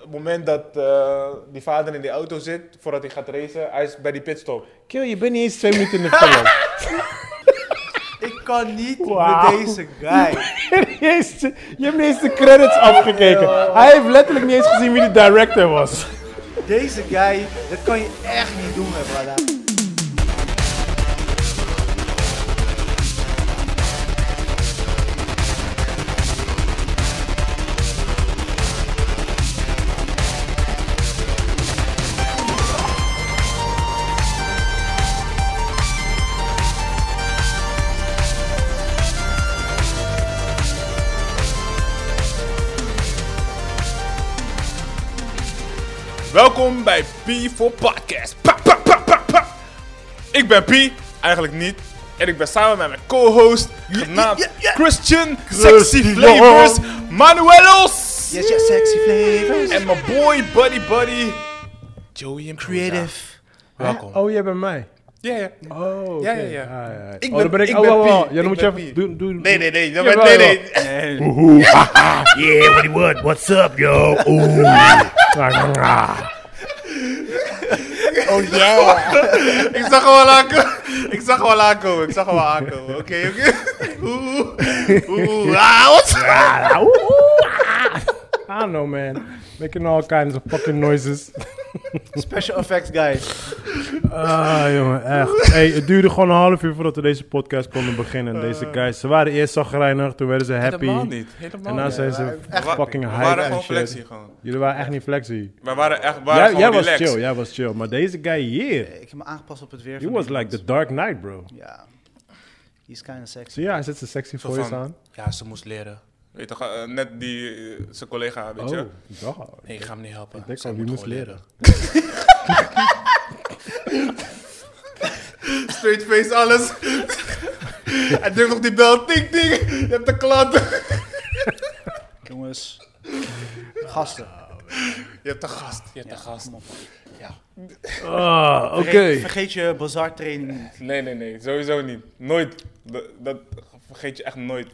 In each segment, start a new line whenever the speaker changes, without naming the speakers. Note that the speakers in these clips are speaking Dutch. het moment dat eh, die vader in die auto zit, voordat hij gaat racen, hij is bij die pitstop.
Kill, je bent niet eens twee minuten in de film.
Ik kan niet
Wauw.
met deze guy.
Jezus, je hebt niet eens de credits afgekeken. Hij heeft letterlijk niet eens gezien wie de director was.
Deze guy, dat kan je echt niet doen, hè, brada.
Welkom bij P4 Podcast. Pa, pa, pa, pa, pa. Ik ben P, eigenlijk niet. En ik ben samen met mijn co-host, genaamd
ja, ja.
Christian,
Christian.
Sexy Flavors, Manuelos.
Yes, yes, sexy flavors.
En mijn boy, buddy, buddy, Joey en
Creative.
Welkom.
Oh, jij bent mij.
Ja, ja.
Oh,
Ja, ja, ja. Ik ben-
Ik ben, oh, dan ben ik,
ik
oh,
ben
wacht, wacht, wacht.
Pi.
Ja, dan
Ik
moet je
ben
even...
Pi.
Doe, doe,
Nee, nee, nee. dat
Jawel,
ben- nee, nee.
Yeah, what do you want? What's up, yo? Ooh.
Oh yeah.
Ik zag hem al aankomen. Ik zag hem al aankomen. Ik zag hem al aankomen. Oké, oké. Oeh, Oeh. Oeh. Ah, wat?
I don't know, Ah, man. Making all kinds of fucking noises.
Special effects guy.
Ah, jongen, echt. Hey, het duurde gewoon een half uur voordat we deze podcast konden beginnen. Deze guys, ze waren eerst zagrijnig, toen werden ze happy.
Eh. Helemaal niet. Helemaal
En dan
niet.
zijn ze
We wa-
fucking
we
hype
waren
en
gewoon
shit.
flexie gewoon.
Jullie waren echt niet flexie.
We waren echt we waren
Jij,
gewoon
jij was
relaxed.
chill, jij was chill. Maar deze guy hier,
Ik heb me aangepast op het weer.
he
van
was
Nederland.
like the Dark Knight, bro.
Ja. He's kinda sexy.
Zie je, hij zet zijn sexy
Zo
voice
van,
aan.
Ja, ze moest leren. Weet je, toch, eh, net die, eh, zijn collega, weet
Oh,
je.
god.
Nee, ik ga hem niet helpen.
Ik denk
Zij
al, wie
moet
moest
gewoon
leren?
Straight face, alles. Hij drukt nog die bel, ting, ting. Je hebt de klant.
Jongens. Gasten.
Je hebt de gast, je hebt de gast.
Kom op.
Ah, oké.
Vergeet, vergeet je bazaar training niet.
Nee, nee, nee, sowieso niet. Nooit. Dat, dat vergeet je echt nooit.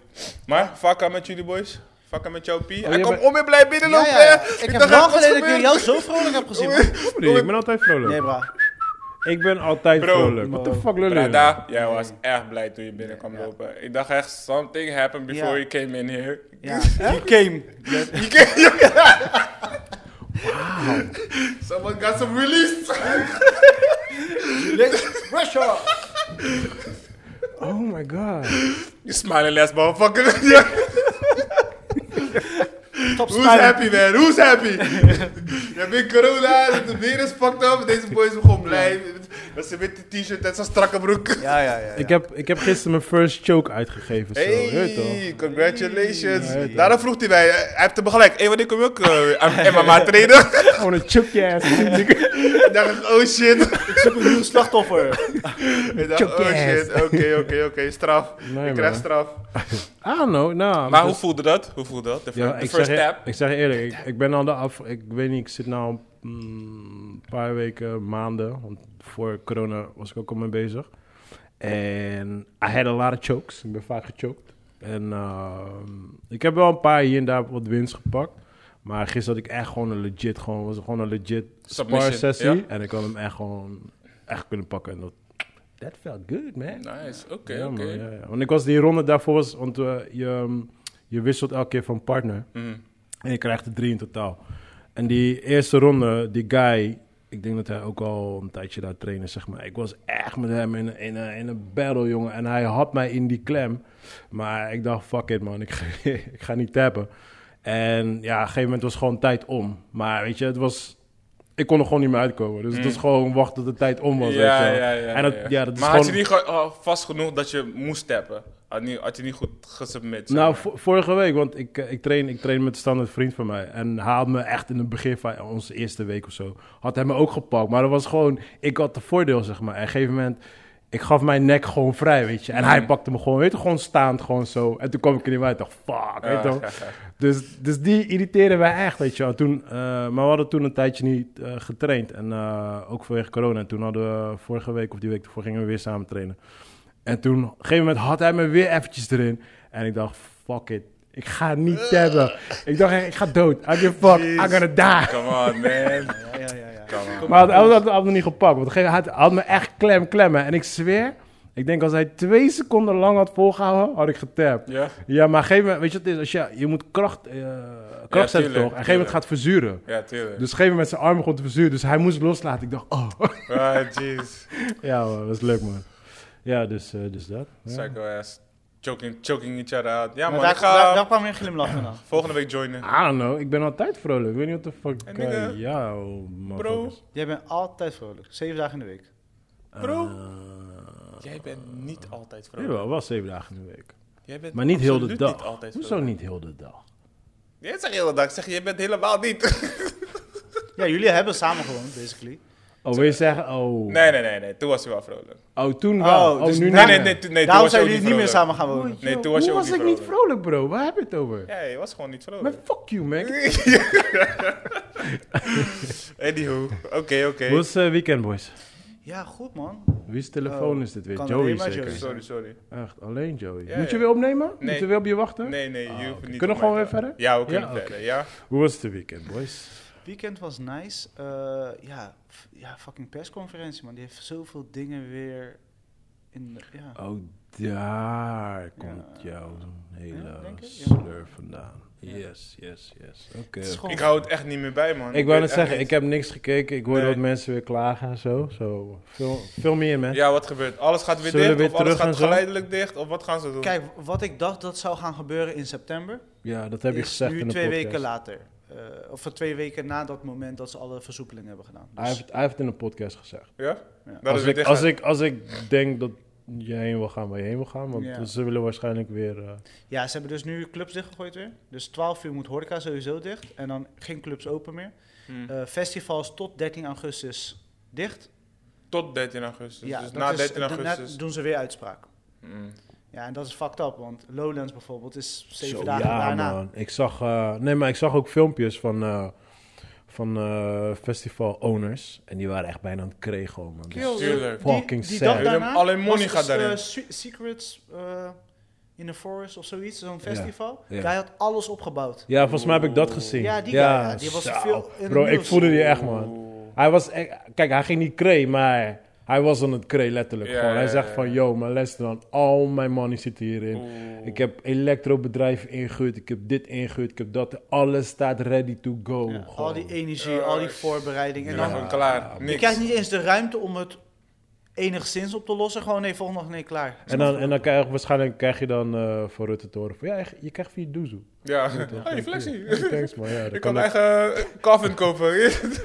Maar, vakka met jullie boys. Vakka met jou, P. Hij
jij
komt
bent-
om en blij
Ja,
binnenlopen.
Oh, ja,
hè.
ja. Ik heb
dacht
lang
echt, wat
geleden dat ik
gebeurt?
jou zo vrolijk heb gezien.
Sorry, ik ben altijd vrolijk.
Nee, bra.
Ik ben altijd
Bro.
vrolijk. What the fuck lul je?
Brada, jij was echt blij toen je binnen kwam lopen. Ik dacht echt, something happened before you
Ja.
came in here.
Ja. He came.
You came, you Someone got some release.
Russia.
Oh my god.
You smiling ass motherfucker. Yeah.
Top
Who's
style.
happy man? Who's happy? Je hebt weer corona, het weer is fucked up. Deze boys zijn gewoon blij. Met zijn witte t-shirt en zijn strakke broek.
Ja, ja, ja.
Ik heb, ik heb gisteren mijn first choke uitgegeven. Zo. Je weet toch?
Hey, congratulations.
Ja, je weet
Daarom vroeg hij mij, eh, hij heeft hem gelijk. Hé, want ik kom ook eh, aan MMA trainen.
Gewoon een choke je ass. nigga.
Ik dacht, oh shit.
Ik zoek een nieuw slachtoffer.
Ik dacht,
Choke
oh
your ass.
shit. Oké, oké, oké. Straf.
Nee,
ik krijg
man.
straf.
I don't know.
Maar
Nou, dus-
hoe voelde dat? Hoe voelde dat? De, fir-
Ja,
de
ik,
first
zeg, je-
step?
ik zeg je eerlijk, ik, ik ben al de af... Ik weet niet, ik zit nu een mm, paar weken, maanden. Want voor corona was ik ook al mee bezig. En I had a lot of chokes. Ik ben vaak gechoked. En ehm, ik heb wel een paar hier en daar wat winst gepakt. Maar gisteren had ik echt gewoon een legit, gewoon, was gewoon een legit
Submission,
spar sessie.
ja.
En ik had hem echt gewoon echt kunnen pakken. En dat, that felt good, man.
Nice, oké,
Ja,
oké.
man, ja, ja. Want ik was die ronde daarvoor, was, want eh, je, ehm, je wisselt elke keer van partner.
Mhm.
En je krijgt er drie in totaal. En die eerste ronde, die guy, ik denk dat hij ook al een tijdje daar trainde, zeg maar. Ik was echt met hem in, in, een- in een battle, jongen. En hij had mij in die klem. Maar ik dacht, fuck it, man. Ik, ga- ik ga niet tappen. En ja, op een gegeven moment was gewoon tijd om. Maar weet je, het was... Ik kon er gewoon niet meer uitkomen. Dus het was gewoon wachten tot de tijd om was.
Mhm. Ja,
weet je wel.
ja, ja,
en dat,
ja.
ja. dat is
maar
gewoon...
had je niet ge- oh, vast genoeg dat je moest tappen? Had, niet, had je niet goed gesubmit? zeg
Nou,
maar?
vo- vorige week, want ik, eh, ik, train, ik train met een standaard vriend van mij. En hij had me echt in het begin van onze eerste week of zo. Had hij me ook gepakt. Maar dat was gewoon, ik had de voordeel, zeg maar. En op een gegeven moment, ik gaf mijn nek gewoon vrij, weet je. En
Mm.
hij pakte me gewoon, weet je, gewoon staand, gewoon zo. En toen kwam ik er niet meer uit. Ik dacht, fuck, weet je
Ja,
wel.
ja, ja.
Dus, dus die irriteren wij echt, weet je wel. Toen, eh, maar we hadden toen een tijdje niet eh, getraind. En eh, ook vanwege corona. En toen hadden we vorige week of die week ervoor gingen we weer samen trainen. En toen, op een gegeven moment, had hij me weer eventjes erin. En ik dacht, fuck it. Ik ga niet hebben. Ik dacht, echt, ik ga dood. I give a fuck. I'm gonna die.
Come on, man.
Ja, ja, ja.
Come on.
Maar hij had, hij had, hij had me niet gepakt. Want hij had, hij had me echt klem klemmen. En ik zweer, ik denk als hij twee seconden lang had volgehouden, had ik getapt.
Ja?
Ja, maar op een gegeven moment, weet je wat het is? Als je, je moet kracht, eh, kracht
Ja, tuurlijk,
zetten toch? En op een gegeven
tuurlijk.
moment gaat verzuren.
Ja, tuurlijk.
Dus op een gegeven moment zijn arm begon te verzuren. Dus hij moest loslaten. Ik dacht, oh.
Ah, jeez.
ja, man, dat is leuk, man. Ja, dus, eh, dus dat. Ja.
Psycho ass. Choking, choking each other out. Ja,
Maar
man,
daar,
ik ga
daar, daar kwam je glimlach vandaan.
volgende week joinen.
I don't know. Ik ben altijd vrolijk. Ik weet niet wat de fuck...
En
eh,
nigga,
ja, oh, man.
Bro,
Jij bent altijd vrolijk. Zeven dagen in de week.
bro. Jij bent niet altijd vrolijk.
Ah. Jawel, Eh, wel zeven dagen in de week.
Jij bent
Maar niet heel de
absoluut
dag.
Niet altijd
Hoezo
vrolijk.
niet heel de dag?
Jij zegt heel de dag. Ik zeg, jij bent helemaal niet.
Ja, jullie hebben samen gewoond, basically.
Oh, wil je zeggen... Oh,
Nee, nee, nee, nee. Toen was hij wel vrolijk.
oh toen wel.
Oh,
Oh,
dus
nu
Nee,
niet
nee,
meer.
nee. toen- nee
Daarom
toen was je
zijn
ook
jullie niet
vrolijk.
meer samen gaan wonen.
Yo,
Nee, toen was
Oh, hoe
je ook
was
niet
ik niet
vrolijk.
vrolijk, bro? Waar heb je het over?
Ja, je was gewoon niet vrolijk.
Maar fuck you, man.
Anywho, oké, oké.
Hoe is eh, weekend, boys?
Ja, goed man.
Wie's telefoon
Oh,
is dit weer?
kan
Joey
alleen maar
zeker?
Joey zijn.
Sorry, sorry.
Echt, alleen Joey.
Ja,
Moet je
ja.
weer opnemen?
Nee.
Moeten we weer op je wachten?
Nee, nee, je hoeft
Ah, oké.
niet.
Kunnen we
op
gewoon
mij
weer
te-
verder?
Ja, we kunnen
Ja, oké.
verder, ja.
Hoe was de weekend, boys?
Weekend was nice. Eh, ja, f- ja, fucking persconferentie man. Die heeft zoveel dingen weer in de, ja.
Oh, daar komt jouw
Ja,
hele
denk ik, ja.
slur vandaan. Yes, yes, yes. Oké.
Het is gewoon-
Ik hou het echt niet meer bij, man.
Ik wou
weet
net zeggen,
echt
ik heb niks gekeken. Ik hoorde
Nee.
dat mensen weer klagen en zo. Zo, veel, veel meer, man.
niet. Ja, wat gebeurt? Alles gaat weer
Zullen we
dicht,
weer
of alles
terug
gaat
en zo?
geleidelijk dicht, of wat gaan ze doen?
Kijk, wat ik dacht dat zou gaan gebeuren in september,
Ja, dat heb je
is
gezegd
nu
in de
twee
podcast.
weken later. Eh, of twee weken na dat moment dat ze alle versoepelingen hebben gedaan.
Hij
Dus,
heeft, hij heeft het in de podcast gezegd.
ja?
Ja.
Dat
als,
is weer
ik,
dicht.
als, ik, als ik denk dat je heen wil gaan waar je heen wil gaan, want
Ja.
ze willen waarschijnlijk weer... eh,
ja, ze hebben dus nu clubs dichtgegooid weer. Dus 12 uur moet horeca sowieso dicht. En dan geen clubs open meer.
Hmm.
Eh, festivals tot 13 augustus dicht.
Tot 13 augustus.
ja,
dus
dat
na
is-
13
daarna
augustus.
doen ze weer uitspraak.
Mm.
Ja, en dat is fucked up, want Lowlands bijvoorbeeld is zeven
zo,
dagen
ja,
daarna.
man. Ik zag, eh, nee, maar ik zag ook filmpjes van, eh, van eh, festival owners. En die waren echt bijna aan het kregen, man. Dus-
Kill,
Tuurlijk.
die-
Fucking
die
sad.
dag
Willem,
daarna
alleen money
was
gaat
dus, eh,
daarin.
Se- Secrets eh, in the Forest of zoiets, zo'n
Ja,
festival.
ja.
Hij had alles opgebouwd.
ja, volgens mij heb ik dat gezien.
Ja, die guy, ja, die was
zo.
veel in het
Bro, ik
nieuws.
voelde die echt, man. Hij was echt, kijk, hij ging niet kree, maar hij was aan het kree, letterlijk.
Ja,
gewoon. Hij
ja,
zegt
ja,
van,
ja.
yo, maar luister dan, al mijn money zit hierin.
Oeh.
Ik heb elektrobedrijf ingehuurd, ik heb dit ingehuurd, ik heb dat. Alles staat ready to go.
Ja,
Oh, gewoon. eh,
al die e- energie,
Ja,
al die
ik-
voorbereiding. En
En
dan,
dan klaar.
je
Niks.
krijgt niet eens de ruimte om het enigszins op te lossen. Gewoon nee, volgende dag, nee, klaar.
en, dan, en dan krijg je waarschijnlijk krijg je dan eh voor Rutte te horen van, ja, je krijgt vier doezoe.
Ja. Hey, flexie.
Ja, thanks, man. Ja, dan
Ik
kan,
kan
ik,
eigen eh, coffin kopen.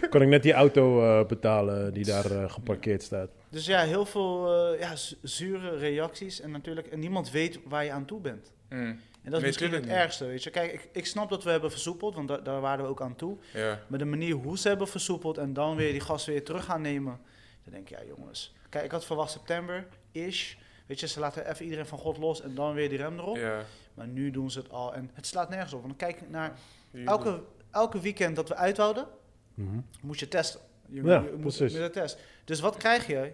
kan ik net die auto eh, betalen die daar eh, geparkeerd staat.
Dus ja, heel veel eh, ja, zu- zure reacties. En natuurlijk, en niemand weet waar je aan toe bent.
Mm.
En dat is
Nee,
misschien
tuurlijk
het
niet.
ergste, weet je. Kijk, ik, ik snap dat we hebben versoepeld, want da- daar waren we ook aan toe.
Ja.
Maar de manier hoe ze hebben versoepeld en dan weer die gasten weer terug gaan nemen. Dan denk ik, ja jongens. Kijk, ik had verwacht september-ish. Weet je, ze laten even iedereen van God los en dan weer die rem erop.
Ja.
Maar nu doen ze het al en het slaat nergens op. Want dan kijk ik naar elke, elke weekend dat we uithouden,
Mhm.
moet je testen. Je,
Ja,
je moet
precies.
met een test. Dus wat krijg je?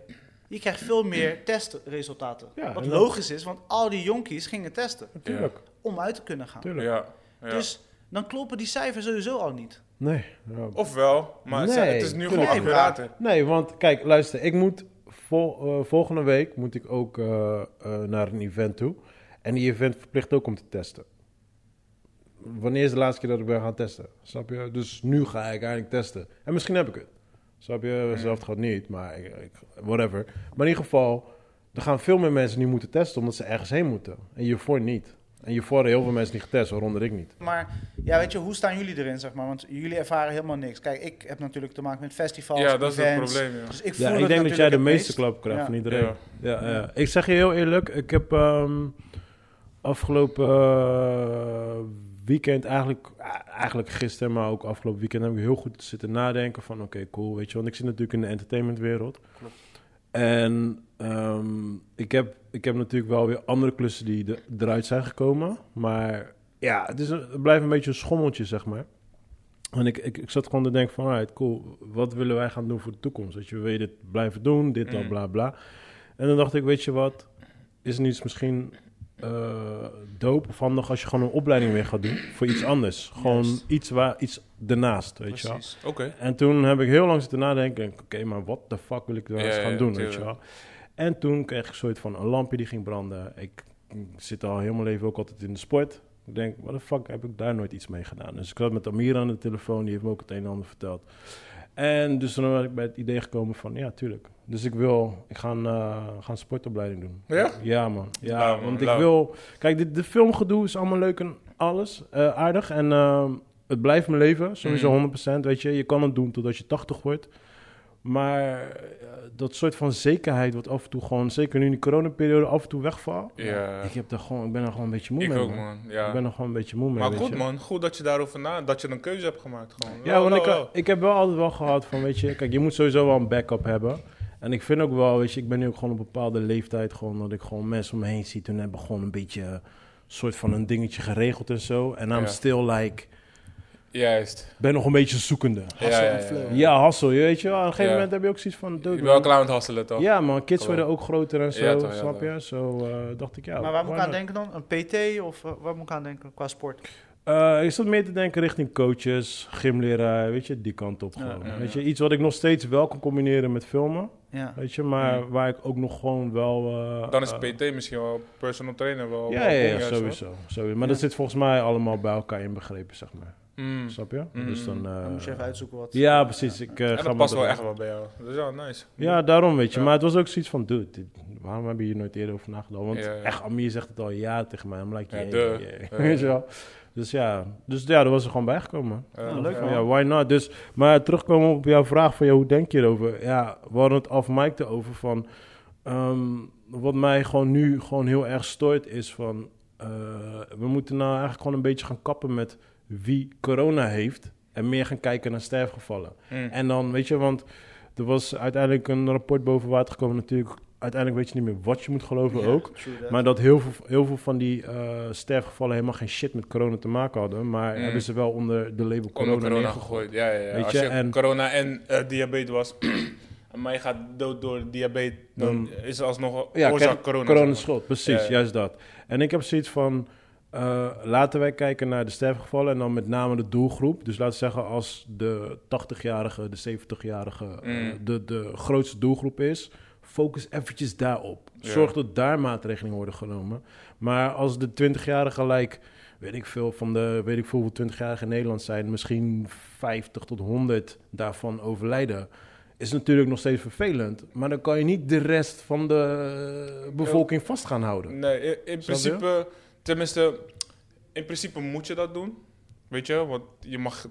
Je krijgt veel meer testresultaten.
Ja,
wat
en dan-
logisch is, want al die jonkies gingen testen
Tuurlijk,
om uit te kunnen gaan.
tuurlijk.
Ja. ja.
Dus dan kloppen die cijfers sowieso al niet.
Nee. ja.
Ofwel, maar ze-
Nee,
het is nu
tuurlijk.
gewoon accurater.
Nee, want kijk, luister, ik moet vol- eh, volgende week moet ik ook eh, eh, naar een event toe. En die event verplicht ook om te testen. Wanneer is de laatste keer dat ik ben gaan testen? Snap je? Dus nu ga ik eigenlijk testen. En misschien heb ik het. Snap je? Zelf gaat niet, maar ik, ik- whatever. Maar in ieder geval, er gaan veel meer mensen nu moeten testen omdat ze ergens heen moeten. En hiervoor niet. En hiervoor hadden heel veel mensen niet getest, waaronder ik niet.
Maar ja, weet je, hoe staan jullie erin, zeg maar? Want jullie ervaren helemaal niks. Kijk, ik heb natuurlijk te maken met festivals,
Ja, dat is het
events.
probleem, ja.
Dus ik voel
Ja, ik
het
denk dat
natuurlijk
jij de
het
meeste
meest.
klap krijgt
Ja.
van iedereen.
Ja.
Ja. Ja, Ik zeg je heel eerlijk, ik heb ehm, afgelopen eh, weekend, eigenlijk, ah, eigenlijk gisteren, maar ook afgelopen weekend, heb ik heel goed zitten nadenken van oké, cool, weet je. Want ik zit natuurlijk in de entertainmentwereld. En ehm, ik, heb, ik heb natuurlijk wel weer andere klussen die de- eruit zijn gekomen. Maar ja, het, is een- het blijft een beetje een schommeltje, zeg maar. En ik, ik, ik zat gewoon te denken van, alright, cool, wat willen wij gaan doen voor de toekomst? Dat je wil je dit blijven doen, dit, dat,
Mm.
bla, bla. En dan dacht ik, weet je wat, is er niets misschien eh dope of handig als je gewoon een opleiding weer gaat doen voor iets anders. Gewoon
Juist.
iets, waar, iets ernaast, weet je wel.
Precies.
Oké.
En toen heb ik heel lang zitten nadenken. Oké, maar wat de fuck wil ik daar
Ja,
eens gaan
ja,
doen, weet
tuurlijk.
je wel. En toen kreeg ik een soort van een lampje die ging branden. Ik zit al heel mijn leven ook altijd in de sport. Ik denk, wat de fuck heb ik daar nooit iets mee gedaan? Dus ik zat met Amir aan de telefoon, die heeft me ook het een en ander verteld. En dus toen ben ik bij het idee gekomen van, ja, tuurlijk. Dus ik wil, ik ga een, eh, ga een sportopleiding doen.
Ja?
Ja, man. Ja,
Lauw, man,
want ik
lauw.
wil... Kijk, dit, de filmgedoe is allemaal leuk en alles, eh, aardig. En ehm, het blijft mijn leven,
Mm.
sowieso 100%. Weet je, je kan het doen totdat je 80 wordt. Maar eh, dat soort van zekerheid wat af en toe gewoon... Zeker nu in de coronaperiode af en toe wegvalt.
Ja.
Ik, heb daar gewoon, ik ben er gewoon een beetje moe
Ik
mee.
ook, man.
Ik
Ja.
ben er gewoon een beetje moe mee,
Maar
weet
goed,
je.
man. Goed dat je daarover na... Dat je een keuze hebt gemaakt, gewoon.
Ja, want
Wel,
ik,
wel, wel.
ik heb wel altijd wel gehad van, weet je... Kijk, je moet sowieso wel een backup hebben. En ik vind ook wel, weet je... Ik ben nu ook gewoon op een bepaalde leeftijd... gewoon dat ik gewoon mensen om me heen zie. Toen hebben we gewoon een beetje... een soort van een dingetje geregeld en zo. En I'm
Ja.
still like...
Juist.
Ben nog een beetje zoekende.
Ja,
Hustle
ja,
en
ja,
flow.
ja.
Ja, hassel, je weet je wel. Aan een gegeven
Eh, Ja.
moment heb je ook zoiets van... dude,
Je bent wel
man.
klaar aan het hasselen, toch?
Ja, man. Kids
Gewoon.
worden ook groter en zo,
Ja, toch, ja,
snap
toch.
je? Zo eh, dacht ik, ja.
Maar waar moet
why
ik aan denken
not?
dan? Een PT of eh, waar moet ik aan denken qua sport?
Eh, ik zat meer te denken richting coaches, gymleraar, weet je, die kant op
Ja,
gewoon.
ja,
weet
ja.
je, iets wat ik nog steeds wel kan combineren met filmen,
Ja.
weet je, maar waar ik ook nog gewoon wel... eh,
Mm. Dan is
eh,
PT misschien wel personal trainer wel.
ja,
wel
ja, ja,
juist, hoor.
sowieso, sowieso. Maar
Ja.
dat zit volgens mij allemaal bij elkaar inbegrepen, zeg maar.
Mm.
Snap je?
Mm.
Dus dan... eh,
Dan moet je even uitzoeken wat.
ja, precies. Ik, eh,
en
ga
dat
me
past
dat-
wel echt wel bij jou. Dat is wel nice.
Ja, daarom weet je.
Ja.
Maar het was ook zoiets van, dude, dit- waarom heb je hier nooit eerder over nagedacht? Want
Ja, ja.
echt, Amir zegt het al ja tegen mij. I'm like,
Ja,
yeah,
duh.
yeah, yeah.
Ja.
Weet je wel? Dus ja, dus ja, daar was er gewoon bijgekomen. man.
Ja,
Nou, leuk,
ja.
Ja,
man.
why not? Dus, maar terugkomen op jouw vraag van, ja, hoe denk je erover? Ja, we hadden het af Mike erover van... ehm, wat mij gewoon nu gewoon heel erg stoort is van... eh, we moeten nou eigenlijk gewoon een beetje gaan kappen met wie corona heeft... en meer gaan kijken naar sterfgevallen.
Mm.
En dan, weet je, want er was uiteindelijk een rapport boven water gekomen natuurlijk. Uiteindelijk weet je niet meer wat je moet geloven
Ja,
ook.
true that.
Maar dat heel veel, heel veel van die eh, sterfgevallen helemaal geen shit met corona te maken hadden. Maar
Mm.
hebben ze wel onder de label corona,
Onder corona
neergegooid.
gegooid. Ja, ja, ja.
Weet
Eh, Als
je,
je,
en-
corona en eh, diabetes was. en mij gaat dood door diabetes. Dan is er alsnog
Ja,
oorzaak
kijk,
corona.
corona,
zeg maar.
is schuld. Precies,
Ja, ja.
juist dat. En ik heb zoiets van... eh, laten wij kijken naar de sterfgevallen en dan met name de doelgroep. Dus laten we zeggen als de 80-jarige, de 70-jarige eh,
Mm.
de, de grootste doelgroep is... focus eventjes daarop. Zorg dat daar maatregelen worden genomen. Maar als de 20-jarige like, weet ik veel, van de weet ik veel hoeveel 20-jarigen in Nederland zijn, misschien 50 tot 100 daarvan overlijden. Is natuurlijk nog steeds vervelend. Maar dan kan je niet de rest van de eh, bevolking vast gaan houden.
Nee, i- in,
Snap je?
principe, tenminste, in principe moet je dat doen. Weet je, want je mag,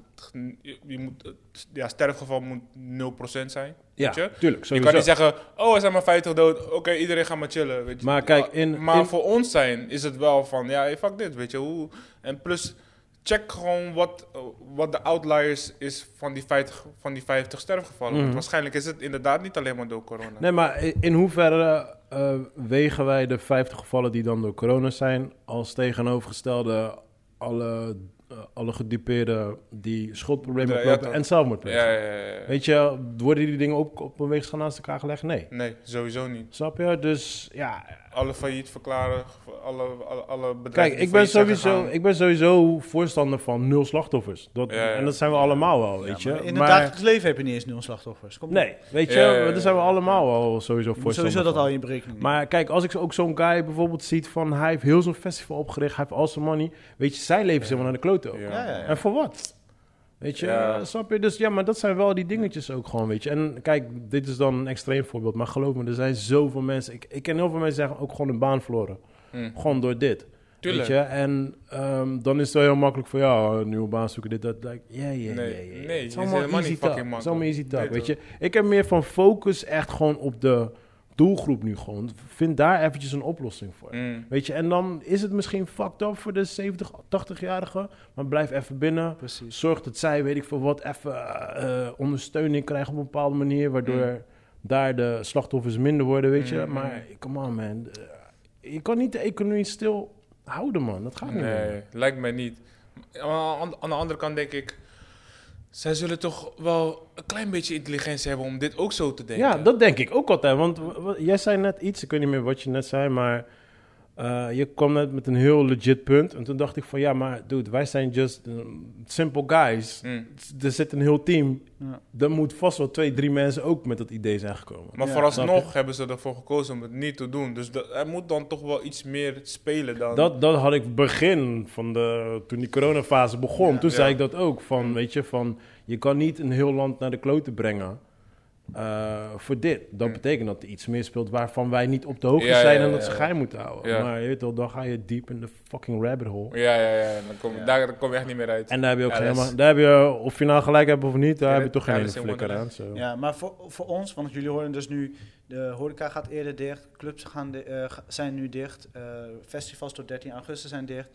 je, je moet, het- ja, sterfgeval moet 0% zijn.
Ja,
weet je?
tuurlijk.
Je
Sowieso.
kan niet zeggen, oh, er zijn maar 50 dood, oké, iedereen gaat maar chillen. Weet je.
Maar kijk, in-
maar
in-
voor ons zijn is het wel van, ja, hey, fuck dit, weet je. Hoe, en plus, check gewoon wat, eh, wat de outliers is van die 50, van die 50 sterfgevallen. Want
Mhm.
waarschijnlijk is het inderdaad niet alleen maar door corona.
Nee, maar i- in hoeverre eh, wegen wij de 50 gevallen die dan door corona zijn... als tegenovergestelde alle, eh, alle gedupeerden die schuldproblemen
Ja, ja,
oplopen
toch.
en zelfmoord plegen?
Ja, ja, ja, ja.
Weet je, worden die dingen op, op een weegschaal naast elkaar gelegd? Nee.
Nee, sowieso niet.
Snap je? Dus ja,
alle failliet verklaren, alle, alle, alle bedrijven.
kijk,
die
ik ben,
failliet zijn
sowieso,
gegaan.
ik ben sowieso voorstander van nul slachtoffers. Dat,
Ja, ja.
En dat zijn we allemaal wel, weet
Maar
je.
in het
maar,
dagelijks leven heb je niet eens nul slachtoffers. Kom op.
nee, weet je,
Ja, ja, ja.
daar zijn we allemaal wel sowieso
Je moet
voorstander
sowieso dat
van.
al in berekening. nemen.
Maar kijk, als ik ook zo'n guy bijvoorbeeld ziet van... hij heeft heel zo'n festival opgericht, hij heeft al zijn money. Weet je, zijn leven is helemaal naar de klote ook.
Ja, ja, ja.
En voor wat? Weet je,
Ja.
eh, snap je? Dus ja, maar dat zijn wel die dingetjes ook gewoon, weet je. En kijk, dit is dan een extreem voorbeeld, maar geloof me, er zijn zoveel mensen. Ik, ik ken heel veel mensen die zeggen ook gewoon een baan verloren.
Hmm.
Gewoon door dit.
Tuurlijk.
Weet je? En ehm, dan is het wel heel makkelijk voor jou, oh, een nieuwe baan zoeken, dit, dat. Like, yeah, yeah,
Nee,
yeah, yeah.
nee,
Het
het is
is allemaal
helemaal niet fucking
easy talk. Het is
makkelijk.
allemaal easy talk,
Nee,
weet je. Ik heb meer van focus echt gewoon op de doelgroep nu gewoon. Vind daar eventjes een oplossing voor.
Mm.
Weet je, en dan is het misschien fucked up voor de 70, 80-jarige. Maar blijf even binnen.
Precies.
Zorg dat zij, weet ik veel wat, even eh, eh, ondersteuning krijgen op een bepaalde manier. Waardoor daar de slachtoffers minder worden, weet je.
Mm.
Maar come on, man. Eh, Je kan niet de economie stil houden, man. Dat gaat niet. meer.
Nee, lijkt mij niet. Maar Aan, aan de andere kant denk ik, zij zullen toch wel een klein beetje intelligentie hebben om dit ook zo te denken.
Ja, dat denk ik ook altijd. Want w- w- jij zei net iets, ik weet niet meer wat je net zei, maar... eh, Eh, je kwam net met een heel legit punt. En toen dacht ik van ja, maar dude, wij zijn just um, simple guys.
Mm.
Er zit een heel team.
Ja.
Er moet vast wel twee, drie mensen ook met dat idee zijn gekomen.
Maar
Ja,
vooralsnog
snap
hebben ze ervoor gekozen om het niet te doen. Dus dat- er moet dan toch wel iets meer spelen dan...
Dat, dat had ik begin van de, toen die coronafase begon. toen zei
Ja. Mm.
ik dat ook. Van, weet je, van, je kan niet een heel land naar de kloten brengen eh, voor dit. Dat betekent dat er iets meespeelt waarvan wij niet op de hoogte
Mm. Ja,
zijn
ja,
en
ja,
dat ze
ja.
geheim moeten houden.
Ja.
Maar je weet wel, dan ga je diep in de fucking rabbit hole.
Ja, ja, ja. Dan kom, Daar, daar kom je echt niet meer uit.
En daar heb je ook
Ja,
geen
dat is-
helemaal, daar heb je, of je nou gelijk hebt of niet, daar
Ja,
heb je
dat-
toch geen
ja,
ene
dat is in
flikker aan.
Wonderland.
zo.
Ja, maar voor, voor ons, want jullie horen dus nu, de horeca gaat eerder dicht, clubs gaan di- eh, ga- zijn nu dicht, eh, festivals tot 13 augustus zijn dicht.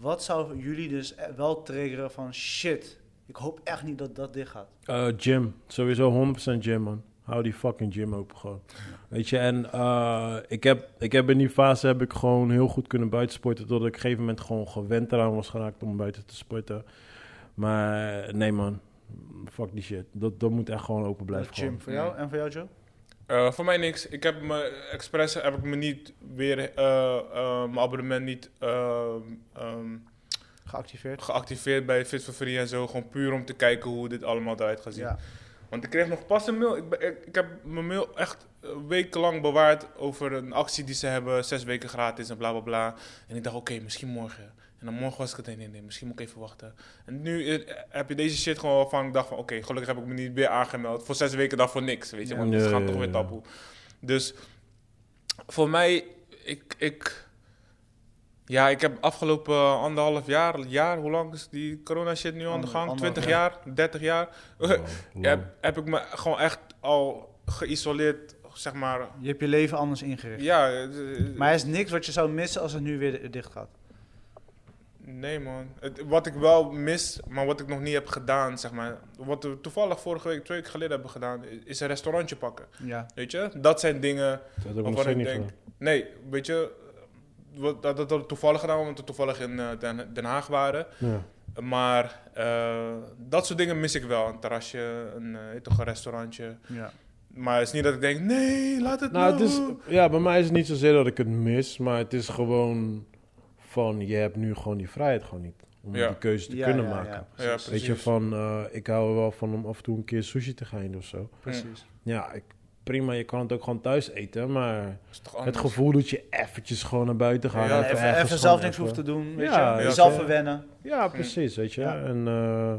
Wat zou jullie dus eh, wel triggeren van shit, ik hoop echt niet dat dat dicht gaat.
Eh, gym. Sowieso 100% gym, man. Hou die fucking gym open gewoon. Weet je, en eh, ik, heb, ik heb in die fase heb ik gewoon heel goed kunnen buitensporten. Totdat ik op een gegeven moment gewoon gewend eraan was geraakt om buiten te sporten. Maar nee, man. Fuck die shit. Dat, dat moet echt gewoon open blijven.
Dat gym
gewoon.
voor jou en voor jou Joe?
Eh, voor mij niks. Ik heb me expres heb ik me niet weer eh, eh, mijn abonnement niet ehm, ehm,
Geactiveerd?
geactiveerd bij Fit for Free en zo. Gewoon puur om te kijken hoe dit allemaal eruit gaat zien.
Ja.
Want ik kreeg nog pas een mail. Ik, ben- ik, ik heb mijn mail echt eh, wekenlang bewaard over een actie die ze hebben. Zes weken gratis en bla bla bla. En ik dacht, oké, misschien morgen. En dan morgen was ik het nee, nee, nee, misschien moet ik even wachten. En nu eh, heb je deze shit gewoon waarvan ik dacht van, oké, gelukkig heb ik me niet weer aangemeld. Voor zes weken dan voor niks, weet je.
Ja.
Want het
Ja,
gaat
ja,
toch weer
ja.
taboe. Dus voor mij, ik, ik... Ja, ik heb afgelopen anderhalf jaar, jaar, hoe lang is die corona shit nu aan de
Ander-
gang?
anderhalf
20 jaar, 30 jaar.
Wow,
heb,
wow.
heb ik me gewoon echt al geïsoleerd, zeg maar.
Je hebt je leven anders ingericht.
Ja, eh,
Maar er is niks wat je zou missen als het nu weer eh, dicht gaat.
nee man. Het, wat ik wel mis, maar wat ik nog niet heb gedaan, zeg maar. Wat we toevallig vorige week, twee weken geleden hebben gedaan, is een restaurantje pakken.
Ja.
Weet je, dat zijn dingen
Dat heb ik nog
waarvan
steeds
ik
niet
denk.
gedaan.
Nee, weet je, wat, dat dat hadden we toevallig gedaan, omdat we toevallig in eh, Den, Den Haag waren.
Ja.
Maar eh, dat soort dingen mis ik wel. Een terrasje, een, eh, weet toch, een restaurantje.
ja.
Maar het is niet dat ik denk, nee, laat het
Nou, het
nou.
is, ja, bij mij is het niet zozeer dat ik het mis, maar het is gewoon van, je hebt nu gewoon die vrijheid gewoon niet. Om
Ja.
die keuze te
Ja,
kunnen
ja,
maken.
Ja,
Ja,
precies.
precies.
Weet je, van, eh, ik hou er wel van om af en toe een keer sushi te gaan doen of zo.
precies.
Ja, ik, prima, je kan het ook gewoon thuis eten, maar
Is toch anders?
het gevoel dat je eventjes gewoon naar buiten gaat.
Ja,
Even, even,
ergens gewoon
zelf niks hoeft te doen, weet
Ja,
je.
ja,
Jezelf
ja.
verwennen.
Ja, precies, weet je.
Ja.
En eh,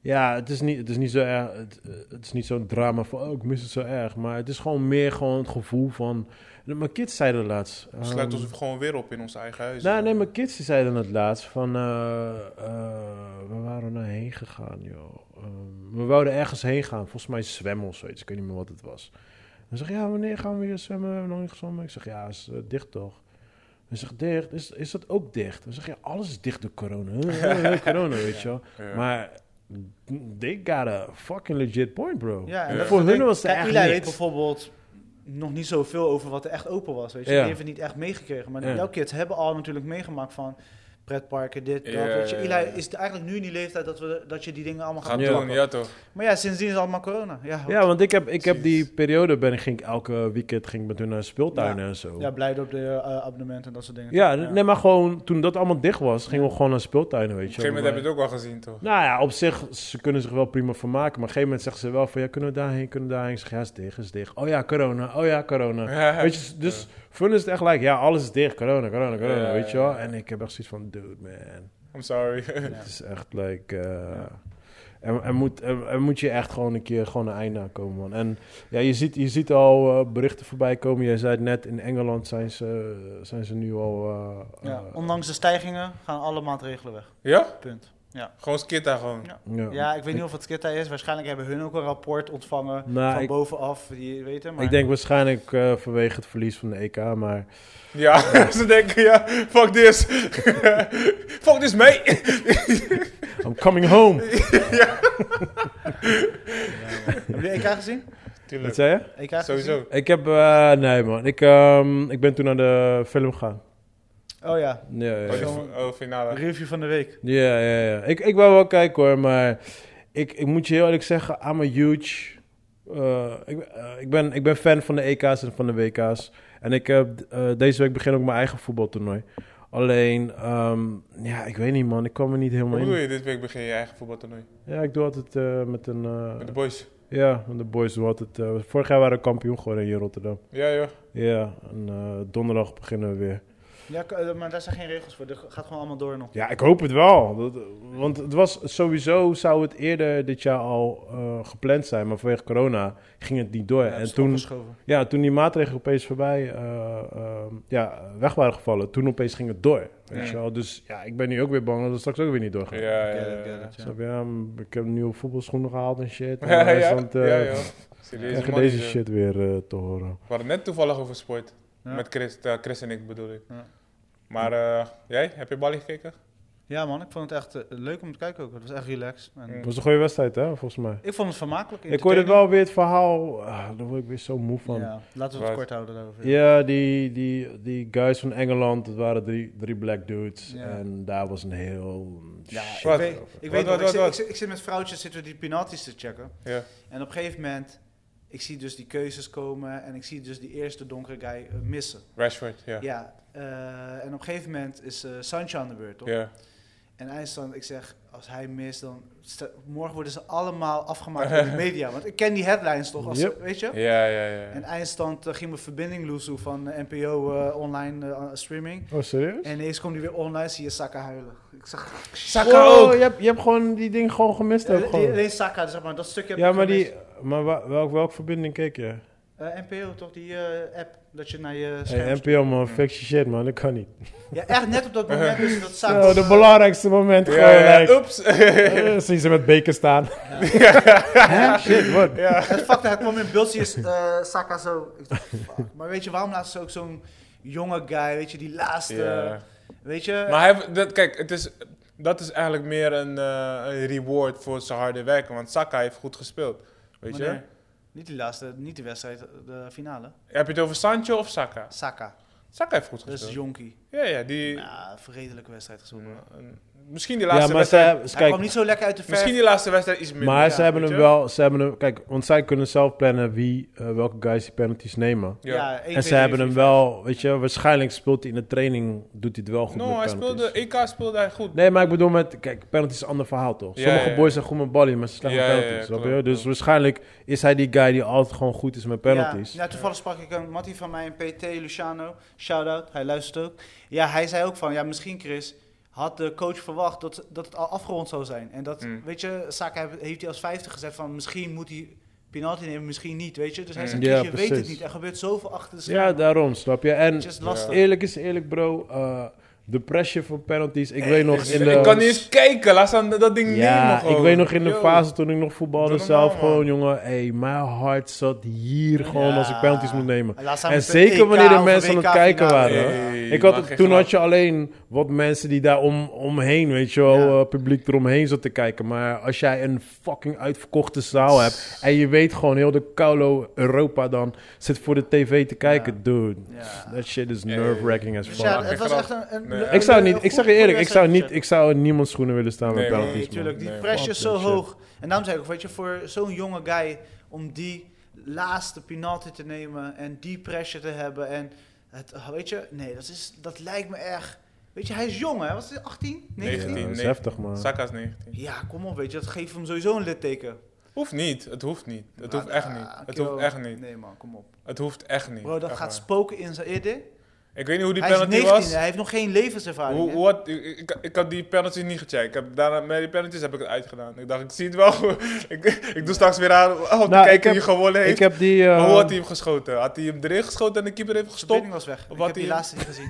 ja, het is niet, het is niet zo erg, het, eh, het is niet zo'n drama van, oh, ik mis het zo erg. Maar het is gewoon meer gewoon het gevoel van, mijn kids zeiden laatst.
We sluiten
ehm,
ons gewoon weer op in ons eigen huis.
Nou, nee, mijn kids die zeiden het laatst van... eh, eh, we waren naar heen gegaan, joh. Ehm, we wouden ergens heen gaan. Volgens mij zwemmen of zoiets. Ik weet niet meer wat het was. Hij zegt, ja, wanneer gaan we weer zwemmen? We hebben nog niet gezwommen. Ik zeg, ja, is eh, dicht toch? Hij zegt, dicht? Is, is dat ook dicht? Hij zegt, ja, alles is dicht door corona. Huh, huh, huh, corona, weet je wel.
Ja.
Maar they got a fucking legit point, bro.
Ja, en
Ja.
dat
Oh. Voor
is
hun
het ding.
was er
Kijk,
echt
Eli weet
niks.
bijvoorbeeld nog niet zoveel over wat er echt open was. Weet je,
Ja.
die heeft het niet echt meegekregen. Maar
Ja.
jouw kids hebben al natuurlijk meegemaakt van pretparken, dit, dat.
Ja,
weet je.
ja,
Eli
ja.
is eigenlijk nu in die leeftijd dat, we, dat je die dingen allemaal gaat
Gaat
Ja.
doen,
pakken.
ja toch?
Maar ja, sindsdien is het allemaal corona. Ja,
Ja, want ik heb, ik heb
Precies.
die periode, ben, ik- ging ik elke weekend ging ik met hun naar speeltuinen en zo.
ja blij op de eh, abonnementen en dat soort dingen.
Ja, nee, maar gewoon toen dat allemaal dicht was, gingen we gewoon naar speeltuinen,
Op een
weet je.
gegeven moment heb je
Maar-
het ook wel gezien, toch?
Nou ja, op zich, ze kunnen zich wel prima vermaken. Maar op een gegeven moment zeggen ze wel van, ja, kunnen we daarheen, kunnen we daarheen? Ik zeg, ja, is dicht, is dicht. Oh ja, corona, oh ja, corona. Weet je, dus voor hun is het echt like, ja, alles is dicht, corona, corona, corona,
Ja,
weet je
ja,
wel.
ja.
En ik heb echt zoiets van, dude, man.
I'm sorry.
Het is echt like... eh, er, er moet, er, er moet je echt gewoon een keer gewoon een einde aan komen, man. En ja, je ziet, je ziet al eh, berichten voorbij komen. Jij zei het net, in Engeland zijn ze, zijn ze nu al... eh,
Ja,
eh,
ondanks de stijgingen gaan alle maatregelen weg.
ja?
Punt.
Gewoon skitta gewoon.
Ja. Ja, ik weet niet of het skitta is. Waarschijnlijk hebben hun ook een rapport ontvangen
Nou,
van
ik-
bovenaf. Die, weet je, maar...
Ik denk waarschijnlijk eh, vanwege het verlies van de EK, maar...
Ja, ze denken, ja, fuck this. fuck this, mee.
I'm coming home!
Hebben jullie EK E gezien?
Wat
Tuurlijk,
zei je?
EK gezien?
sowieso.
Ik heb... eh, nee, man. Ik, ehm, ik ben toen naar de film gegaan.
Oh ja,
Ja, ja,
Oh, die
ja.
fi- oh, finale.
review van de week.
Ja, ja, ja. Ik, ik wou wel kijken, hoor, maar... Ik, ik moet je heel eerlijk zeggen, I'm a huge eh, ik, eh, ik, ben, ik ben fan van de EK's en van de WK's. En ik heb eh, deze week begin ook mijn eigen voetbaltoernooi. Alleen, ehm, ja, ik weet niet man, ik kwam er niet helemaal
Hoe bedoel
in.
je, dit week begin je eigen voetbaltoernooi?
Ja, ik doe altijd eh, met een... eh,
Met de boys?
ja, met de boys doen we altijd... eh, vorig jaar waren we kampioen geworden hier in Rotterdam.
Ja, joh.
Ja, en eh, donderdag beginnen we weer.
Ja, k- eh, maar daar zijn geen regels voor. Dat gaat gewoon allemaal door nog.
Ja, ik hoop het wel. Dat- want het was sowieso, zou het eerder dit jaar al eh, gepland zijn. Maar vanwege corona ging het niet door.
Ja,
en
is
toen,
opgeschoven.
ja, toen die maatregelen opeens voorbij eh, eh, ja, weg waren gevallen, toen opeens ging het door. Weet
Ja.
je wel? Dus ja, ik ben nu ook weer bang dat het straks ook weer niet doorgaat.
Ja,
Get
ja,
it,
ja.
get it, ja.
Snap je? Ja, m- ik heb nieuwe voetbalschoenen gehaald en shit. En
Ja, ja.
IJsland, eh,
Ja, joh. Serieuze
krijgen
man,
deze
joh.
shit weer eh, te horen.
We hadden net toevallig over sport.
Ja.
Met Chris, eh, Chris en ik bedoel ik.
Ja.
Maar eh, jij, heb je Bali gekeken?
Ja, man, ik vond het echt eh, leuk om te kijken ook. Het was echt relaxed. En
Mm.
Het was een goede wedstrijd, hè, volgens mij.
Ik vond het vermakelijk.
Ik hoorde
entertaining.
wel weer het verhaal. Ah, daar word ik weer zo moe van.
Ja, laten we
Right.
het kort houden daarover.
Ja, die, die, die guys van Engeland, dat waren drie, drie black dudes.
Ja.
En daar was een heel...
Ja, ik
Wat?
weet,
over.
Wat,
ik weet
wat,
nog, ik
wat,
zit-
wat?
ik zit- ik zit met vrouwtjes zitten we die penalties te checken.
Ja.
En op een gegeven moment, ik zie dus die keuzes komen en ik zie dus die eerste donkere guy eh, missen.
Rashford, ja.
Ja, eh, en op een gegeven moment is eh Sancho aan de beurt, toch?
Ja.
En IJsland, ik zeg, als hij mist, dan sta- morgen worden ze allemaal afgemaakt door de media. Want ik ken die headlines toch, als,
Yep.
weet je?
Ja, ja, ja.
En eindstand eh, ging mijn verbinding loesoe van eh, NPO eh, online eh, streaming.
Oh, serieus?
En ineens komt hij weer online, zie je Saka huilen. Ik zeg,
Wow, Je hebt, je hebt gewoon die ding gewoon gemist. ook
Eh,
gewoon.
die- alleen Saka, zeg maar, dat stukje heb
ja,
ik
maar,
gemist.
die, maar wa- welk, welk verbinding keek je?
Eh, NPO, toch? Die eh, app, dat je naar je scherm...
Hey, NPO man, fix je shit man, dat kan niet.
Ja, echt net op dat moment dus dat Saka...
Zo, Oh, de belangrijkste moment
Ja,
gewoon.
ja,
like,
Oeps!
eh, zie ze met beken staan. Hè? Shit, wat?
Het fakt dat hij kwam in beeld, zie je eh, Saka zo... Ik dacht, fuck. Maar weet je, waarom laten ze ook zo'n jonge guy, weet je, die laatste...
Ja.
Weet je?
Maar hij, heeft- dat, kijk, het is, dat is eigenlijk meer een, eh, een reward voor zijn harde werken. Want Saka heeft goed gespeeld. Weet
Maar nee,
je?
Niet die laatste, niet de wedstrijd, de finale.
Heb je het over Sancho of Saka?
Saka,
Saka heeft goed
dat is
gespeeld.
jonkie.
Ja, ja, die...
Dus- Ja, vredelijke wedstrijd
Mm.
gespeeld.
een- Misschien die
Ja,
laatste
maar ze,
wedstrijd...
hebben-
Hij
Dus kijk,
kwam niet zo lekker uit de verf.
Misschien die laatste wedstrijd iets minder.
Maar
ja,
ze hebben
weet
hem
je?
wel, ze hebben hem, kijk, want zij kunnen zelf plannen wie, eh, welke guys die penalties nemen.
Ja.
Ja, één,
En
twee,
ze hebben
drie,
hem
vier,
wel, weet je, waarschijnlijk speelt hij in de training, doet hij het wel goed
No,
met
hij
penalties.
speelde... EK speelde hij goed.
Nee, maar ik bedoel met, kijk, penalty is een ander verhaal toch?
Ja,
Sommige
ja, ja.
boys zijn goed met ballen, maar ze slaan
Ja, ja,
met
ja,
penalties, snap je?
klopt,
Dus
klopt.
waarschijnlijk is hij die guy die altijd gewoon goed is met penalties.
Ja, ja, toevallig sprak ik een Mattie van mij, een PT, Luciano. Shout-out, hij luistert ook. Ja, hij zei ook van, ja, misschien Chris, had de coach verwacht dat, dat het al afgerond zou zijn. En dat,
Mm.
weet je, Saka heeft- heeft hij als 50 gezet van, misschien moet hij penalty nemen, misschien niet, weet je. Dus hij
Mm.
zegt,
Ja,
Chris, je weet het
precies.
niet, er gebeurt zoveel achter de
Ja,
schermen.
daarom, snap je? En
Het is lastig.
eerlijk is eerlijk bro, eh, de pressure voor penalties, ik weet nog in de...
Eh, Ik kan niet eens kijken. Laat staan dat ding nemen
Ja,
gewoon.
ik weet nog in de
Yo.
fase toen ik nog voetbalde
Doe normaal,
zelf
man.
gewoon, jongen, hey, mijn hart zat hier gewoon als ik penalties moet nemen.
En, laat staan
En
met de
zeker
EK
wanneer de
of
mensen aan het
WK
kijken
finale.
waren.
Hey,
Ik had,
mag je
toen
grap.
had je alleen wat mensen die daar om, omheen, weet je wel,
Ja.
eh, publiek eromheen zat te kijken. Maar als jij een fucking uitverkochte zaal hebt en je weet gewoon heel de Kaulo Europa dan zit voor de tv te kijken, dude.
Ja.
That shit is nerve-wracking as
Dus
fuck.
ja,
Fuck,
het was
grap.
echt een... een
Nee.
een-
ik zou
een
niet, ik zeg je
goed-
eerlijk,
goed
ik zou, niet,
wedstrijd.
ik zou in niemands schoenen willen staan met
Nee,
penalties.
Nee,
man.
tuurlijk. Die
Nee,
pressure is
fuck
zo
that
hoog. En daarom zei ik ook, weet je, voor zo'n jonge guy om die laatste penalty te nemen en die pressure te hebben en het, weet je, nee, dat, is, dat lijkt me erg. Weet je, hij is jong, hè? Was hij 18? 19?
Ja,
Nee,
dat is
nee.
heftig, man.
Saka is 19.
Ja, kom op, weet je, dat geeft hem sowieso een litteken.
Hoeft niet. Het hoeft niet. Het hoeft
Maar,
echt
ah,
niet. Het
kerel,
hoeft echt niet.
Nee, man, kom op.
Het hoeft echt niet.
Bro, dat
Echt
gaat
waar.
spoken in zijn eerder.
Ik weet niet hoe die
Hij is
penalty
19,
was.
hij heeft nog geen levenservaring.
Hoe,
hè?
hoe had- ik, ik, ik had die penalties niet gecheckt. Ik heb, daarna, met die penalties heb ik het uitgedaan. Ik dacht, ik zie het wel. ik, ik doe straks weer aan oh, te
Nou, ik
kijken
heb-
wie gewonnen
Ik
heeft.
heb die... eh,
Maar hoe had hij hem geschoten? Had hij hem erin geschoten en de keeper heeft
De
gestopt?
verbinding was weg. ik
Wat
heb die
die-
laatste niet gezien.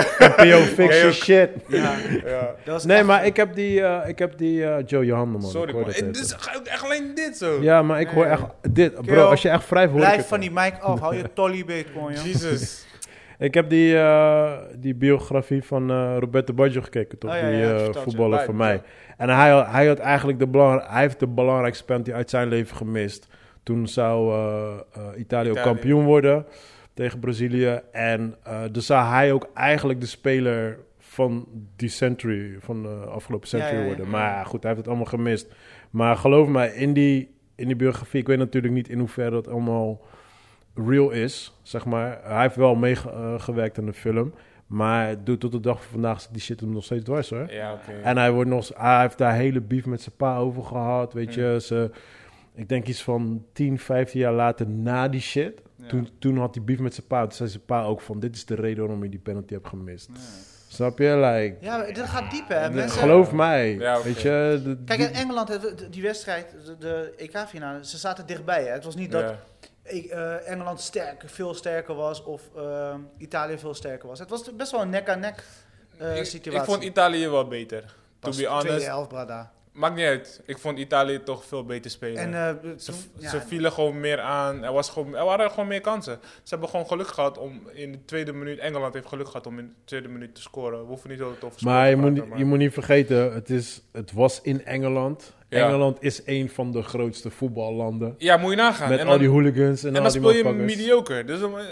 NPO, fix
Nee,
your
ook.
shit.
ja,
Ja.
dat was
Nee,
echt-
maar ik heb die, eh, ik heb die eh, Joe Johanna, man.
Sorry
Ik hoor
man.
dat
Het
even.
is echt echt alleen dit zo.
Ja, maar ik hoor
Nee.
echt dit. Bro,
Kerel,
als je echt vrij hoort.
Blijf van die mic af, hou je tolly beet, gewoon, joh.
Jezus.
Ik heb die, eh, die biografie van eh, Roberto Baggio gekeken, toch?
Oh, ja,
die
ja,
eh,
verteld, ja.
voetballer
Bij-
van mij. En hij, had- hij had eigenlijk de, belang, hij heeft de belangrijkste penalty uit zijn leven gemist. Toen zou eh, eh, Italië ook
Italië.
kampioen worden tegen Brazilië. En eh, dus zou hij ook eigenlijk de speler van die century, van de afgelopen
Ja,
century
ja, ja.
worden. Maar ja, goed, hij heeft het allemaal gemist. Maar geloof mij, in die in die biografie, ik weet natuurlijk niet in hoeverre dat allemaal real is, zeg maar. Hij heeft wel meegewerkt aan de film, maar doet tot de dag van vandaag zit die shit hem nog steeds dwars, hoor.
Ja, oké.
En hij, wordt nog, hij heeft daar hele beef met zijn pa over gehad, weet je. Ze, ik denk iets van 10, 15 jaar later na die shit.
Ja.
Toen, toen had hij beef met zijn pa. Toen zei zijn pa ook van, dit is de reden waarom je die penalty hebt gemist.
Ja.
Snap je? Like,
Ja, maar dit gaat diep, hè?
de-
Mensen-
geloof mij.
Ja, oké.
Weet je? de-
Kijk,
die-
in Engeland, hè, de- die wedstrijd, de, de EK-finale, ze zaten dichtbij. Hè? Het was niet dat
Ja.
ik, eh, Engeland sterk, veel sterker was of eh, Italië veel sterker was. Het was best wel een nek-aan-nek eh,
ik,
situatie.
ik vond Italië wel beter. To
Pas
be
Tweede
honest.
helft, Brada.
Maakt niet uit. Ik vond Italië toch veel beter spelen.
En eh,
ze,
toen- ja,
ze vielen gewoon meer aan. Er, was gewoon, er waren gewoon meer kansen. Ze hebben gewoon geluk gehad om in de tweede minuut... Engeland heeft geluk gehad om in de tweede minuut te scoren. We hoeven niet over het over sport
maar je,
te
moet,
praten,
niet- je moet niet vergeten, het, is, het was in Engeland.
Ja.
Engeland is een van de grootste voetballanden.
Ja, moet je nagaan.
Met
en
al
dan,
die hooligans en,
en
al
dan
die
speel je
motherfuckers.
mediocre. Dus dan, eh,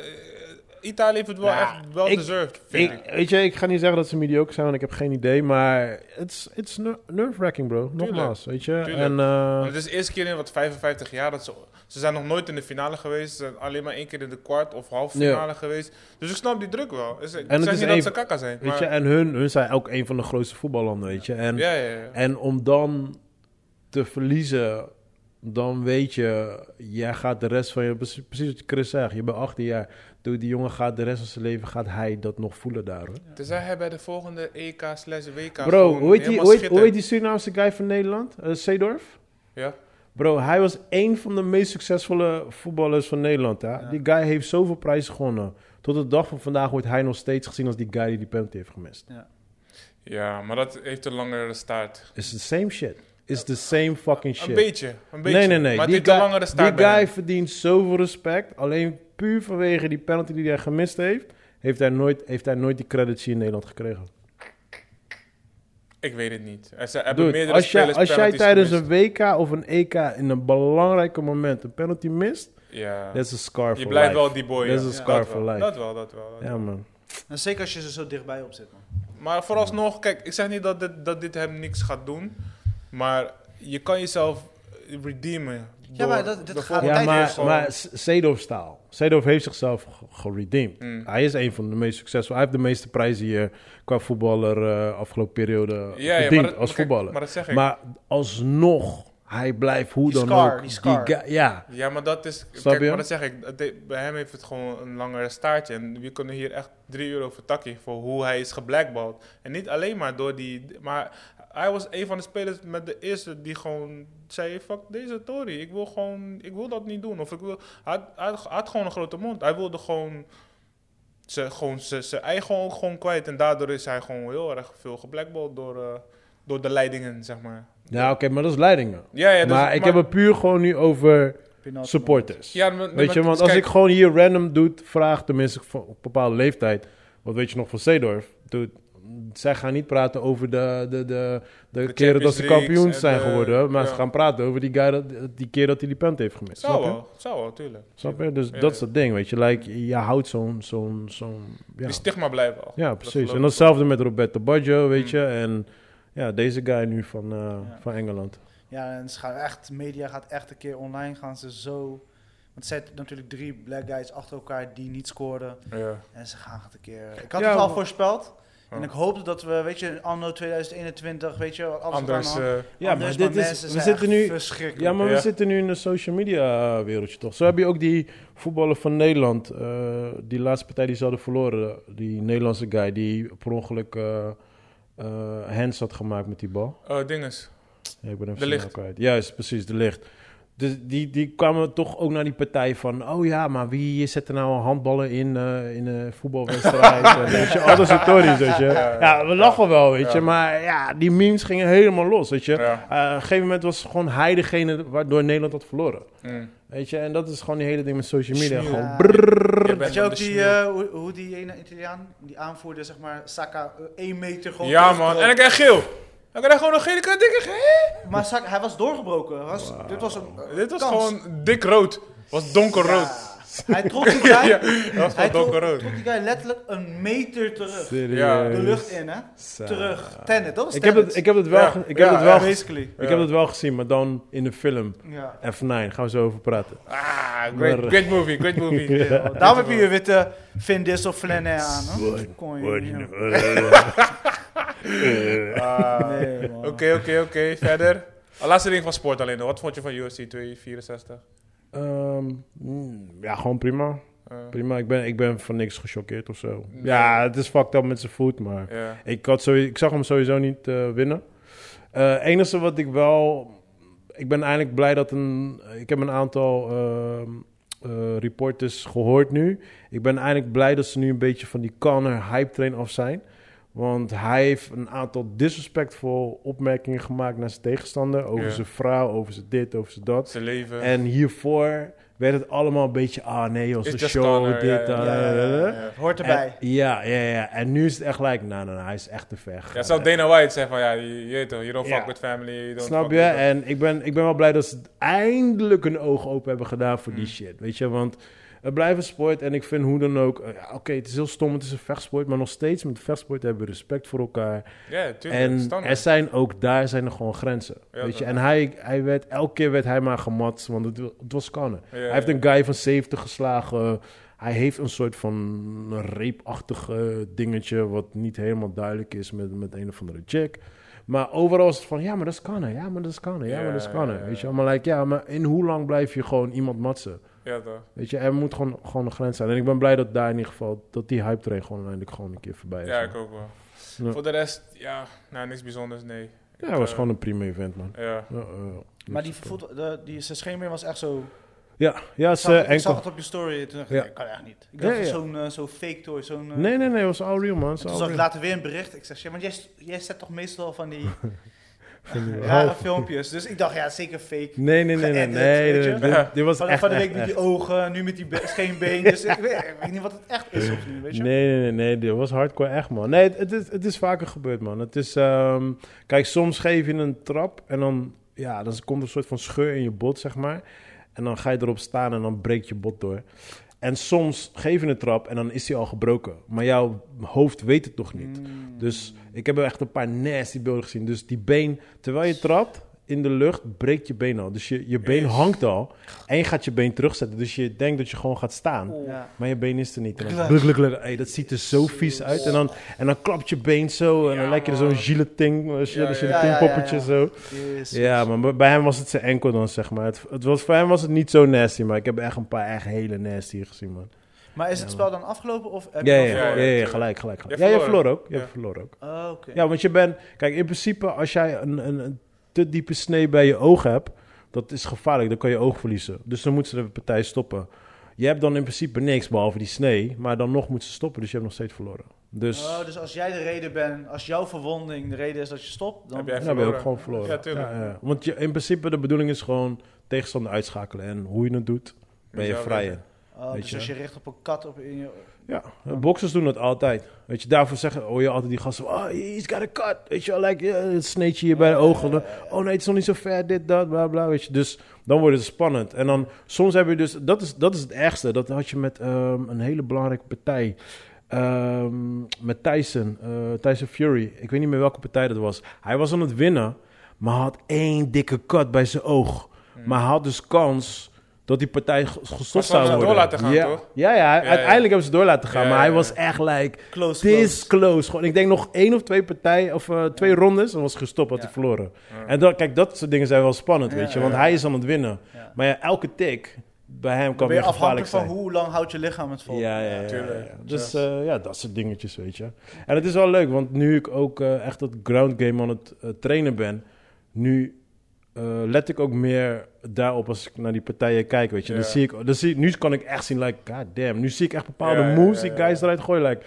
Italië heeft het wel
Nou,
echt wel
ik-
deserved, vind ik.
Ik, weet je, ik ga niet zeggen dat ze mediocre zijn, want ik heb geen idee. Maar het is- het is ner- nerve-wracking, bro. Nogmaals, weet je.
tuurlijk.
En, eh,
Want het is de eerste keer in wat 55 jaar dat ze... Ze zijn nog nooit in de finale geweest. Ze zijn alleen maar één keer in de kwart of halve
Ja.
finale geweest. Dus ik snap die druk wel. Dus ik
het
zeg
is
niet
even-
dat ze kakka zijn.
weet
maar-
je en hun, hun zijn ook een van de grootste voetballanden, weet je. En,
ja, ja, ja.
en om dan te verliezen, dan weet je, jij gaat de rest van je... Precies precies wat Chris zegt, je bent 18 jaar. Door die jongen gaat de rest van zijn leven, gaat hij dat nog voelen daar, hoor.
Tenzij hij bij Dus de volgende EK slash WK
Bro,
gewoon
hoe
helemaal
heet, die, hoe, heet, hoe
schittert.
heet die Surinaamse guy van Nederland? Eh, Seedorf?
Ja.
Bro, hij was één van de meest succesvolle voetballers van Nederland. Hè? Die guy heeft zoveel prijzen gewonnen. Tot de dag van vandaag wordt hij nog steeds gezien als die guy die die penalty heeft gemist.
ja, maar dat heeft een langere staart.
It's the same shit. It's the same fucking shit.
Een beetje, een beetje.
nee, nee, nee.
Maar
die
het heeft
guy,
een langere staart
die
bij
guy
hem.
verdient zoveel respect. Alleen puur vanwege die penalty die hij gemist heeft, heeft hij nooit, heeft hij nooit die credits hier in Nederland gekregen.
Ik weet het niet. Er zijn- er hebben
Dude,
meerdere
als jij,
spelers
als jij
penalties
tijdens
gemist.
een WK of een EK in een belangrijke moment een penalty mist,
Ja.
that's a scar
Je
for
blijft
life.
wel die boy.
Dat
ja.
is een
Ja,
scar
dat
for
wel,
life.
Dat wel, dat wel. dat
Ja, man.
En zeker als je er zo dichtbij op zit, man.
wel. Maar vooralsnog, kijk, ik zeg niet dat dit, dat dit hem niks gaat doen. Maar je kan jezelf redeemen. door
maar dat- dat
de
gaat
volgende
Ja,
Altijd
keer
maar,
gewoon-
maar S- Seedorf staal. Seedorf heeft zichzelf ge- geredeemd.
Mm.
Hij is een van de meest succesvolle. Hij heeft de meeste prijzen hier qua voetballer eh, afgelopen periode
Ja, ja,
verdiend
maar dat-
als
maar kijk,
voetballer.
Maar dat zeg ik.
Maar alsnog, hij blijft hoe
Die
dan
scar,
ook.
die scar.
guy- ja,
Ja, maar dat is.
Snap
Kijk,
je?
maar dat zeg ik. het deed- bij hem heeft het gewoon een langere staartje. En we kunnen hier echt 3 euro voor takkie. Voor hoe hij is geblackballed. En niet alleen maar door die. Maar hij was een van de spelers met de eerste die gewoon zei: Fuck deze Tory. Ik wil gewoon. Ik wil dat niet doen. Of ik wil. Hij had, hij had- hij had gewoon een grote mond. Hij wilde gewoon. Ze, gewoon ze, zijn eigen ook gewoon kwijt. En daardoor is hij gewoon heel erg veel geblackballed door, eh, door de leidingen, zeg maar.
ja oké, maar dat is leidingen.
Ja, ja, dus-
maar ik heb het puur gewoon nu over
Penalty
supporters.
Ja, maar-
Weet je,
maar-
want als
kijk-
ik gewoon hier random doe, vraag tenminste van- op bepaalde leeftijd. Wat weet je nog van Seedorf? Dude, zij gaan niet praten over de, de, de, de,
De
keren dat ze
Champions
kampioen
Leagues en
zijn
de-
geworden. Maar ze
ja.
gaan praten over die, guy dat, die keer dat hij die punt heeft gemist.
Zou
Snap je?
wel, zou wel, tuurlijk.
Snap je? Dus
Ja,
dat is
ja.
dat ding, weet je. Like, je houdt zo'n... zo'n zo'n ja.
Die stigma blijft wel.
ja,
Dat
precies.
geloof
En
ik. Hmm.
datzelfde met Roberto Baggio, weet je. En ja, deze guy nu van, eh, van Engeland.
Ja, en ze gaan echt, media gaat echt een keer online gaan ze zo... Want ze zijn natuurlijk drie black guys achter elkaar die niet scoorden.
Ja.
En ze gaan het een keer... Ik had het
Ja,
al
maar- Oh.
voorspeld. En
Ja.
ik hoopte dat we, weet je, anno 2021, weet je, wat alles
Anders,
kan.
eh,
Ja, maar dit
mensen
is- we
zijn
zitten
echt
nu-
verschrikkelijk.
Ja, maar we
Ja.
zitten nu in een social media eh, wereldje toch? Zo heb je ook die voetballer van Nederland, eh, die laatste partij die ze hadden verloren, die Nederlandse guy die per ongeluk eh, eh, hands had gemaakt met die bal.
eh, dinges.
Ja, ik ben even
De
zijn
Ligt.
naam kwijt. Juist, precies, de licht. Dus die, die kwamen toch ook naar die partij van... oh ja, maar wie zet er nou handballen in eh, in een voetbalwedstrijd? En weet je, al dat soort tories, weet je.
ja,
Ja, we lachen wel, weet je.
Ja.
Maar ja, die memes gingen helemaal los, weet je.
Ja.
Eh, op een gegeven moment was gewoon hij degene waardoor Nederland had verloren.
Mm.
Weet je, en dat is gewoon die hele ding met social media.
Smeeuw.
Gewoon
Ja.
brrrr.
Je
Weet
bent
je
op
ook
de
die,
sneeuw.
eh, hoe, hoe die ene Italiaan, die aanvoerder, zeg maar, Saka, eh, één meter gewoon...
Ja,
terugtrok.
man. En ik krijg geel. Ik krijg gewoon een gele kaart. dikke geel.
Maar Saka, hij was doorgebroken. Hij Was, Dit was een eh,
Dit was
kans.
gewoon dik rood. Was donkerrood.
Ja. Hij trok die guy,
Ja, dat was van
hij trok,
Don Corot.
trok die guy letterlijk een meter terug.
Serieus.
Ja.
De lucht in, hè?
Sa-
Terug. Tenet, dat was
Ik heb
Tenet.
het, ik heb het wel,
Ja,
ge- ik
ja,
heb het
ja.
wel, ge-
Basically.
ik heb het wel gezien, maar dan in de film
Ja.
F9. Gaan we zo over praten.
Ah, great,
Maar-
great movie, great movie.
Ja, Daarom heb je je witte Vin Diesel flanen aan. hè? Kon je
Word
niet,
you
ja.
know?
Nee, man.
Oké, oké, oké. Verder. Ah, Laatste ding van sport alleen. nog. Wat vond je van UFC 264?
Ehm, mm, ja, gewoon prima.
Eh,
Prima. Ik ben, ik ben van niks gechoqueerd of zo.
Nee.
Ja, het is fucked up met zijn voet, maar...
Ja.
Ik, had sowieso, ik zag hem sowieso niet eh, winnen. Het enige wat ik wel... Ik ben eigenlijk blij dat een... Ik heb een aantal ehm, eh, reporters gehoord nu. Ik ben eigenlijk blij dat ze nu een beetje van die Conor hype train af zijn. Want hij heeft een aantal disrespectful opmerkingen gemaakt naar zijn tegenstander. Over
Ja.
zijn vrouw, over zijn dit, over zijn dat.
Zijn leven.
En hiervoor werd het allemaal een beetje... Ah nee, onze
It's just
show,
Conor, ja,
dit,
ja,
dat.
Ja, ja, ja, ja. Het Hoort
En-
erbij.
ja, ja, ja. En nu is het echt like, nou, nou, nou, hij is echt te ver.
ja,
gegaan.
zelfs Dana White zei van ja, je, je weet toch, you don't fuck
Ja.
with family. You don't
Snap
fuck
je?
with-
En ik ben, ik ben wel blij dat ze eindelijk een oog open hebben gedaan voor
Mm.
die shit. Weet je, want het blijft een sport en ik vind hoe dan ook... eh, ja, Oké, het is heel stom, het is een vechtsport, maar nog steeds met vechtsport hebben we respect voor elkaar.
Ja, tuurlijk.
En er
standaard.
zijn ook daar zijn er gewoon grenzen.
Ja,
weet je?
dat-
En hij, hij werd, elke keer werd hij maar gemat, want het, het was Conor.
Ja,
hij heeft
ja.
een guy van 70 geslagen. Hij heeft een soort van reepachtige dingetje, wat niet helemaal duidelijk is met, met een of andere chick. Maar overal is het van, ja, maar dat is Conor, ja, maar dat is Conor, ja, maar dat is
Ja,
Conor.
ja,
Weet je,
ja.
maar like, ja, maar in hoe lang blijf je gewoon iemand matsen?
Ja, toch.
Weet je, er moet gewoon, gewoon een grens zijn. En ik ben blij dat daar in ieder geval, dat die hype train gewoon eindelijk gewoon een keer voorbij is.
Ja, ik ook wel.
Ja.
Voor de rest, ja, nou, niks bijzonders, nee.
Ja,
Ik,
het was
eh,
gewoon een prima event, man.
Ja.
Ja, eh, ja, ja.
Maar die voet, de, die, zijn scheenbeen was echt zo...
Ja, ja,
Ik
ze
zag, ik
eh, enkel.
zag het op je story. Toen dacht ik,
Ja.
dat kan echt niet. Ik
Ja,
dacht, dat
ja.
zo'n eh, zo'n fake toy, zo'n... eh,
Nee, nee, nee, het was all real, man. Het
En toen
was
zag
all
ik
real.
later weer een bericht. Ik zeg, ja, maar jij, jij zet toch meestal van die
die
rare
halve.
filmpjes. Dus ik dacht, ja, zeker fake.
Nee, nee, nee, nee,
geëdit,
nee.
weet je?
dit- dit- Dit was
Van,
echt,
van de
echt,
week met
echt.
die ogen, nu met die be- scheenbeen. Dus ik weet, ik weet niet wat het echt is of nu, weet je?
Nee, nee, nee, nee, dit was hardcore echt, man. Nee, het, het, is, het is vaker gebeurd, man. Het is, ehm, kijk, soms geef je een trap en dan, ja, dan komt er een soort van scheur in je bot, zeg maar. En dan ga je erop staan en dan breekt je bot door. En soms geef je een trap en dan is die al gebroken. Maar jouw hoofd weet het nog
Mm.
niet. Dus ik heb echt een paar nasty beelden gezien. Dus die been, terwijl je trapt in de lucht, breekt je been al. Dus je, je been hangt al en je gaat je been terugzetten. Dus je denkt dat je gewoon gaat staan.
Ja.
Maar je been is er niet. En dan
Klak.
gluk, gluk, gluk. Hey, dat ziet er zo vies uit. En dan, en dan klapt je been zo. En dan
Ja,
lijkt je
man.
zo'n gelatin, eh,
ja, ja.
gelatinpoppetje
Ja, ja,
zo.
Jezus.
Ja, maar bij- bij hem was het zijn enkel dan, zeg maar. Het, het was, voor hem was het niet zo nasty, maar ik heb echt een paar echt hele nasty gezien, man.
Maar is het spel dan afgelopen of heb
Ja,
je nog
ja, ja,
verloren?
ja, ja,
Ja,
gelijk, gelijk.
Jij
gelijk. Ja, je
verloor.
verloor ook. Je
Ja.
verloor ook.
verloren? Oh, oké.
Ja, want je bent... Kijk, in principe, als jij een, een, een te diepe snee bij je oog hebt... dat is gevaarlijk, dan kan je oog verliezen. Dus dan moeten ze de partij stoppen. Je hebt dan in principe niks, behalve die snee. Maar dan nog moeten ze stoppen, dus je hebt nog steeds verloren. Dus...
Oh, dus als jij de reden bent, als jouw verwonding de reden is dat je stopt, dan...
Heb jij
Ja, dan ben je ook gewoon
verloren.
verloren.
Ja, tuurlijk.
Want je, in principe de bedoeling is gewoon tegenstander uitschakelen. En hoe je het doet, ben je
Jezelf
vrijer.
Oh,
Weet
dus
je.
als je richt op een kat op in je...
Ja, eh, boxers doen dat altijd. Weet je, daarvoor zeggen, hoor je altijd die gasten... Oh, he's got a cut. Weet je wel, like, eh, het sneetje hier bij de ogen. Dan, oh nee, het is nog niet zo ver, dit, dat, bla, bla. Weet je, dus dan wordt het spannend. En dan, soms heb je dus... Dat is, dat is het ergste. Dat had je met ehm, een hele belangrijke partij... Ehm, met Tyson, eh, Tyson Fury. Ik weet niet meer welke partij dat was. Hij was aan het winnen, maar had één dikke cut bij zijn oog.
Hmm.
Maar hij had dus kans dat die partij ge- gestopt
ze
zou
hem
worden.
door laten gaan,
ja.
toch?
Ja, ja, uiteindelijk
ja.
hebben ze door laten gaan.
Ja,
maar
ja,
hij
ja.
was echt like,
Close,
this close. Gewoon, ik denk nog één of twee partijen, of eh, twee rondes, en was gestopt, had hij verloren. En dan, kijk, dat soort dingen zijn wel spannend,
Ja,
weet je.
ja,
Want
ja.
hij is aan het winnen.
Ja.
Maar ja, elke tik bij hem
Dan
kan
ben je
weer
afhankelijk
gevaarlijk
van
zijn.
hoe lang houdt je lichaam het vol.
Ja, ja, ja,
tuurlijk.
ja, ja. Dus eh, ja, dat soort dingetjes, weet je. En het is wel leuk, want nu ik ook eh, echt dat ground game aan het eh, trainen ben, nu eh, let ik ook meer daarop als ik naar die partijen kijk, weet je. Dan
Ja.
zie ik, dan zie, nu kan ik echt zien, like, god damn, nu zie ik echt bepaalde
Ja, ja,
moves
ja,
die
ja.
guys eruit gooien, like,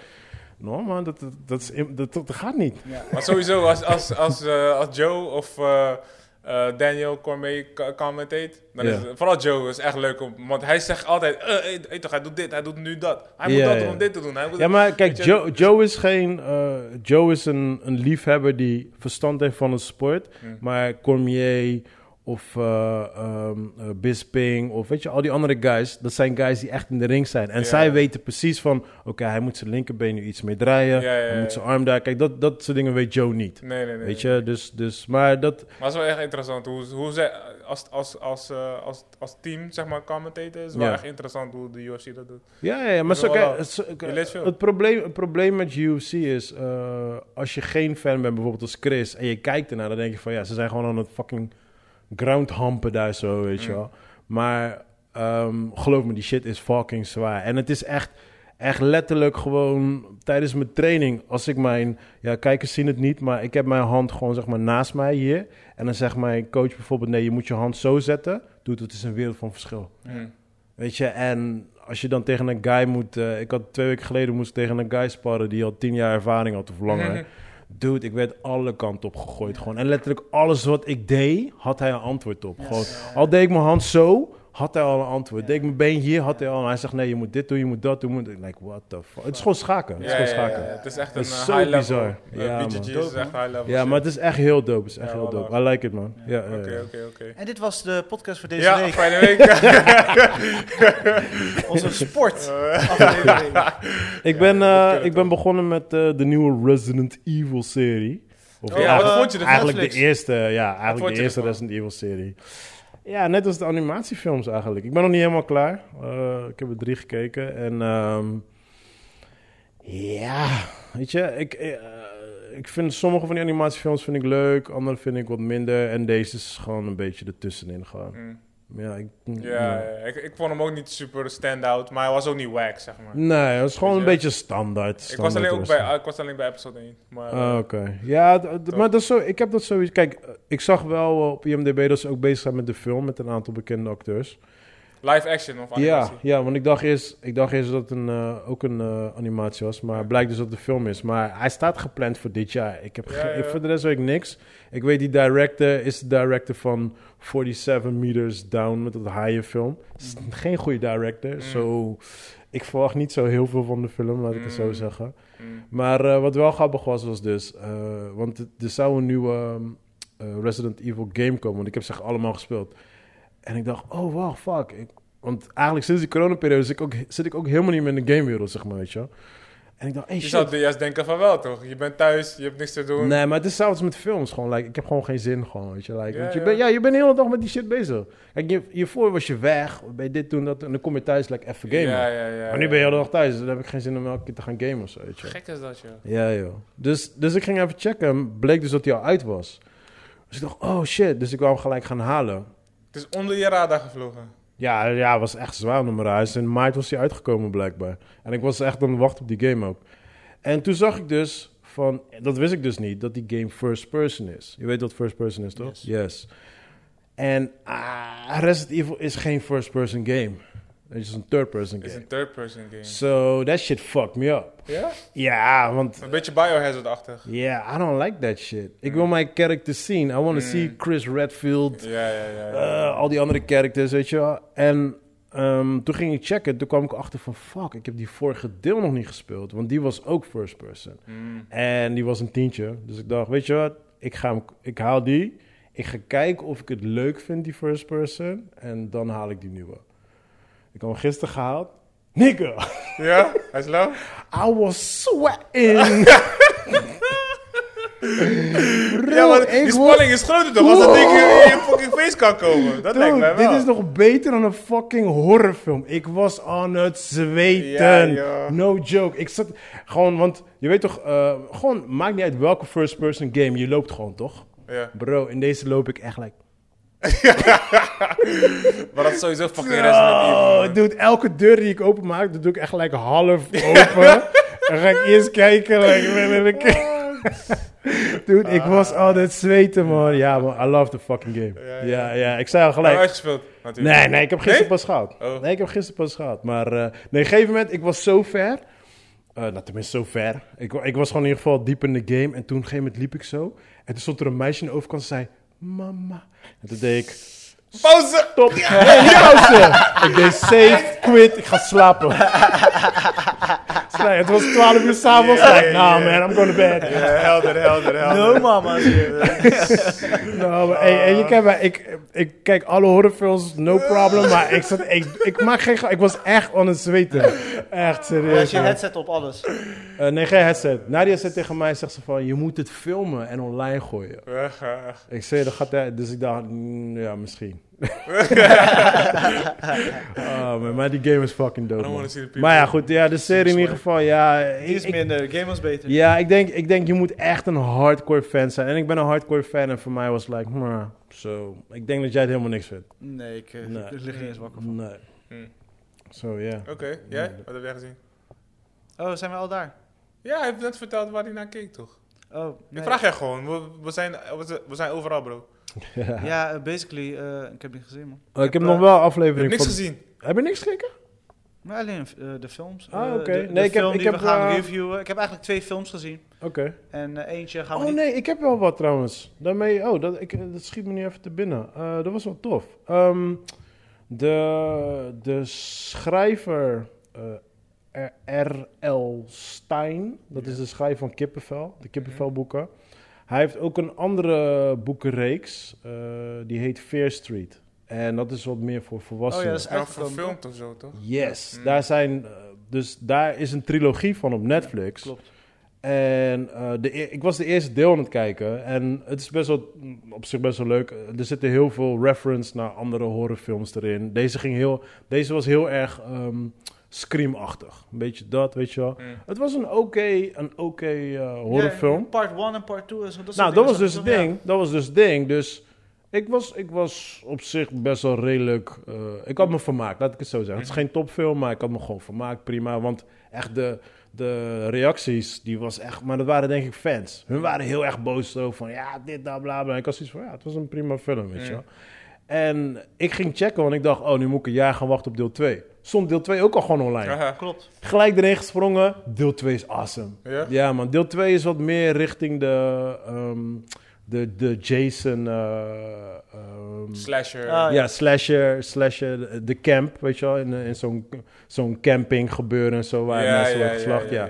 no man, dat, dat, dat, is im- dat, dat gaat niet.
Maar sowieso, als, als, als, eh, als Joe of eh, eh, Daniel Cormier ca- commentate, dan is
Ja.
het, vooral Joe is echt leuk om, want hij zegt altijd, eh, hey, hey, toch, hij doet dit, hij doet nu dat. Hij moet
Ja,
dat
ja.
doen om dit te doen. Hij moet
Ja, maar kijk,
Weet je,
Joe, Joe is geen. eh, Joe is een, een liefhebber die verstand heeft van het sport. Maar Cormier Of eh ehm, eh, Bisping, of weet je, al die andere guys. Dat zijn guys die echt in de ring zijn. En
Ja.
zij weten precies van, oké, hij moet zijn linkerbeen nu iets mee draaien.
Ja, ja,
Hij
ja.
moet zijn arm daar. Kijk, dat, dat soort dingen weet Joe niet.
Nee, nee, nee.
Weet je, dus, dus maar dat...
Maar het is wel echt interessant hoe, hoe zij als, als, als, eh, als, als team, zeg maar, commentator is. wel
Ja.
echt interessant hoe de UFC dat doet.
Ja, ja, ja, maar
is
zo,
wel
kijk,
wel-
zo-
je leest veel.
het, probleem, het probleem met UFC is, eh, als je geen fan bent, bijvoorbeeld als Chris, en je kijkt ernaar, dan denk je van, ja, ze zijn gewoon aan het fucking groundhampen daar zo, weet
Mm.
je wel. Maar ehm, geloof me, die shit is fucking zwaar. En het is echt, echt letterlijk gewoon tijdens mijn training, als ik mijn, ja, kijkers zien het niet, maar ik heb mijn hand gewoon, zeg maar, naast mij hier. En dan zegt mijn coach bijvoorbeeld, nee, je moet je hand zo zetten. Doet het is een wereld van verschil.
Hm.
Weet je, en als je dan tegen een guy moet... eh, ik had twee weken geleden moest ik tegen een guy sparren... die al tien jaar ervaring had of langer. Dude, ik werd alle kanten op gegooid gewoon. En letterlijk alles wat ik deed, had hij een antwoord op. Gewoon, al deed ik mijn hand zo, had hij al een antwoord. Deed ik mijn been hier, had hij al... Hij zegt, nee, je moet dit doen, je moet dat doen. je Moet... Ik like, what the fuck? Het is gewoon schaken. Het is
Ja,
gewoon
ja, ja,
schaken.
ja. Het is echt een
Het is
eh,
zo
high level.
bizar.
Eh,
Ja,
BJJ
man.
is echt high level.
Ja, maar het eh. is echt heel dope. Het is echt
Ja,
heel
wel
dope. I like it, man. Ja, ja, ja.
Oké, oké, oké.
En dit was de podcast voor deze
Ja,
week.
fijne week.
Onze sport.
Eh.
aflevering.
Ik, ben, eh,
kunnen
ik ben begonnen met eh, de nieuwe Resident Evil serie. Of
Oh, ja,
eigenlijk-
wat vond je ervan?
eh, Eigenlijk de
Netflix.
eerste, eh, ja,
vond
eigenlijk
je
de eerste
ervan?
Resident Evil serie. Ja, net als de animatiefilms eigenlijk. Ik ben nog niet helemaal klaar. Eh, ik heb er drie gekeken. En ehm, ja, weet je, ik, eh, ik vind sommige van die animatiefilms vind ik leuk, andere vind ik wat minder. En deze is gewoon een beetje ertussenin gewoon.
Hm.
Ja, ik,
Ja, ja, ik, ik vond hem ook niet super stand-out, maar hij was ook niet wack, zeg maar.
Nee, het is gewoon
Weet
een
je?
beetje standaard.
ik, was
standaard
alleen ook
Resident
bij, ik was alleen bij episode 1. Maar, eh,
Ah, Oké. Ja, d- d-
Toch?
maar dat is zo, ik heb dat sowieso. Kijk, eh, ik zag wel eh, op IMDb dat ze ook bezig zijn met de film met een aantal bekende acteurs.
Live action of
Ja,
animatie.
ja, want ik dacht eerst, ik dacht eerst dat het een, eh, ook een eh, animatie was, maar blijkt dus dat het een film is. Maar hij staat gepland voor dit jaar. Ik heb
Ja,
ge- ik-
ja.
voor de rest weet ik niks. Ik weet die director is de director van 47 Meters Down met dat haaienfilm. Is Geen goede director,
Mm.
zo. Ik verwacht niet zo heel veel van de film, laat ik het zo
Mm.
zeggen.
Mm.
Maar eh, wat wel grappig was, was dus... eh, want het- er zou een nieuwe ehm, eh, Resident Evil game komen. Want ik heb ze allemaal gespeeld. En ik dacht, oh wow, fuck. Ik, want eigenlijk sinds die coronaperiode zit ik, ook, zit ik ook helemaal niet meer in de gamewereld, zeg maar, weet je wel. En ik dacht, hey,
Je
shit.
zou juist denken van wel, toch? Je bent thuis, je hebt niks te doen.
Nee, maar het is zelfs met films gewoon. Like, ik heb gewoon geen zin gewoon, weet je. Like,
Ja,
want je
ja.
bent- ja, je bent de hele dag met die shit bezig. Kijk, je, hiervoor was je weg, bij dit doen, dat. En dan kom je thuis, like, even gamen.
Ja, ja, ja.
Maar nu ben je de hele dag thuis, dus dan heb ik geen zin om elke keer te gaan gamen of zo, weet je.
Gek is dat, joh.
Ja, joh. Dus, dus ik ging even checken. Bleek dus dat hij al uit was. Dus ik dacht, oh shit. Dus ik wou hem gelijk gaan halen.
Het is onder je radar gevlogen.
Ja, ja, het was echt zwaar om mijn huis. In maart was hij uitgekomen blijkbaar. En ik was echt aan het wachten op die game ook. En toen zag ik dus van... Dat wist ik dus niet, dat die game first person is. Je weet wat first person is, toch?
Yes.
En ah, Resident Evil is geen first person game. Het is een third person
Het is
game.
een third-person game.
So that shit fucked me up.
Ja?
Ja, want
Een beetje biohazard-achtig.
Yeah, I don't like that shit. Ik wil mijn character zien. I want to see Chris Redfield,
Ja, ja, ja.
eh,
ja.
al die andere characters, weet je wel. En ehm, toen ging ik checken, toen kwam ik achter van... fuck, ik heb die vorige deel nog niet gespeeld. Want die was ook first person.
Mm.
En die was een tientje. Dus ik dacht, weet je wat, ik, ga hem, ik haal die. Ik ga kijken of ik het leuk vind, die first person. En dan haal ik die nieuwe. Ik had hem gisteren gehaald. Nigga,
Ja? Hij is low?
I was sweating.
Ja, maar
ik
die
was-
spanning is groter, toch? Als dat ding in je fucking face kan komen. Dat lijkt
Dude,
mij wel.
Dit is nog beter dan een fucking horrorfilm. Ik was aan het
Ja,
zweten.
joh.
no joke. Ik zat gewoon, want je weet toch, eh, gewoon, maakt niet uit welke first-person game, je loopt gewoon toch?
Ja.
Bro, in deze loop ik echt like.
Maar dat is sowieso fucking Resident Evil.
Oh,
man.
dude, elke deur die ik openmaak, dat doe ik echt like half open. Dan ga ik eerst kijken. Like, wil- wil ik- dude, ik was aan het zweten, man. Ja, man, I love the fucking game. Ja,
Ah. Ja,
ja,
ja.
ik zei al
Nou,
gelijk.
uitgespeeld, natuurlijk.
Nee, nee, ik heb gisteren pas gehad.
Oh.
Nee, ik heb gisteren pas gehad. Maar eh, nee, op een gegeven moment, ik was zo ver. Eh nou, tenminste, zo ver. Ik, wa- ik was gewoon in ieder geval diep in de game. En toen, op een gegeven moment, liep ik zo. En toen stond er een meisje aan de overkant en zei... Mama. En toen deed ik...
Pauze!
Top. Hey, pauze. ik deed safe, quit, ik ga slapen. Ze Nee, het was 12 uur s'avonds.
Ja,
like,
ja,
nah
ja.
man, I'm going to bed.
Ja, helder, helder, helder.
No mama.
Nou, maar, hey, hey, je kent mij, ik, ik kijk alle horrorfilms, no problem. Maar ik, zat, ik, ik maak geen grap, Ik was echt aan het zweten. Echt,
Als
serieus.
je
man.
headset op alles.
Eh, nee, geen headset. Nadia zei tegen mij, zegt ze van, je moet het filmen en online gooien.
Ja.
Ik zei, dat gaat hij... Dus ik dacht, mm, ja, misschien. oh, man, maar die game is fucking
I
dope,
don't
man.
wanna see the people.
Maar ja, goed, ja, de serie in ieder geval, ja.
Die is
Ik, ik-
minder, game was beter.
ja, ik denk, ik denk, je moet echt een hardcore fan zijn. En ik ben een hardcore fan en voor mij was het like, hmm, so, ik denk dat jij het helemaal niks vindt.
Nee, ik, eh,
Nee.
ik lig niet eens wakker van.
Nee.
Hmm.
Zo, ja.
Oké, jij? Wat heb jij gezien?
Oh, zijn we al daar?
Ja, hij heeft net verteld waar hij naar keek, toch?
Oh, nee.
Ik vraag jij gewoon. We, we, zijn, we, we zijn overal, bro.
Ja, eh, basically, eh, ik heb niet gezien, man.
Oh, ik heb
eh,
nog wel
Ik heb
aflevering
niks
van...
gezien.
Heb je niks gekeken?
Maar alleen eh, de films.
Ah,
Eh,
oké.
de- De,
Nee, ik heb-
film
ik
die
heb,
we gaan
eh,
reviewen. Ik heb eigenlijk twee films gezien.
Oké.
En eh, eentje gaan we
Oh
niet...
nee, ik heb wel wat trouwens. Daarmee, oh, dat, ik, dat schiet me nu even te binnen. Eh, dat was wel tof. Ehm, de, de schrijver eh, R- R.L. Stein, dat is de schrijver van Kippenvel,
Mhm.
de Kippenvelboeken. Hij heeft ook een andere boekenreeks, eh, die heet Fear Street. En dat is wat meer voor volwassenen.
Oh, dat is
Nou,
uitgekomen,
verfilmd of zo, toch?
Yes,
Mm.
daar zijn... eh, dus daar is een trilogie van op Netflix.
Klopt.
En eh, de, e- ik was de eerste deel aan het kijken. En het is best wel, mm, op zich best wel leuk. Eh, Er zitten heel veel reference naar andere horrorfilms erin. Deze, ging heel, deze was heel erg ehm Scream-achtig. Een beetje dat, weet je wel.
Mm.
Het was een oké een oké eh, horrorfilm.
Ja, part 1 en part 2 en zo. Dat
nou,
soort
dat
dingen
was dus
zijn
het
toch-
ding. Dat was dus het ding. Dus ik was, ik was op zich best wel redelijk... eh, ik had me vermaakt, laat ik het zo zeggen.
Mhm.
Het is geen topfilm, maar ik had me gewoon vermaakt. Prima, want echt de, de reacties, die was echt... Maar dat waren denk ik fans. Hun waren heel erg boos zo van... Ja, dit, dat, bla, bla. Ik had zoiets van... Ja, het was een prima film, weet je wel. En ik ging checken, want ik dacht... Oh, nu moet ik een jaar gaan wachten op deel 2. Stond deel 2 ook al gewoon online.
Haha.
Ja, Klopt.
Gelijk erin gesprongen. Deel 2 is awesome.
Ja?
Ja, man. Deel 2 is wat meer richting de, ehm, de, de Jason. eh, ehm,
Slasher.
Ah,
ja, slasher, slasher, de- de camp, weet je wel, in, eh, in zo'n, zo'n camping gebeuren en zo, waar mensen worden geslacht, ja,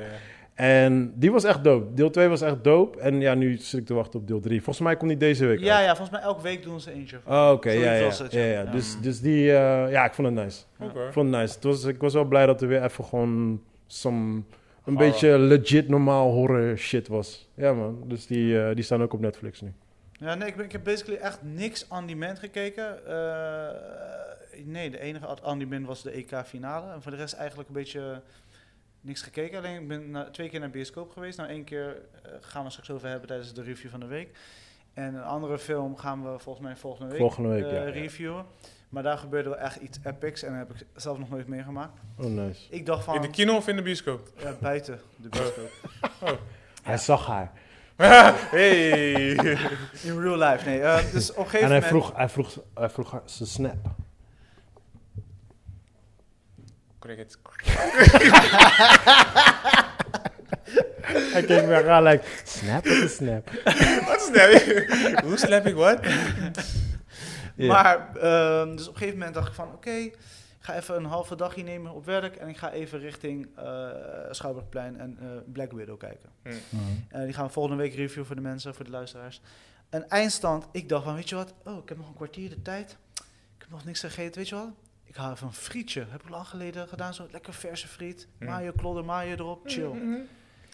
En die was echt dope. Deel 2 was echt dope. En ja, nu zit ik te wachten op deel 3. Volgens mij komt die deze week
Ja,
uit.
ja, volgens mij elke week doen ze eentje.
Oh, oké,
Zoiets
ja, ja,
was het,
ja,
ja.
ja.
Ja.
Dus, dus die, eh, ja, ik vond het nice.
Oké.
Ik vond het nice. Het was, ik was wel blij dat er weer even gewoon some, een
Horror.
beetje legit normaal horror shit was. Ja man, dus die, eh, die staan ook op Netflix nu.
Ja, nee, ik, ben- ik heb basically echt niks aan die man gekeken. Eh, nee, de enige ad- aan die man was de EK-finale. En voor de rest eigenlijk een beetje niks gekeken. Alleen ik ben na- twee keer naar bioscoop geweest. Nou, één keer eh, gaan we straks over hebben tijdens de review van de week. En een andere film gaan we volgens mij volgende week,
Volgende week,
eh,
ja, ja.
reviewen. Maar daar gebeurde wel echt iets epics. En dat heb ik zelf nog nooit meegemaakt.
Oh nice.
Ik dacht van,
In de kino of in de bioscoop?
eh, buiten de bioscoop.
Hij zag haar.
Hey!
In real life, nee. Eh, dus op een gegeven
En hij
moment...
vroeg, hij vroeg, hij vroeg haar, ze snap.
Crickets.
Hij keek weer aan, like, snap of snap?
Wat snap ik? Hoe snap ik wat?
Maar, ehm, dus op een gegeven moment dacht ik van, oké, ik ga even een halve dagje nemen op werk en ik ga even richting eh Schouwburgplein en eh, Black Widow kijken.
Mhm.
En die gaan we volgende week reviewen voor de mensen, voor de luisteraars. Een eindstand, ik dacht van, weet je wat, oh, ik heb nog een kwartier de tijd, ik heb nog niks gegeten, weet je wat? Ik haal even een frietje, heb ik lang geleden gedaan, zo lekker verse friet,
Mm.
mayo, klodder, mayo erop,
Hm.
chill.
Mm-hmm.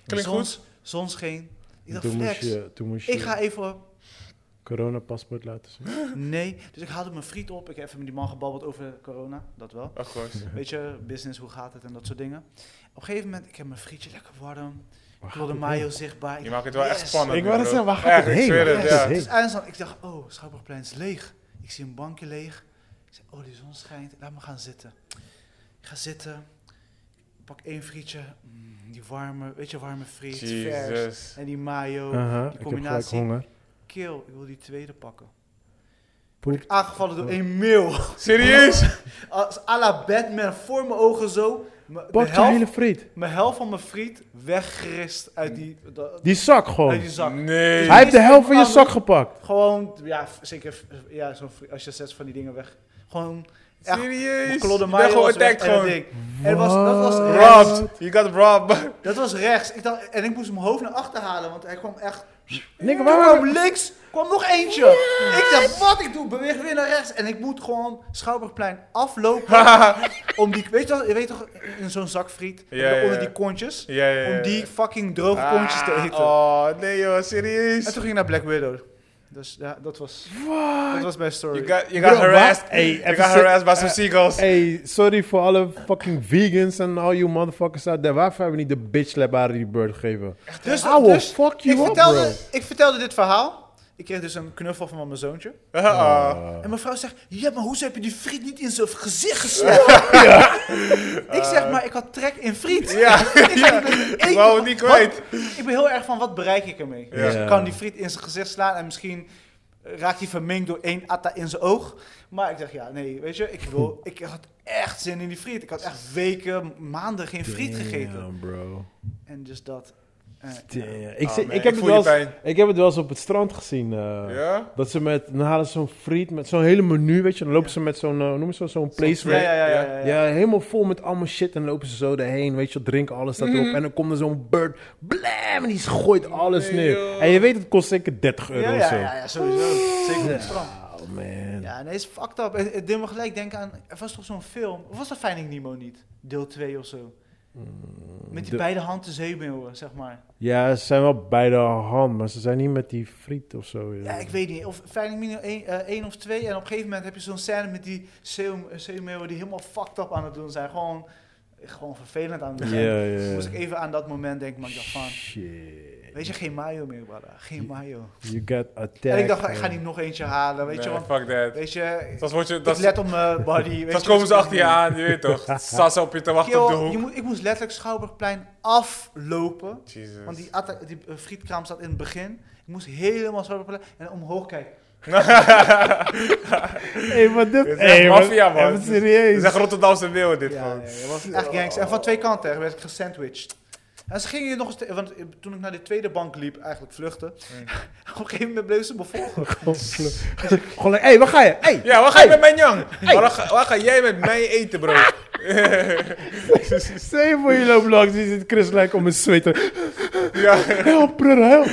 Klinkt
Zon-
goed.
Zonscheen. Ik dacht,
Toen moest
flex,
je, toen moest je
ik ga even
coronapaspoort laten zien.
Nee, dus ik haalde mijn friet op. Ik heb even met die man gebabbeld over corona, dat wel.
Of course.
Weet je, business, hoe gaat het en dat soort dingen. Op een gegeven moment, ik heb mijn frietje lekker warm. Ik
Waar
wil de
gaat het
mayo zichtbaar.
Je maakt het wel echt
Yes.
spannend.
Ik wou net
bro.
zeggen, waar gaat
Echt,
het
ik
heen,
zweer
man?
het,
Yes.
ja.
Hey.
Dus eindstand, ik dacht, oh, Schouwburgplein is leeg. Ik zie een bankje leeg. Ik zeg, oh, die zon schijnt. Laat me gaan zitten. Ik ga zitten. Ik pak één frietje. Mm, die warme, weet je, warme friet. Vers.
Jesus.
En die mayo.
heen? Aha,
die
ik heb gelijk
combinatie.
honger.
Keel, ik wil die tweede pakken.
Poep.
Aangevallen door een mail.
Serieus?
Als à la Batman voor mijn ogen zo. m-
Pak
De
je hele
helft,
friet.
de helft van mijn friet weggerist uit die, da-
Die zak gewoon.
uit die zak.
Nee.
Hij heeft de helft van je zak gepakt.
Gewoon, ja, f- zeker, f- ja, zo'n fri- als je zes van die dingen weg. Gewoon Echt,
Serieus? Je
Klodder
bent gewoon attacked
en
gewoon.
ding. En was, dat was rechts.
Robbed. You got robbed.
Dat was rechts. Ik dacht, en ik moest mijn hoofd naar achter halen, want hij kwam echt...
Nigga,
Toen
waarom-
kwam links, kwam nog eentje. Ik dacht, wat ik doe? Beweeg weer naar rechts. En ik moet gewoon Schouwburgplein aflopen om die... Weet je, wel- je weet toch, in zo'n zak friet,
Ja, ja, ja.
onder die kontjes?
Ja, ja, ja.
Om die fucking droge
Ah,
kontjes te eten.
Oh, nee joh, serieus.
En toen ging ik naar Black Widow. Dus ja, dat was, dat was mijn story.
You got, you got
Bro,
harassed.
wat? Hey,
you
even
got
se-
harassed by some
Eh,
seagulls.
Hey, sorry voor alle fucking vegans en all you motherfuckers out there. Waarvoor hebben we niet de bitch slap aan die bird gegeven?
dus,
I will fuck you
ik,
up,
vertelde,
bro.
ik vertelde dit verhaal. Ik kreeg dus een knuffel van mijn zoontje.
Ah, Uh-oh.
Oh.
En mijn vrouw zegt, ja, maar hoezo heb je die friet niet in zijn gezicht geslagen? ik zeg, maar ik had trek in friet.
Ja.
ik, zeg, ik ben één-
Wou het niet kwijt.
Wat- ik ben heel erg van, wat bereik ik ermee? Dus ik kan die friet in zijn gezicht slaan en misschien eh, raakt hij vermengd door één atta in zijn oog. Maar ik dacht, ja, nee, weet je, ik, wil, ik had echt zin in die friet. Ik had echt weken, maanden geen friet gegeten.
Damn, bro.
En dus dat. eh,
Damn. Ik,
Ah,
zie-
man,
ik,
ik
heb het
voel je
wel eens,
pijn.
ik heb het wel eens op het strand gezien. eh,
Ja?
Dat ze met, dan halen ze zo'n friet met zo'n hele menu, weet je. Dan lopen
Ja.
ze met zo'n, eh, hoe noemen ze dat, zo'n place
ja, ja, ja, ja, ja, ja.
Ja, helemaal vol met allemaal shit. En dan lopen ze zo erheen, weet je, wel, drinken alles dat erop. En dan komt er zo'n bird, blam, en die gooit alles
Nee,
neer.
joh.
En je weet, het kost zeker 30 euro
Ja,
of
ja,
zo.
ja, ja, sowieso. Zeker op het strand.
Oh man.
Ja, nee, is fucked up. Het, het deed me gelijk denken aan... Er was toch zo'n film? Of was dat Finding Nemo niet? Deel 2 of zo. Met die
Mm, de-
beide handen zeemeeuwen, zeg maar.
Ja, ze zijn wel bij de hand, maar ze zijn niet met die friet of zo.
Ja, ik weet niet. Of Finding Nemo 1, eh, 1 of 2. En op een gegeven moment heb je zo'n scène met die zeem- zeemeeuwen... die helemaal fucked up aan het doen zijn. Gewoon, gewoon vervelend aan het doen zijn.
Ja, ja, ja.
Moest ik even aan dat moment denken, maar ik dacht van...
Shit.
Weet je, geen mayo meer, brada. Geen mayo.
You got attacked.
En ik dacht, ik ga
man.
niet nog eentje halen, weet je.
Nee,
Want,
fuck that.
weet je,
Dat wordt je...
ik
Dat
let op mijn body. weet
dat
je,
komen ze
dus-
achter je aan, je weet toch. Staan ze op je te wachten op de
Yo, je
hoek.
moet, ik moest letterlijk Schouwburgplein aflopen.
Jesus.
Want die, atta- die eh, frietkraam staat in het begin. Ik moest helemaal Schouwburgplein en omhoog kijken.
Hé, maar dit...
Dit is
Hé,
echt
maar-
maffia, man.
Hé, maar serieus.
Dit is echt Rotterdamse wil dit
Ja,
gewoon.
nee, dat was echt gangs. En van twee kanten hè, werd ik gesandwiched. En ze gingen hier nog eens... te- want eh, toen ik naar de tweede bank liep, eigenlijk vluchten. op een gegeven moment bleef ze me volgen.
Gewoon, hé, waar ga je? Hé,
Ja, waar ga je met mijn jang? Waar, ga- waar ga jij met mij eten, bro?
stel je voor je loopt langs, je ziet Chris lijken om een sweater.
ja.
Help, brother, help.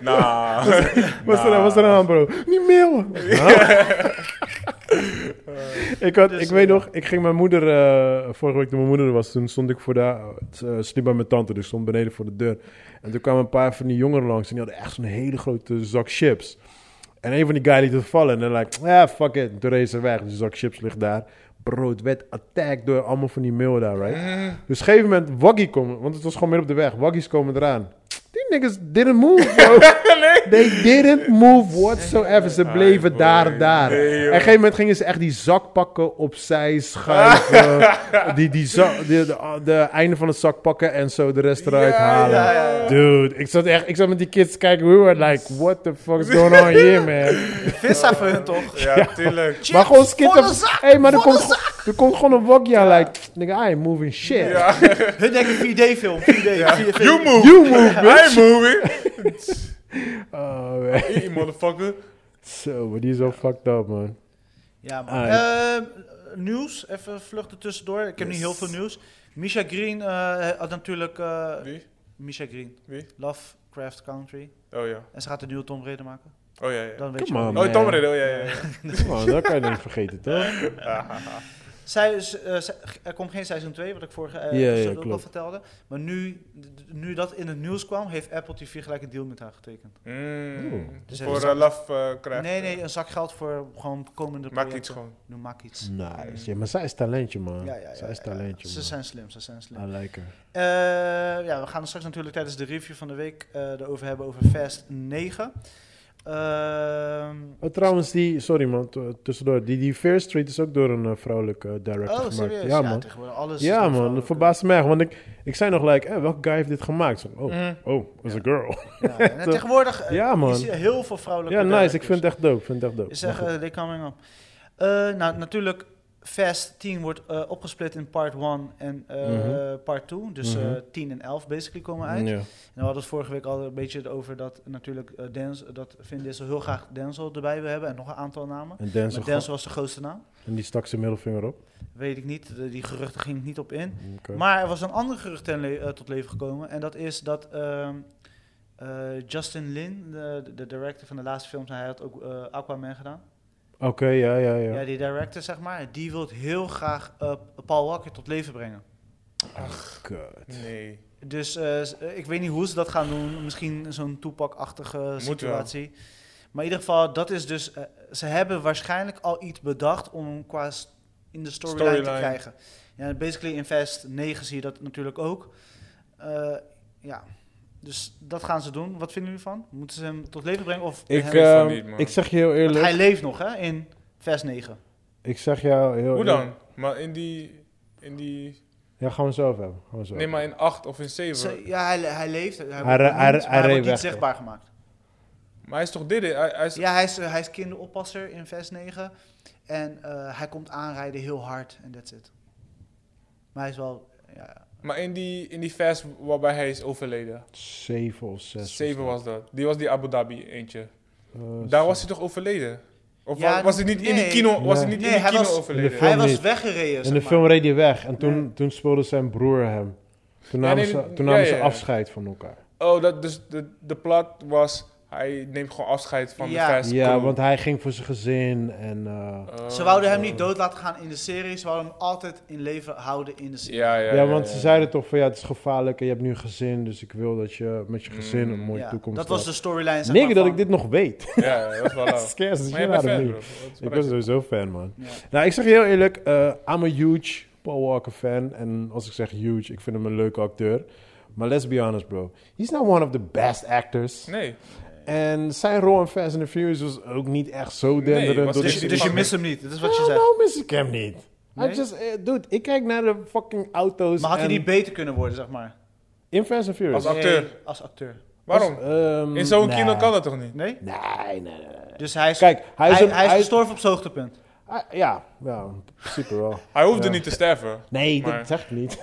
Nou.
Wat is er aan, wat is er aan, bro? Niet meer, man. ik, had, ik weet nog, ik ging mijn moeder, eh, vorige week toen mijn moeder er was, toen stond ik voor daar, eh, sliep bij mijn tante, dus ik stond beneden voor de deur. En toen kwamen een paar van die jongeren langs en die hadden echt zo'n hele grote zak chips. En een van die guys liet het vallen en dan like, ja, fuck it. En Toen race ze weg, dus die zak chips ligt daar. Bro, het werd attacked door allemaal van die mail daar, right? Dus op een gegeven moment, Waggy komen, want het was gewoon midden op de weg, Waggies komen eraan. Die niggas didn't move, bro. They didn't move whatsoever. Ze bleven
boy.
daar, daar.
Nee,
en
joh.
op een gegeven moment gingen ze echt die zak pakken, opzij schuiven. die, die zak, de, de, de einde van het zak pakken en zo de rest eruit halen.
ja, ja, ja.
Dude, ik zat, echt, ik zat met die kids te kijken. We were like, what the fuck is going on here, man?
Vissa voor hun toch?
Ja, tuurlijk.
maar gewoon skitter.
volle zak,
Hey, maar er
volle
komt, er komt gewoon een wokje aan. Like, nigga, I ain't moving shit.
Hun denken 4D-film, 4D. 4D.
You move.
You move,
I ain't
bitch.
moving.
Oh, man.
Hey, motherfucker.
Zo, maar die is wel fucked up, man.
Ja, man.
Ah,
Ehm, nieuws, even vluchten tussendoor. Ik heb niet heel veel nieuws. Misha Green eh, had natuurlijk... eh,
Wie?
Misha Green.
Wie?
Lovecraft Country.
Oh ja.
En ze gaat een nieuwe Tom Raider maken.
Oh ja, ja.
Dan weet
Come
je
on.
wel.
Oh, Tom Riddle, ja, ja. ja.
Man, dat kan je niet vergeten, toch?
Zij is, eh, zij- er komt geen seizoen 2, wat ik vorige eh
Ja, ja,
episode ook al
klopt.
vertelde. Maar nu, nu dat in het nieuws kwam, heeft Apple TV gelijk een deal met haar getekend.
Mm.
Dus
Voor
even-
eh, Love eh, Craft.
Nee, nee, een zak geld voor gewoon komende
Maakt iets
projecten.
gewoon.
Doe, maak iets.
Nice. Ja, maar zij is talentje, man.
Ja, ja, ja,
zij is
ja,
talentje,
Ze
man.
zijn slim, ze zijn slim.
I like her.
Eh, ja, we gaan er straks natuurlijk tijdens de review van de week eh erover hebben over Fast 9. Ehm,
Oh, trouwens, die... Sorry, man. t- Tussendoor. Die, die Fair Street is ook door een eh, vrouwelijke eh, director
oh,
gemaakt.
serieus?
Ja, man.
tegenwoordig alles is
Ja,
door
man.
vrouwen.
Dat verbaast me echt. Want ik, ik zei nog like, eh, welke guy heeft dit gemaakt? Zo, oh, oh, is a girl.
Mhm. Ja, en tegenwoordig eh,
Ja, man.
is er heel veel vrouwelijke
ja, nice. Ik
directors.
vind het echt dope. Ik vind het echt dope.
Is echt,
Maar goed.
eh, they coming up. Eh, nou, natuurlijk Fast 10 wordt eh, opgesplit in part 1 en eh,
Mhm.
part 2. Dus eh,
Mhm.
10 en 11 basically komen uit.
Ja.
En we hadden het vorige week al een beetje over dat natuurlijk eh Denzel, dat Vin Diesel heel graag Denzel erbij wil hebben en nog een aantal namen.
En Denzel,
Maar Denzel was de grootste naam.
gaf- en die stak zijn middelvinger op.
Weet ik niet, de- die geruchten ging ik niet op in.
Oké.
Maar er was een ander gerucht ten le- eh, tot leven gekomen. En dat is dat ehm, eh, Justin Lin, de, de director van de laatste films, hij had ook eh, Aquaman gedaan.
Oké, ja, ja, ja.
Ja. die director zeg maar, die wil heel graag eh, Paul Walker tot leven brengen.
Kut.
Nee.
Dus eh, s- eh, ik weet niet hoe ze dat gaan doen. Misschien zo'n toepakachtige situatie. Maar in ieder geval, dat is dus. eh, ze hebben waarschijnlijk al iets bedacht om hem qua s- in de storyline,
Storyline.
te krijgen. Ja, basically in Fast 9 zie je dat natuurlijk ook. Eh, ja, dus dat gaan ze doen. Wat vinden jullie ervan? Moeten ze hem tot leven brengen? Of
Ik,
hem-
eh,
ehm,
van niet, man.
ik zeg je heel
Want
eerlijk.
hij leeft nog, hè? In Fast 9.
Ik zeg jou heel
Hoe
eerlijk-
dan? Maar in die... In die...
Ja, gaan we zo over hebben. Gaan we zo
Nee, maar in 8 of in 7.
Ze- ja, hij, hij leeft. Hij, wordt
re-
benoemd,
hij re-
maar
hij reed
wordt niet
weg,
zichtbaar gemaakt.
Maar hij is toch dit? Hij, hij is...
Ja, hij is, eh, hij is kinderoppasser in Vest 9. En eh, hij komt aanrijden heel hard en that's it. Maar hij is wel... Ja,
Maar in die, in die fast waarbij hij is overleden.
Zeven of zes.
7 was dat. Die was die Abu Dhabi eentje.
Eh,
Daar was hij toch overleden? Of
Ja,
wa- was hij niet in die
nee.
kino, was
Nee.
hij niet
Nee,
in die
hij
kino
was-
overleden?
In de
hij
film
was
niet.
weggereden,
In
zeg
de
maar.
film reed hij weg en toen,
Nee.
toen speelde zijn broer hem. Toen
Ja,
namen,
nee,
ze,
dat-
toen
ja,
namen ze
ja, ja.
afscheid van elkaar.
Oh, dat, dus de, de plot was, hij neemt gewoon afscheid van
Ja.
de fast
ja,
crew.
want hij ging voor zijn gezin en... eh,
Oh.
Ze wilden hem niet dood laten gaan in de serie. Ze wilden hem altijd in leven houden in de serie.
Ja, ja,
ja, want ze zeiden toch van ja, het is gevaarlijk en je hebt nu een gezin, dus ik wil dat je met je gezin
Mm.
een mooie
Ja,
toekomst
dat was de storyline, zeg
Nigga
maar,
dat
van-
ik dit nog weet.
Ja, dat is wel lauw.
Scares the
Oh. Maar jij
shit
bent
out of
fan,
me.
bro. Wat
Ik
is
ben
er-
sowieso fan, man.
Ja.
Nou, ik zeg je heel eerlijk, eh I'm a huge Paul Walker fan. En als ik zeg huge, ik vind hem een leuke acteur. Maar let's be honest, bro. He's not one of the best actors.
Nee,
En zijn rol in Fast and the Furious was ook niet echt zo denderend.
was
door de
niet-
Dus,
serie.
dus je mist hem niet, dat is wat je
Oh,
zegt.
nou mis ik hem niet.
Nee?
I just, eh, dude, ik kijk naar de fucking auto's.
Maar had hij
en-
niet beter kunnen worden, zeg maar?
In Fast and Furious.
Als acteur.
Nee, als acteur.
waarom?
Ehm,
In zo'n
nee.
kino kan dat toch niet?
Nee?
Nee, nee, nee, nee.
Dus hij is,
Kijk, hij is,
hij,
een,
hij is gestorven op zijn hoogtepunt.
hij- ja, ja, in principe wel.
Hij hoefde
Ja.
niet te sterven.
Nee,
Maar-
dat zeg ik niet.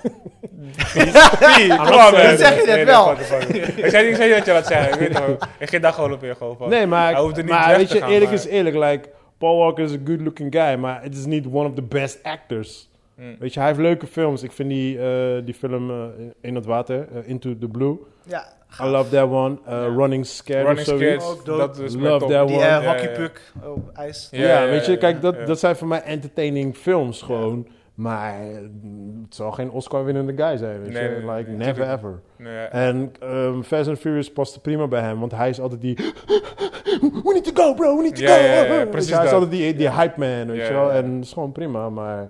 Pie, kom
dat
op,
zeg-
man.
dat
zeg je net
Nee,
wel.
nee, fuck it, fuck it. Ik zei niet ik zei niet dat je dat zei. Ik weet het wel. Ik ging daar gewoon op in. Gewoon van.
Nee, maar,
Oh, Hij hoefde niet
maar
weg
weet
te
je,
gaan,
eerlijk
maar-
is eerlijk. Like, Paul Walker is een good looking guy, maar het is niet one of the best actors.
Mm.
Weet je, hij heeft leuke films. Ik vind die, eh, die film eh, in- In het Water, eh, Into the Blue.
Ja,
I love that one. Eh, Running Scared
Running
of zoiets.
Scared,
Ook dood.
dat is mijn
Love
top.
that
die
one.
eh,
Ja, ja,
hockeypuck op ijs.
Ja,
Ja, ja,
weet je,
ja,
kijk,
ja,
dat,
ja.
dat zijn voor mij entertaining films gewoon. Maar mm, het zal geen Oscar-winnende guy zijn. Weet je?
Nee, nee, nee,
like,
nee,
never
tuurlijk.
ever.
Nee,
En ehm, Fast and Furious paste prima bij hem, want hij is altijd die... We need to go, bro, we need to
Ja,
go.
ja, ja,
Weet je,
precies
hij is
dat.
altijd die, die hype man, weet
Ja,
je wel.
ja, ja.
En het is gewoon prima, maar...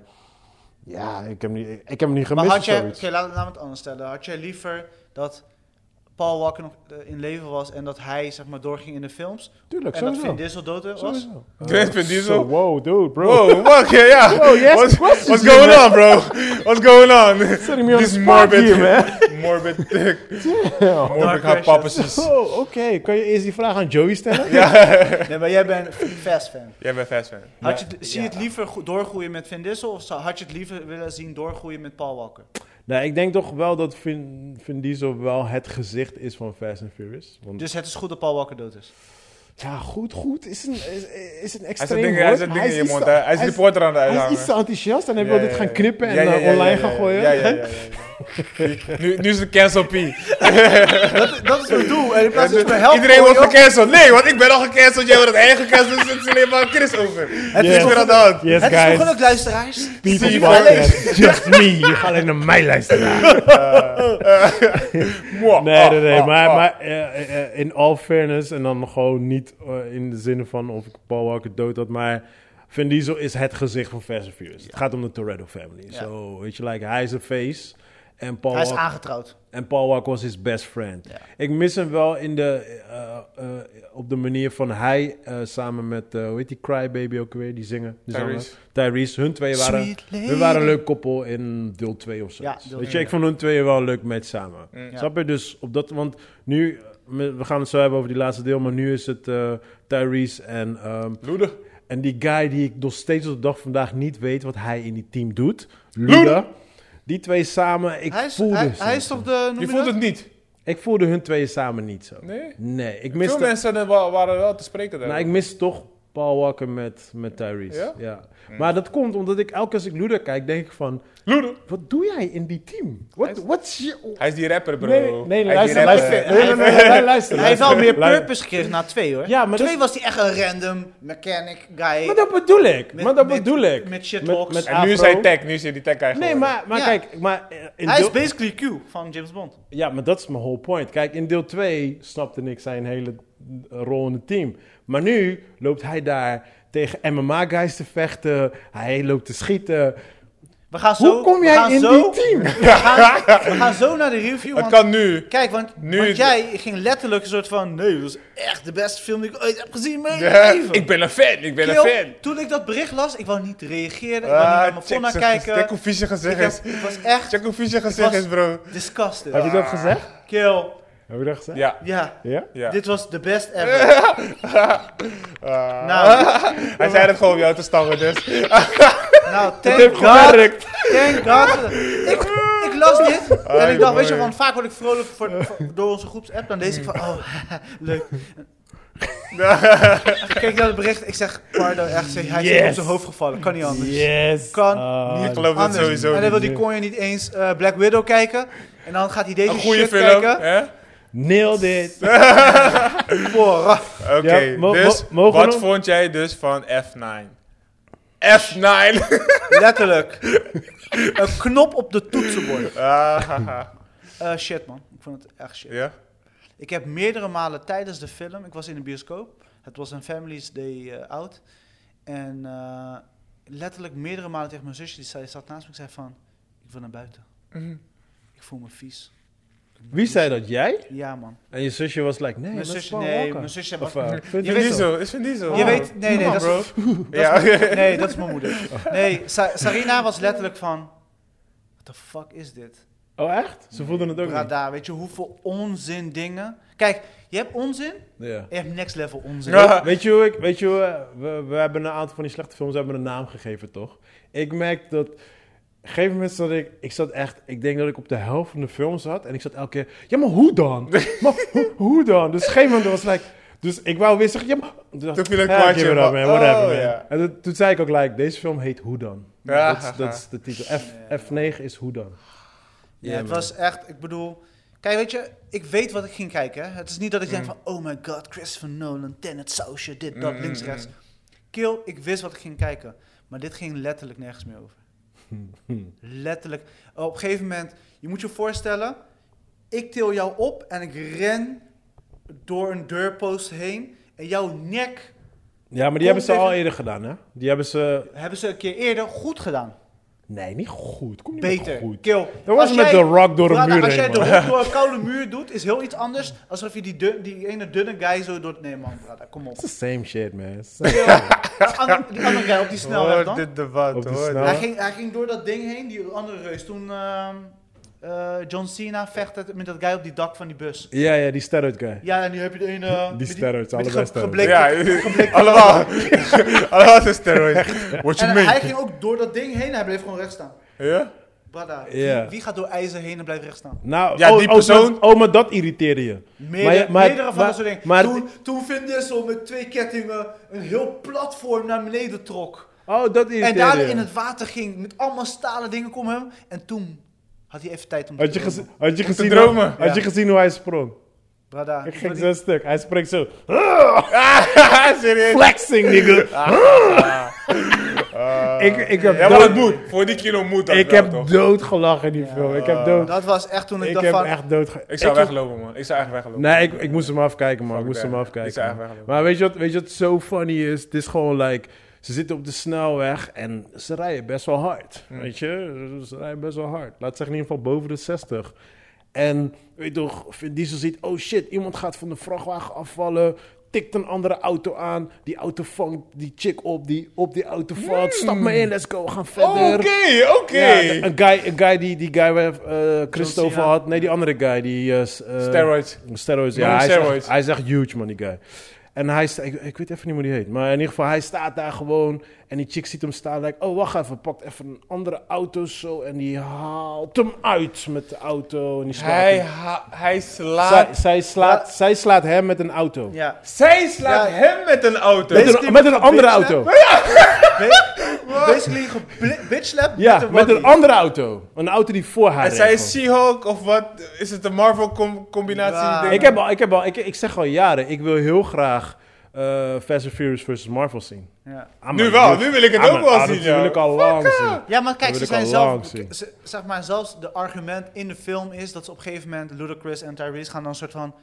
Ja, ik heb, niet, ik heb hem niet
Maar
gemist
had
of
jij,
zoiets.
oké, laat, laat me het anders stellen. Had jij liever dat Paul Walker nog eh, in leven was en dat hij zeg maar doorging in de films?
Tuurlijk,
en dat
sowieso.
Vin Diesel dood was?
Sowieso. Oh,
Vin Diesel?
So, wow, dude, bro.
Whoa, Oh, fuck yeah, yeah.
Bro, you
what's,
asking questions
what's
here,
going
man.
on, bro? What's going on?
Setting me on
This
the spot
morbid,
here, man.
morbid, thick,
Damn.
morbid hot papa
Oh, oké. Kan je eerst die vraag aan Joey stellen?
Nee, maar jij bent een Fast fan.
Jij bent fast fan.
Had je, zie je het liever go- doorgroeien met Vin Diesel of zou- had je het liever willen zien doorgroeien met Paul Walker?
nou, ik denk toch wel dat Vin, Vin Diesel wel het gezicht is van Fast and Furious. Want,
Dus het is goed dat Paul Walker dood is.
ja, goed, goed is een, is, is een
Hij zit
extreem
dingen,
woord,
hij zit
maar
dingen in je
iets
mond.
te-
hè. Hij is die porter aan de
hij is
uithangen.
iets te enthousiast en hij wil
Ja,
dit
ja,
gaan
ja.
knippen en
Ja, ja,
eh,
ja, ja,
online
ja,
gaan
ja.
gooien.
Ja, ja, ja, ja, ja. Nu, nu is het cancel P.
Oh,
Dat, dat is mijn doel. En in plaats van dat je me helpt,
Iedereen
hoor
wordt
oh.
je ook-
gecanceld. Nee, want ik ben al gecanceld. Jij wordt het eigen gecanceld. Dus het is alleen maar Chris over. Het
Yes.
is weer aan de hand.
Yes,
Het is
guys.
toch ook luisteraars?
Zie je
People
wel.
podcast. Just me. Je gaat alleen naar mij luisteren.
Eh. Mwah.
Nee, nee, nee.
Ah,
Maar,
ah,
maar eh, eh, eh, in all fairness, en dan gewoon niet eh, in de zin van of ik Paul Walker dood had, maar Vin Diesel is het gezicht van Fast and Furious. Het gaat om de Toretto family.
Ja.
So, weet je, like, hij is een face. En Paul,
Hij is
Walker-
aangetrouwd.
en Paul Walker was his best friend.
Ja.
Ik mis hem wel in de, eh, eh, op de manier van hij eh, samen met, eh hoe heet die Crybaby ook weer, die zingen. Die zanger?
Tyrese.
Tyrese. Hun twee waren,
Sweet
hun
lady.
waren een leuk koppel in deel 2 of zo.
Ja, deel
weet je,
twee,
ik vond hun twee wel een leuk match samen.
Ja.
Snap je? Dus op dat, want nu, eh, we gaan het zo hebben over die laatste deel, maar nu is het eh, Tyrese en, ehm,
Loede.
En die guy die ik nog steeds tot de dag vandaag niet weet wat hij in die team doet. Luda. Die twee samen, ik
hij, is,
voelde
hij,
ze
hij
niet
is
zo.
toch de... Noem
Je
je
voelt
dat?
het niet.
Ik voelde hun twee samen niet zo.
Nee?
Nee, ik
Veel
miste...
mensen eh, wa- waren wel te spreken daar.
Nou, ik mis toch Paul Walker met, met Tyrese.
Ja?
Ja? Maar dat komt omdat ik elke keer als ik Luda kijk, denk ik van...
Ludo.
Wat doe jij in die team? Wat what's your...
Hij is die rapper, bro.
Nee, nee,
Hij is
luister,
die rapper.
luister. Nee, nee, nee, nee, luister.
Hij heeft wel meer
luister.
purpose gekregen na twee, hoor.
Ja, maar dat-
twee was hij echt een random mechanic guy.
Maar dat bedoel ik.
Met-
maar dat
met-
bedoel ik.
met shitbox.
En nu is
afro.
hij tech, nu is hij die tech eigenlijk.
Nee, maar, maar
Ja.
kijk, maar eh, in
hij is
deel-
basically Q van James Bond.
ja, maar dat is mijn whole point. Kijk, in deel 2 snapte ik zijn hele eh, rol in het team. Maar nu loopt hij daar tegen MMA-guys te vechten. Hij loopt te schieten.
We gaan zo...
Hoe kom
we gaan
jij in
zo,
die team?
We gaan, we gaan zo naar de review,
Het
want-
kan nu.
Kijk, want,
Nu-
want jij ging letterlijk een soort van... Nee, dat is echt de beste film die ik ooit heb gezien in mijn leven.
Ik ben een fan, ik ben een
Kill,
fan.
toen ik dat bericht las, ik wou niet reageren. Ik
Ah,
wou niet naar mijn phone naar
Check
kijken.
hoe vies je
Ik
gezicht
was,
is.
ik was echt
Check hoe vies je gezicht
was-
is, bro.
disgusted.
Heb je dat gezegd?
Kill.
Heb je dat gezegd?
Ja.
Ja,
Ja? Ah.
ja.
dit was de best ever. nou,
Hij zei het gewoon om jou te stammen, dus.
nou, thank God. Thank God. Ik, ik las dit en ik dacht, weet je,
boy.
want vaak word ik vrolijk voor, voor- door onze groepsapp. Dan lees ik van, oh, leuk. ik keek naar het bericht, ik zeg, Pardo, echt, hij is
Yes.
op zijn hoofd gevallen. Kan niet anders.
Yes.
Kan
Ah,
Ik geloof het
Anders.
sowieso
En dan wil die
niet.
konje niet eens eh, Black Widow kijken. En dan gaat hij deze
Een goede
shit
film,
kijken.
hè?
Nailed it.
Boah,
Oké,
Ja, mo-
dus
mo- mogen we
wat
nog-
vond jij dus van F9? F9!
letterlijk. Een knop op de toetsenbord.
Ah, haha.
Eh, shit, man. Ik vond het echt shit.
ja?
Ik heb meerdere malen tijdens de film... Ik was in de bioscoop. Het was een Family's Day eh, out. En eh, letterlijk meerdere malen tegen mijn zusje... die zei- zat naast me ik zei van... Ik wil naar buiten. Ik voel me vies.
Wie zei dat? Jij?
Ja, man.
En je zusje was like, nee,
Mijn
dat is
zusje...
Paul
Nee,
Walker.
mijn zusje...
Of,
was-
eh, Vin
je
Vin
weet-
Diesel, is Vin Diesel.
Je weet, nee, nee,
Come
dat
on,
is, dat
Ja.
is mijn- nee, dat is mijn moeder. Nee, Sa- Sarina was letterlijk van, what the fuck is dit?
Oh, echt? Ze voelden het ook niet.
Brada, weet je hoeveel onzin dingen? Kijk, je hebt onzin
Ja.
en je hebt next level onzin.
Ja.
Weet je hoe ik, weet je hoe, eh, we, we hebben een aantal van die slechte films, we hebben een naam gegeven, toch? Ik merk dat, op een gegeven moment zat ik, ik zat echt, ik denk dat ik op de helft van de film zat en ik zat elke keer, ja, maar hoe dan? maar hoe, hoe dan? Dus op een gegeven moment was like, dus ik wou weer zeggen, ja, maar...
Toen viel een
Ja,
kwartje
give it up,
van,
man, whatever,
oh,
man.
ja.
En dat- toen zei ik ook, like, deze film heet Hoe dan?
Ja.
Dat is- Dat is de titel. F, F9 is Hoe dan?
Ja,
Ja,
het
man.
was echt, ik bedoel... Kijk, weet je, ik weet wat ik ging kijken. Hè? Het is niet dat ik denk van, oh my god, Christopher Nolan, Tenet, sausje, dit, dat,
Mm,
links,
mm,
rechts. Kill, ik wist wat ik ging kijken. Maar dit ging letterlijk nergens meer over. letterlijk. Op een gegeven moment, je moet je voorstellen... Ik til jou op en ik ren door een deurpost heen. En jouw nek
Ja, maar die hebben ze al eerder gedaan, hè? Die hebben ze,
hebben ze een keer eerder goed gedaan.
nee, niet goed. Kom niet met
Beter.
goed.
Kill.
Dat was
Als
met
jij-
de rock door een
Brada,
muur
Als jij
heen,
de
man.
rok door een koude muur doet, is heel iets anders. Alsof je die, dun- die ene dunne guy zo door... Nee man, Brada, kom op.
It's the same shit, man.
Die andere, die andere guy op die snelweg
Hoor
dan.
dit debat,
Op de
hoor.
snelweg.
dit.
Hij ging, hij ging door dat ding heen, die andere reus. Toen ehm, eh, John Cena vecht met dat guy op die dak van die bus.
Ja, ja, die steroid guy.
Ja, en nu heb je de ene... met met
steroids,
met die
allebei
ge-
steroids.
gebleekte-
Ja, allemaal. Allemaal zijn steroids. What you
En hij
mean?
ging ook door dat ding heen en hij bleef gewoon recht staan.
Ja?
Brada,
Ja.
wie, wie gaat door ijzer heen en blijft recht staan?
Nou,
Ja,
oh,
die
oh,
persoon-
dat- oh, maar dat irriteerde je.
Meerdere,
Maar je- maar-
meerdere van
maar-
dat soort dingen.
maar-
toen, toen Vin Diesel met twee kettingen een heel platform naar beneden trok.
Oh, dat
En
irriteerde
daar
je.
in het water ging met allemaal stalen dingen om hem. En toen had hij even tijd om te
Had je,
dromen.
gezien, had, je gezien
dromen.
Hoe, had je gezien hoe hij sprong?
Brada,
Ik
ik
ging
wil
zo'n stuk. Hij springt zo.
Serieus?
Flexing, nigga.
Ah.
ik, ik heb,
Ja, maar
dood,
dat moet. Voor die kilo moet dat
ik
wel,
heb
toch?
doodgelachen in die film. Ik heb,
niet-
dood,
dat was echt toen ik,
ik
dacht
heb
van...
echt doodgelachen.
Ik zou weglopen, man. Ik zou echt weglopen.
Nee, ik, ik moest hem afkijken, man. Ik
Fuck that.
moest hem
Ik zou echt
afkijken.
weglopen.
Maar weet je, wat, weet je wat zo funny is? Het is gewoon like... Ze zitten op de snelweg en ze rijden best wel hard. Weet je? Ze rijden best wel hard. Laat zeggen in ieder geval boven de 60. En weet je toch, Vin Diesel ziet... Oh shit, iemand gaat van de vrachtwagen afvallen... Tikt een andere auto aan. Die auto vangt die chick op die op die auto valt. Stap maar in, let's go, we gaan verder.
Hmm. Oké, oké.
Ja, een guy, een guy die, die guy waar eh Christo over
Cena.
had. Nee, die andere guy. Die, eh, s- eh,
Steroids.
Steroids,
Noem
ja. Hij is,
steroids.
echt, hij is echt huge, man, die guy. En hij, sta- ik, ik weet even niet hoe die heet, maar in ieder geval, hij staat daar gewoon. En die chick ziet hem staan, like, oh wacht even, pakt even een andere auto zo. En die haalt hem uit met de auto. En die slaat
Hij,
hem.
ha- hij
Zij,
slaat...
zij, slaat, zij slaat hem met een auto.
Ja.
Zij slaat
Ja.
hem met een auto.
Met,
Basically
een, met een andere
gebitchen.
auto.
Ba- Basically gebli- bitchlap met
Ja,
een
met een
waggie.
andere auto. Een auto die voor haar
En
reed
zij
gewoon.
is She-Hulk of wat? Is het een Marvel-combinatie?
Ja.
Ik heb al, ik heb al, ik, ik zeg al jaren, ik wil heel graag eh Fast and Furious versus Marvel zien.
Ja.
I'm
Nu
a
wel,
huge-
nu wil ik het
I'm
ook
a-
wel
ah,
zien,
Dat
ja.
wil ik al lang zien.
Ja, maar kijk,
wil
ze
ik
zijn
al
zelf...
lang zien.
ze- zeg maar, zelfs de argument in de film is dat ze op een gegeven moment... Ludacris en Tyrese gaan dan een soort van...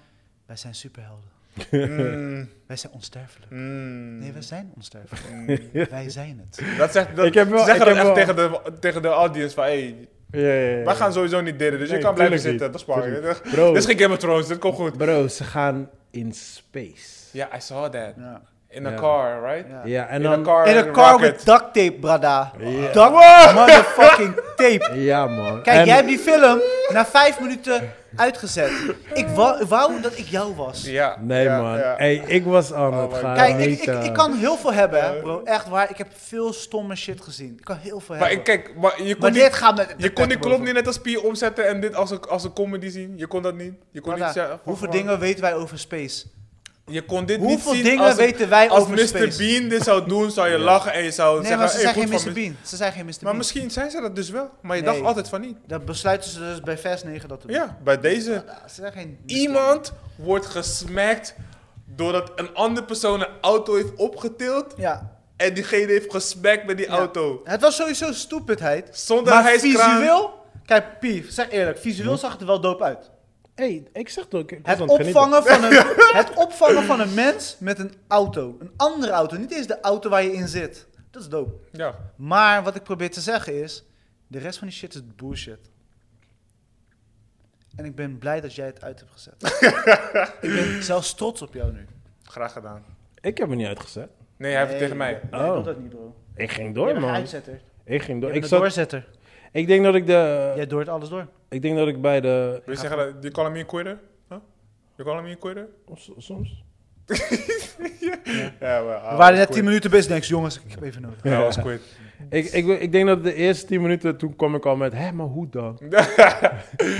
Wij zijn superhelden.
Mm,
Wij zijn onsterfelijk.
mm,
Nee, wij zijn onsterfelijk.
mm.
wij zijn het.
Dat zegt dat,
Ik heb wel-
ze zeggen
ik
dat echt tegen
heb
de, tegen de audience van... Hey,
Ja, ja, ja, ja.
wij gaan sowieso niet delen, dus
Nee,
je kan blijven
tuurlijk
zitten. Dat
niet.
spaar ik.
Tuurlijk. Oh. Bro,
Dit is geen Game of Thrones, dit komt goed.
bro, ze gaan in space.
Ja, I saw that.
Ja.
In a
Ja. Um,
car, right?
Ja.
Ja, en
In a
dan...
car,
In een
rocket.
car with duct tape, brada. Duct motherfucking tape.
Ja, man.
Kijk,
En-
jij hebt die film na vijf minuten uitgezet. Ik wou, wou dat ik jou was.
Ja.
Nee,
ja,
man.
ja.
Hey, ik was aan
Oh
het
my
gaan. eh,
God.
Kijk, ik, ik,
meten.
ik kan heel veel hebben, hè, bro. Echt waar. Ik heb veel stomme shit gezien. Ik kan heel veel
Maar ik,
hebben.
kijk, maar je kon
maar
die,
dit gaat met...
je kon die klop niet net als Pier omzetten en dit als een, als een comedy zien. Je kon dat niet. Je kon
Brada,
niet zeggen, van-
hoeveel
van-
dingen weten wij over space?
Je kon dit niet
Hoeveel
zien
dingen
als, een-
weten wij
als
over
Mr.
space?
Bean dit zou doen, zou je lachen en je zou
Nee,
zeggen...
maar ze
hey,
zijn
goed
geen
van
Mr. Bean. Ze zijn geen Mr. Bean.
Maar misschien zijn ze dat dus wel. Maar je
Nee.
dacht altijd van niet.
Dat besluiten ze dus bij Vers 9 dat te doen.
Ja, bij deze.
Brada, Ze zijn geen... Mr.
Iemand wordt gesmakt doordat een andere persoon een auto heeft opgetild.
Ja.
En diegene heeft gesmakt met die
Ja.
auto.
Het was sowieso stupidheid.
Zonder
maar
hijskraan.
visueel, kijk Pief, zeg eerlijk,
Hm.
visueel zag het er wel dope uit.
Hey, ik zeg toch, ik, ik
Het
was aan het genieten.
opvangen, van een, het opvangen van een mens met een auto. Een andere auto, niet eens de auto waar je in zit. Dat is dope.
Ja.
Maar wat ik probeer te zeggen is, de rest van die shit is bullshit. En ik ben blij dat jij het uit hebt gezet. ik ben zelfs trots op jou nu.
Graag gedaan.
Ik heb hem niet uitgezet.
Nee, hij heeft het tegen mij.
Nee, ik
Oh.
doe dat niet bro.
Ik ging
Jij
door,
bent een
man.
uitzetter.
Ik ging door.
Jij bent een
Ik, zat, Oh,
doorzetter.
ik denk dat ik de...
Jij doort alles door.
Ik denk dat ik bij de...
Wil je zeggen dat... You call me a quitter? Huh? You call me a quitter?
S- Soms?
Ja, maar...
We waren net 10 minuten bezig, denk ik, jongens, ik heb even nodig.
Ja, was quit.
Ik, ik, ik denk dat de eerste 10 minuten, toen kwam ik al met, hé, maar hoe dan?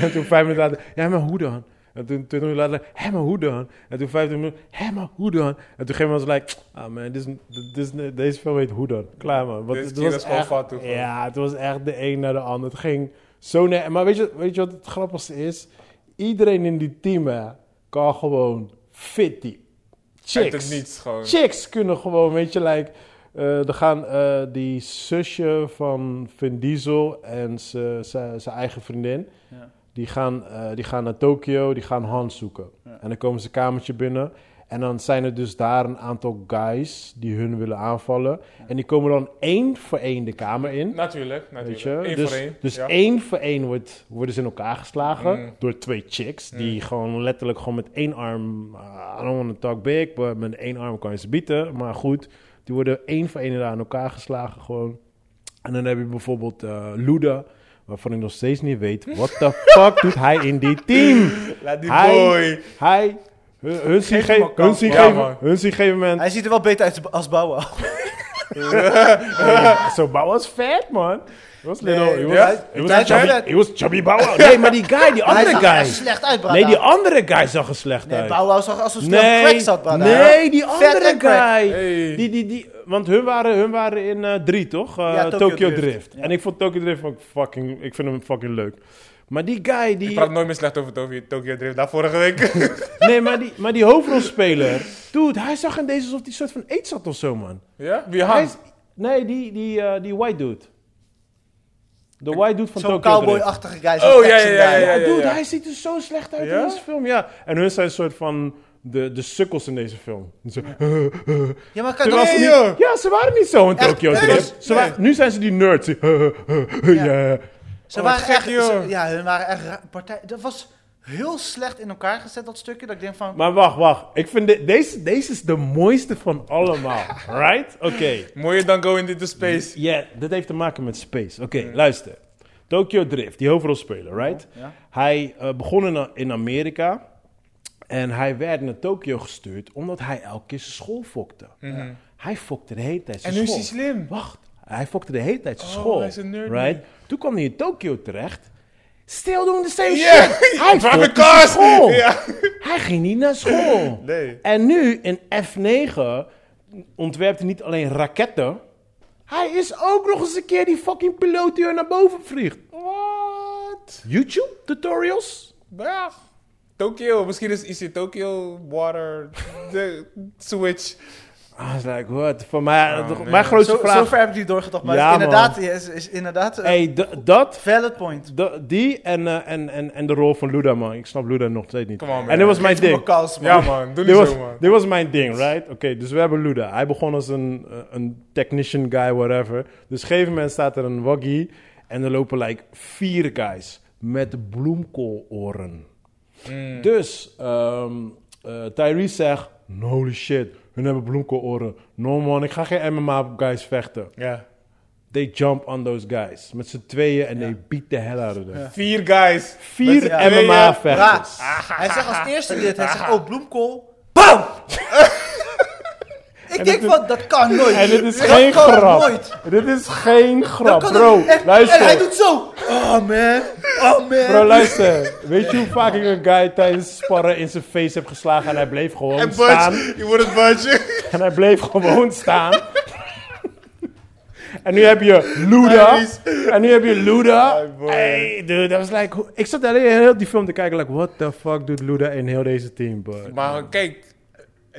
en toen vijf minuten later, ja, maar hoe dan? En toen 20 minuten later, hé, maar hoe dan? En toen 15 minuten, hé, maar hoe dan? En toen ging was like, ah man, dit is- dit is- deze film heet hoe dan? Klaar man. Want
Deze
het
keer is gewoon
echt-
fout toe.
Ja, het was echt de een naar de ander. Het ging zo net. Maar weet je, weet je wat het grappigste is? Iedereen in die team hè, kan gewoon fit die
Uit
chicks.
het niets gewoon.
Chicks kunnen gewoon, weet je, like... eh, er gaan eh, die zusje van Vin Diesel en zijn eigen vriendin...
Ja.
Die, gaan, eh, die gaan naar Tokio, die gaan Hans zoeken. En dan komen ze een kamertje binnen... En dan zijn er dus daar een aantal guys die hun willen aanvallen. En die komen dan één voor één de kamer in.
Natuurlijk, natuurlijk.
Weet je?
Eén
dus
voor één.
dus
ja.
één voor één wordt, worden ze in elkaar geslagen
Mm.
door twee chicks. Die
Mm.
gewoon letterlijk gewoon met één arm... eh, I don't want to talk big, maar met één arm kan je ze bieten. Maar goed, die worden één voor één inderdaad aan elkaar geslagen gewoon. En dan heb je bijvoorbeeld eh Luda, waarvan ik nog steeds niet weet... What the fuck doet hij in die team?
Laat die
Hij-
boy.
Hij... Hun, hun, zien
hem
ge-
een kans,
hun, zien
man. Ja, man.
geven, hun zien gegeven moment...
Hij ziet er wel beter uit als Bouwen.
Ja, Zo, Bauer was vet, man. Hij was little.
Nee,
He
ja.
was, he was
Hij- hij-
chubby, he was chubby Bauer. Nee, maar die guy, die
Hij
andere
zag er echt
guy.
slecht uit, brada.
Nee, die andere guy zag er slecht
Nee,
uit.
Bauhaus zag als een nee,
Nee,
crack zat, brada.
nee, die
Vet
andere
en crack.
guy.
Hey.
Die, die, die, want hun waren, hun waren in eh drie, toch? Eh,
Ja, Tokyo
Tokyo, Drift.
Drift. Ja.
En ik vond Tokyo Drift ook fucking... Ik vind hem fucking leuk. Maar die guy,
Ik
die...
praat nooit meer slecht over Tokyo, Tokyo Drift. Daar vorige week.
Nee, maar die, maar die hoofdrolspeler... Dude, hij zag in deze alsof hij soort van eet zat of zo, man.
ja? Wie
Hij
hangt?
is- nee, die, die, eh, die white dude. De white dude van
Zo'n
Tokyo Drift.
cowboy-achtige guy. zo'n
Oh, ja,
Texan
ja,
guy.
ja,
Ja, dude,
ja.
hij ziet er zo slecht uit
Ja?
in deze film, ja. En hun zijn een soort van de, de sukkels in deze film. Zo,
Ja, maar kan
terwijl ze
dat
Nee,
niet-
joh.
ja, ze waren niet zo in
Echt?
Tokyo
Nee,
Drift. Ze
nee.
wa- Nu zijn ze die nerds. die, ja.
Ze
Oh, wat
waren
gek,
echt,
joh.
ze- ja, hun waren echt ra- partij. Dat was heel slecht in elkaar gezet, dat stukje. Dat ik denk van,
Maar wacht, wacht. Ik vind de- deze, deze is de mooiste van allemaal. right? Oké.
Mooier dan Going Into Space.
Ja, dit heeft te maken met space. Oké, luister. Tokyo Drift, die hoofdrolspeler, right?
Ja.
Hij eh, begon in, in Amerika. En hij werd naar Tokio gestuurd omdat hij elke keer zijn school fokte.
Mhm.
Hij fokte de hele tijd zijn
En nu is
school.
hij slim.
Wacht, hij fokte de hele tijd zijn
Oh,
school.
hij is een nerd nu.
right? Toen kwam hij in Tokio terecht. Still doing the same
Ja,
shit. Hij
drive
fokte
a car.
zijn school.
Ja.
Hij ging niet naar school.
Nee.
En nu in F9 ontwerpt hij niet alleen raketten. Hij is ook nog eens een keer die fucking piloot die er naar boven vliegt.
What?
YouTube tutorials?
Ja. Tokyo, misschien is iets in Tokyo, water, de switch.
I was Ah, like, what? Voor mij,
Oh, nee.
mijn grootste
Zo,
vraag...
ver heb ik niet doorgedacht, maar
Ja,
het is inderdaad,
man.
ja, is, is inderdaad een
hey, d- dat
valid point.
De- die en, eh, en, en, en de rol van Luda, man. Ik snap Luda nog steeds niet.
Come on, man.
En dit was mijn
Geef hem een
ding.
kans, man.
Ja man, doe
Dit
niet
was,
zo man.
dit was mijn ding, right? Oké, dus we hebben Luda. Hij begon als een, eh, een technician guy, whatever. Dus op een gegeven moment staat er een waggy. En er lopen like vier guys met bloemkooloren.
Mm.
Dus ehm, eh, Tyrese zegt, holy shit, hun hebben bloemkooloren. No man, ik ga geen MMA guys vechten.
Ja.
They jump on those guys. Met z'n tweeën en they beat the hell out of them.
Vier guys.
Vier
Ja. Bra.
MMA-vechters.
Hij zegt als eerste dit. Hij zegt, oh, bloemkool. Bam! ik denk van, dat kan nooit.
En dit is
dat
geen
kan
grap.
Nooit.
Dit is geen
Dat
grap,
kan
bro.
nooit. En,
luister,
en hij doet zo. Oh man, oh man.
bro, luister. Weet je hoe vaak ik een guy tijdens sparren in zijn face heb geslagen en hij bleef gewoon
En
staan?
Budge, je wordt het Budge.
En hij bleef gewoon staan. en nu heb je Luda.
Nice.
En nu heb je Luda.
Ah, boy.
Hey, dude, dat was like... hoe- Ik zat alleen heel die film te kijken, like, what the fuck doet Luda in heel deze team, bro?
Maar kijk,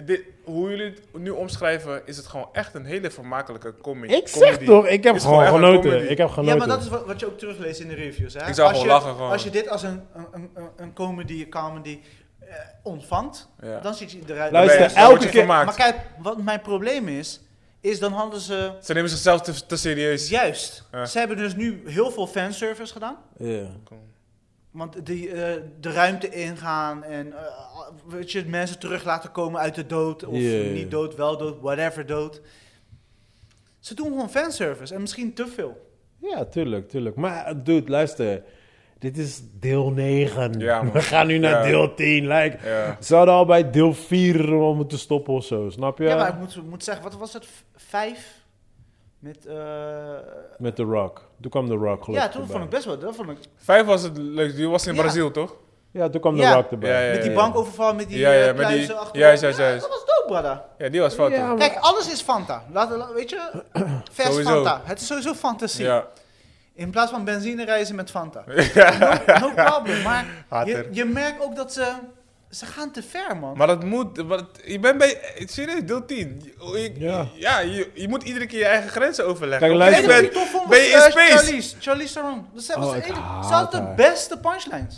dit, hoe jullie het nu omschrijven, is het gewoon echt een hele vermakelijke comic.
Ik zeg toch, ik heb
Is
gewoon
echt een
genoten.
comedy.
Ik heb
Ja,
genoten.
maar dat is wat, wat je ook terugleest in de reviews. Hè?
Ik zou
als
gewoon
je,
lachen, gewoon.
Als je dit als een, een, een- een, een comedy, een comedy eh, ontvangt,
Ja.
dan ziet je eruit.
Luister,
Dan ben je-
elke
dan word je
keer-
vermaakt. Maar kijk, wat mijn probleem is, is dan hadden ze...
Ze nemen zichzelf te, te serieus.
Juist,
Ja.
ze hebben dus nu heel veel fanservice gedaan.
Ja.
Want die, eh, de ruimte ingaan en eh, weet je, mensen terug laten komen uit de dood. Of
Ja, ja, ja.
niet dood, wel dood, whatever dood. Ze doen gewoon fanservice en misschien te veel.
Ja, tuurlijk, tuurlijk. Maar eh, dude, luister. Dit is deel 9.
Ja, man.
We gaan nu naar
Ja.
deel 10. Like,
Ja.
Ze hadden al bij deel 4 al moeten stoppen of zo, snap je?
Ja, maar ik moet, moet zeggen, wat was het? V- Vijf? Met, eh,
Met The Rock. Toen kwam The Rock gelukkig
ja, toen
erbij.
vond ik best wel. Dat vond ik,
Vijf was het leukste, die was in
Ja.
Brazil toch?
Ja, toen kwam The
Ja.
Rock erbij.
Ja, ja,
met die
ja.
bankoverval, met die eh,
Ja,
ja,
ja,
ja,
met die-
pluizen achter.
juist, juist, juist.
dat was dope, brother.
Ja, die was fout
Ja,
toch?
maar-
Kijk, alles is Fanta. Laten we- weet je, vers
Sowieso.
Fanta. Het is sowieso fantasie.
Ja.
In plaats van benzine reizen met Fanta. No, no problem, maar je,
Hater.
je merkt ook dat ze... Ze gaan te ver, man.
Maar dat moet, wat, je bent bij, eh, serieus, deel 10. Je- oh, je-
Ja.
ja, je, je moet iedere keer je eigen grenzen overleggen.
Kijk,
Op een
luister.
gegeven
ben,
moment ben je in space.
eh, Charlize, Charlize Theron. Dat zijn-
Oh,
was de
ik
enige-
haat
ze had de
haar.
beste punchlines.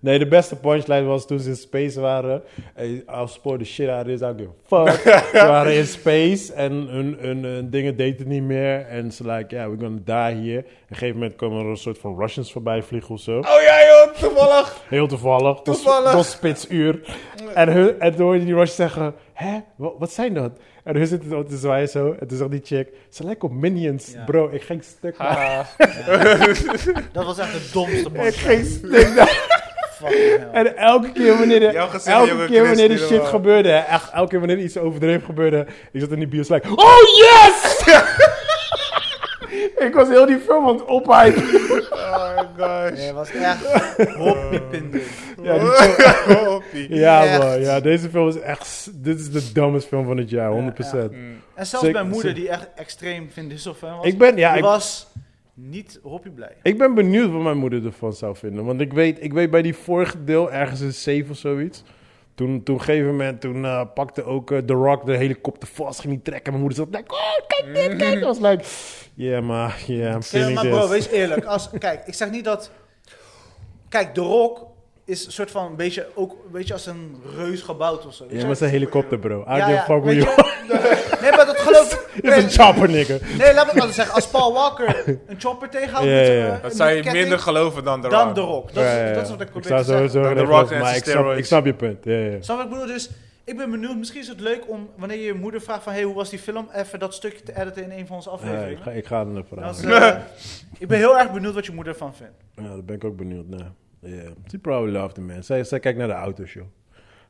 Nee, de beste punchline was toen ze in space waren. Eh, I'll spoil the shit out of this, I don't give a fuck. ze waren in space en hun, hun, hun dingen deden niet meer. En ze like, yeah, we're gonna die here. Op een gegeven moment komen er een soort van Russians voorbij vliegen of zo.
Oh ja joh, toevallig.
Heel toevallig. tot-
Toevallig.
Tot spitsuur. En, hun, en toen hoor je die Rush zeggen, hè, wat, wat zijn dat? En hun zitten op te zwaaien zo. En toen zegt die chick, ze lijken op Minions.
Ja.
Bro, ik ging stuk. man.
Dat was echt de domste
Ik
punchline.
ging stuk. man.
Fucking hell.
En elke keer wanneer, de,
Jouw gezicht,
elke
jongen,
keer wanneer die
knist
shit
helemaal.
gebeurde, hè, echt elke keer wanneer iets overdreven gebeurde, ik zat in die bios like, oh yes! ik was heel die film aan het ophypen.
Oh my gosh.
Nee, was echt hoppiepinding.
Ja, die
Hoppie.
Ja,
Echt.
man. Ja, deze film is echt. s- Dit is de dumbest film van het jaar, 100%.
Mm.
En zelfs
Zeker-
mijn moeder,
zeker.
die echt extreem fan was,
Ik ben, ja,
die
ik,
was niet hoppieblij.
ik ben benieuwd wat mijn moeder ervan zou vinden. Want ik weet, ik weet bij die vorige deel, ergens in 7 of zoiets. Toen, toen, gegeven moment, toen eh, pakte ook eh, The Rock de helikopter vast, ging niet trekken. En mijn moeder zat like, oh, kijk dit, kijk. dat. was like, yeah, maar, yeah, I'm
Ja,
feeling
maar bro,
this.
wees eerlijk. Als, kijk, ik zeg niet dat... Kijk, de Rock is een soort van een beetje, ook een beetje als een reus gebouwd of zo. weet
ja,
je?
maar zijn helikopter, bro. I
Ja,
give a
ja,
fuck with
weet
you.
je? Nee, maar dat geloof ik...
It's a
Nee,
chopper, nigga.
nee, laat me het anders zeggen. Als Paul Walker een chopper tegenhoudt...
Ja,
met zo'n,
ja, ja.
eh, met
Dat
Dat zou je
een ketting,
minder geloven dan de Rock.
Dan de Rock. Dat, is-
Ja, ja, ja.
dat is wat ik probeer
zou
te zeggen.
sowieso
Dan The
geen
Rock
film-
en
maar ik snap, ik
steroids.
snap je punt. Ja, ja.
Snap je wat ik bedoel? Dus ik ben benieuwd. Misschien is het leuk om, wanneer je je moeder vraagt van... Hé, hoe was die film? Even dat stukje te editen in een van onze
Ja,
afleveringen.
ik, ga, ik ga er naar vragen.
Dat is, eh, ik ben heel erg benieuwd wat je moeder ervan vindt.
Ja, daar ben ik ook benieuwd naar. Yeah. She probably loved it, man. Zij, zij kijkt naar de auto's, joh.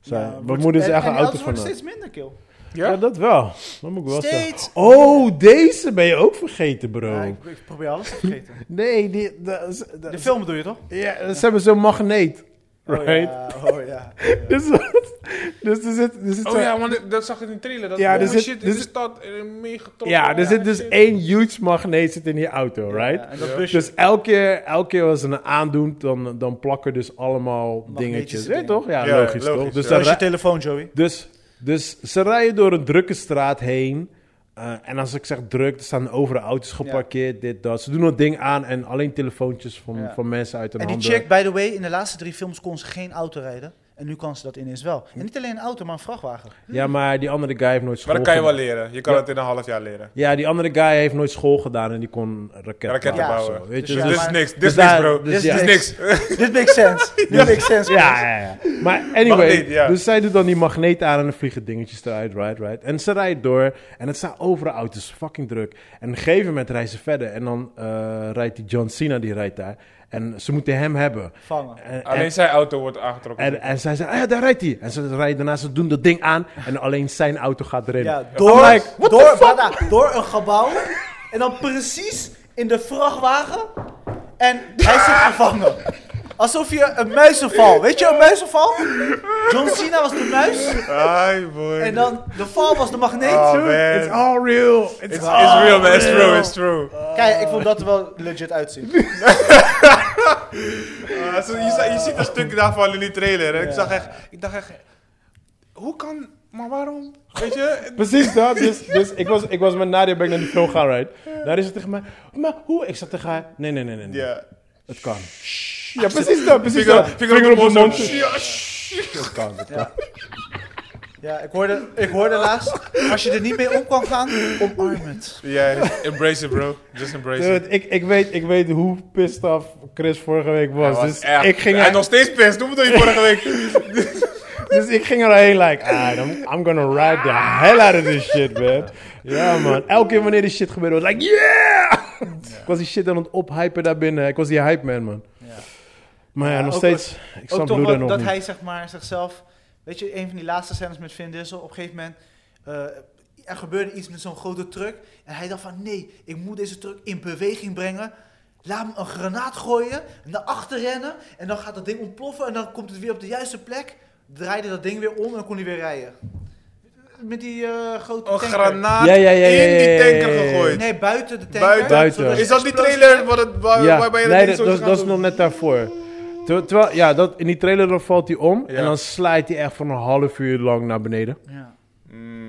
zijn.
Ja,
Mijn
wordt-
moeder is
en-
echt
en
een
die
auto
auto's worden
van
steeds minder kill.
ja? dat wel. Dat moet ik wel zeggen.
Steeds.
Oh, deze ben je ook vergeten, bro.
Ja, ik, ik probeer alles te vergeten.
Nee, die, dat is- dat
De
is-
film doe je toch?
ja, ze hebben zo'n magneet. Right?
Oh ja. Oh, ja.
Dus, dus er zit, er zit
Oh
zo'n-
ja, want ik- dat zag ik in de trailer. Dat
Ja,
ja,
er zit-
shit
er
in de
zit-
stad eh, meegetrokken.
ja, er zit dus
shit.
één huge magneet zit in die auto, right?
Ja, en dat
Ja.
busje.
Dus elke keer, elke keer als ze een aandoet, dan, dan plakken dus allemaal
Magnetische
dingetjes. Ja,
dingen.
toch? Ja,
Ja,
logisch,
logisch,
toch? Dus,
ja.
Dat is
dan
je
rij-
telefoon, Joey.
dus, dus ze rijden door een drukke straat heen. Eh, en als ik zeg druk, er staan overal auto's geparkeerd, dit, dat. Ze doen dat ding aan en alleen telefoontjes van,
Ja.
van mensen uit hun
En die
handen.
chick, by the way, in de laatste drie films kon ze geen auto rijden. En nu kan ze dat ineens wel. En niet alleen een auto, maar een vrachtwagen.
Ja, maar die andere guy heeft nooit school
Maar dat kan je wel
gedaan.
leren. Je kan
Ja.
het in een half jaar leren.
Ja, die andere guy heeft nooit school gedaan en die kon raketten,
Raketten
bouwen.
bouwen.
of zo, weet je?
Dus
Ja,
dit
Dus-
is
maar-
niks. Dit
dus
is niks,
daar-
bro.
dus
Dit
ja.
is niks.
Dit makes sense. Dit makes sense.
Ja, Ah, ja, ja. Maar anyway,
Magneet, ja.
dus zij doet dan die magneet aan en dan vliegen dingetjes eruit, right, right. En ze rijdt door en het staan overal auto's, fucking druk. En op een gegeven moment rijden ze verder en dan eh, rijdt die John Cena, die rijdt daar. En ze moeten hem hebben.
Vangen.
En,
Alleen
en,
zijn auto wordt aangetrokken.
en, en zij zegt, ah ja, daar rijdt hij. En ze rijden daarna, ze doen dat ding aan en alleen zijn auto gaat erin.
Ja,
I'm
door,
like, what
door,
the fuck?
brada, door een gebouw. En dan precies in de vrachtwagen. En hij zit gevangen. Alsof je een muizenval. Weet je een muizenval? John Cena was de muis.
Ai, boy.
En dan de val was de magneet.
Oh,
Dude,
man.
It's all real. It's,
It's,
all
it's real, man. It's true, it's true.
Kijk, ik vond dat er wel legit uitzien.
Ah, zo- je, za- je ziet een stuk daarvan in die trailer. En ik, zag echt, ik dacht echt... Hoe kan... Maar waarom? Weet je?
Precies dat. Dus, dus ik, was, ik was met Nadia ben ik naar die film gaan, right? Nadia zat tegen mij, maar hoe? Ik zat tegen haar, nee, nee, nee, nee. nee.
Ja.
Het kan. Ja, precies dat, precies
Vinger,
dat.
vinger, op de mond. zo. Ja,
Het kan, het kan.
Ja, ik hoorde, ik hoorde laatst. Als je er niet mee om kan gaan, omarm het.
Ja, embrace it, bro. Just embrace it.
Dude, ik, ik, weet, ik weet hoe pissed af Chris vorige week was.
Hij was
dus,
echt-
ik ging
hij
er,
is nog steeds pissed. Doe het dan je vorige week.
dus ik ging erheen like, ah, I'm, I'm gonna ride the hell out of this shit, man. Ja, man. Elke keer wanneer die shit gebeurde, was ik like, yeah! ik was die shit aan het ophypen daarbinnen. Ik was die hype man, man.
Ja.
Maar ja,
Ja,
nog
ook
steeds, ik
Ook
snap
toch
Blue
wel
nog
dat
niet.
hij zeg maar zichzelf... Weet je, een van die laatste scènes met Vin Diesel. Op een gegeven moment... eh, er gebeurde iets met zo'n grote truck. En hij dacht van... Nee, ik moet deze truck in beweging brengen. Laat hem een granaat gooien. Naar achter rennen. En dan gaat dat ding ontploffen. En dan komt het weer op de juiste plek. Draaide dat ding weer om. En dan kon hij weer rijden. Met die eh, grote
Een
tanker.
granaat
Ja, ja, ja, ja,
in die
ja, ja,
tanker
ja, ja, ja.
gegooid.
Nee, buiten de tanker.
Buiten.
Buiten.
zodat
Is dat die
explosie-
trailer waar het, Eh, waar,
ja,
waarbij je
nee,
ding
dat,
zo
dat,
gaat
dat is
doen?
nog net daarvoor. Ter- Terwijl, ja, dat, in die trailer dan valt hij om
Ja.
en dan slijt hij echt van een half uur lang naar beneden.
Ja.
Mm.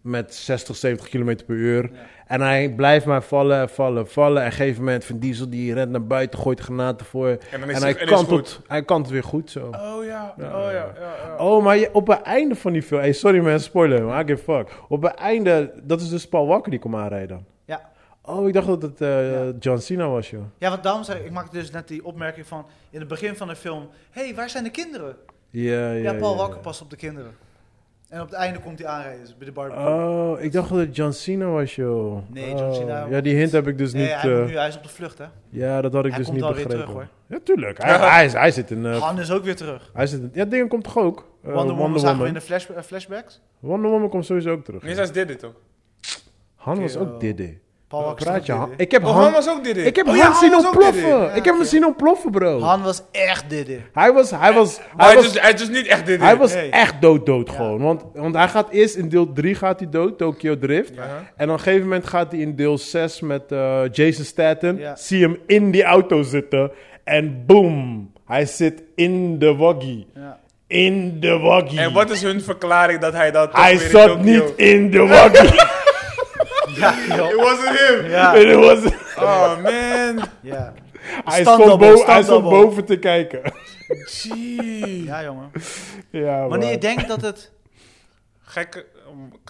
met 60, 70 km per uur. En hij blijft maar vallen en vallen vallen. En op een gegeven moment Van Diesel die rent naar buiten, gooit granaten voor. En,
En dan is
hij,
het en is
kant
goed.
het, hij kant het weer goed zo.
Oh ja, oh ja, ja. ja.
Oh, maar je- op het einde van die film... Hey, sorry man, spoiler, maar I give a fuck. Op het einde, dat is dus Paul Walker die komt aanrijden.
Ja.
Oh, ik dacht dat het eh,
Ja.
John Cena was, joh.
Ja, want daarom zei ik, ik maakte dus net die opmerking van in het begin van de film: hé, hey, waar zijn de kinderen?
Ja, ja,
Ja, Paul
ja,
Walker
ja.
past op de kinderen. En op het einde komt hij aanrijden dus bij de barbecue.
Oh, ik dacht dat het John Cena was, joh.
Nee, John
Oh,
Cena-
Ja, die hint heb ik dus
nee,
niet...
hij, moet
eh,
nu, hij is op de vlucht, hè?
ja, dat had ik
Hij
dus
komt
niet
wel weer
begrepen.
terug, hoor.
Ja, tuurlijk. Hij, hij, is- hij zit in eh,
Han is ook weer terug.
Hij zit, ja, dingen komt toch ook? Eh,
Wonder, Woman zagen we in de flash, eh, flashbacks.
Wonder Woman komt sowieso ook terug.
Niet als dit dit toch?
Han was
Kerel.
ook Diddy.
Paul Walker
Eh, Praat
is
je,
ook
Han?
Diddy.
Ik heb
Oh,
Han,
Han was ook dit dit.
ik heb
oh,
Han zien
was ook
ontploffen.
dit dit.
ik heb hem zien ontploffen, bro.
Han was echt Diddy.
Hij was, hij was,
Maar
hij
hij,
was,
is dus, hij is dus niet echt dit dit.
hij was
nee.
echt dood dood gewoon. Want, want hij gaat eerst in deel 3 gaat hij dood, Tokyo Drift.
Ja.
En op een gegeven moment gaat hij in deel 6 met eh, Jason Statham.
Ja.
Zie hem in die auto zitten. En boom, hij zit in de waggie.
Ja.
In de waggie.
En wat is hun verklaring dat hij dat toch
Hij
weer in
zat
Tokyo-
niet in de waggie.
Ja,
It
joh.
wasn't him.
ja,
En het was,
Oh man.
ja.
hij
Standdubbel,
stond, bo- hij
standdubbel.
stond boven te kijken.
Gee.
ja, jongen.
ja,
Wanneer je
man.
denkt dat het.
Gekker.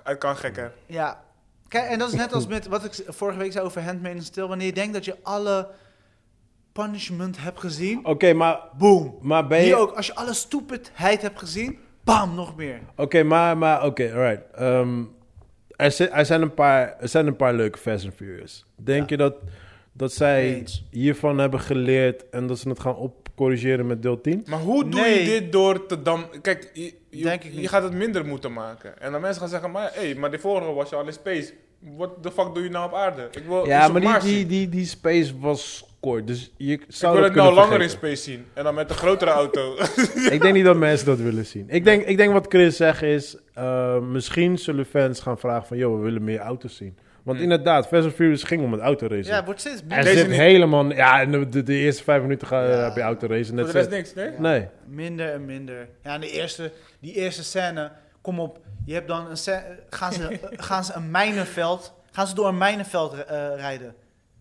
Hij kan gekker.
Ja. Kijk, en dat is net als met wat ik z- vorige week zei over Handmaid's Tale. Wanneer je denkt dat je alle punishment hebt gezien,
Oké, maar,
boom.
maar ben
Hier
je...
ook, als je alle stupidheid hebt gezien, bam, nog meer.
Oké, maar, maar oké, alright. Ehm, er, zi- er, zijn een paar, er zijn een paar leuke Fast and Furious. Denk je dat, dat zij
Eens.
hiervan hebben geleerd en dat ze het gaan op, corrigeren met deel 10.
Maar hoe doe
Nee.
je dit door te dam... Kijk, je, je,
Denk ik
je
niet.
gaat het minder moeten maken. En dan mensen gaan zeggen, maar hé, hey, maar die vorige was je al in space. What the fuck doe je nou op aarde? Ik wil iets
Ja,
op
maar die,
Mars
die,
zien.
die, die space was kort. Dus je
Ik
zou
wil
dat
het nou
kunnen
langer in
vergeten.
space zien. En dan met een grotere auto.
Ik denk niet dat mensen dat willen zien. Ik denk, ik denk wat Chris zegt is... eh, misschien zullen fans gaan vragen van... joh, we willen meer auto's zien. Want
Hmm.
inderdaad, Fast and Furious ging om het autoracen.
Ja, het wordt steeds
er
Deze
zit
niet.
helemaal... Ja, en de, de, de eerste vijf minuten ga,
Ja.
heb je autoracen.
Dat
Net
is niks, nee?
Nee.
minder en minder. Ja, en de eerste, die eerste scène, kom op. Je hebt dan een scè- gaan ze, gaan ze een mijnenveld, gaan ze door een mijnenveld eh, rijden.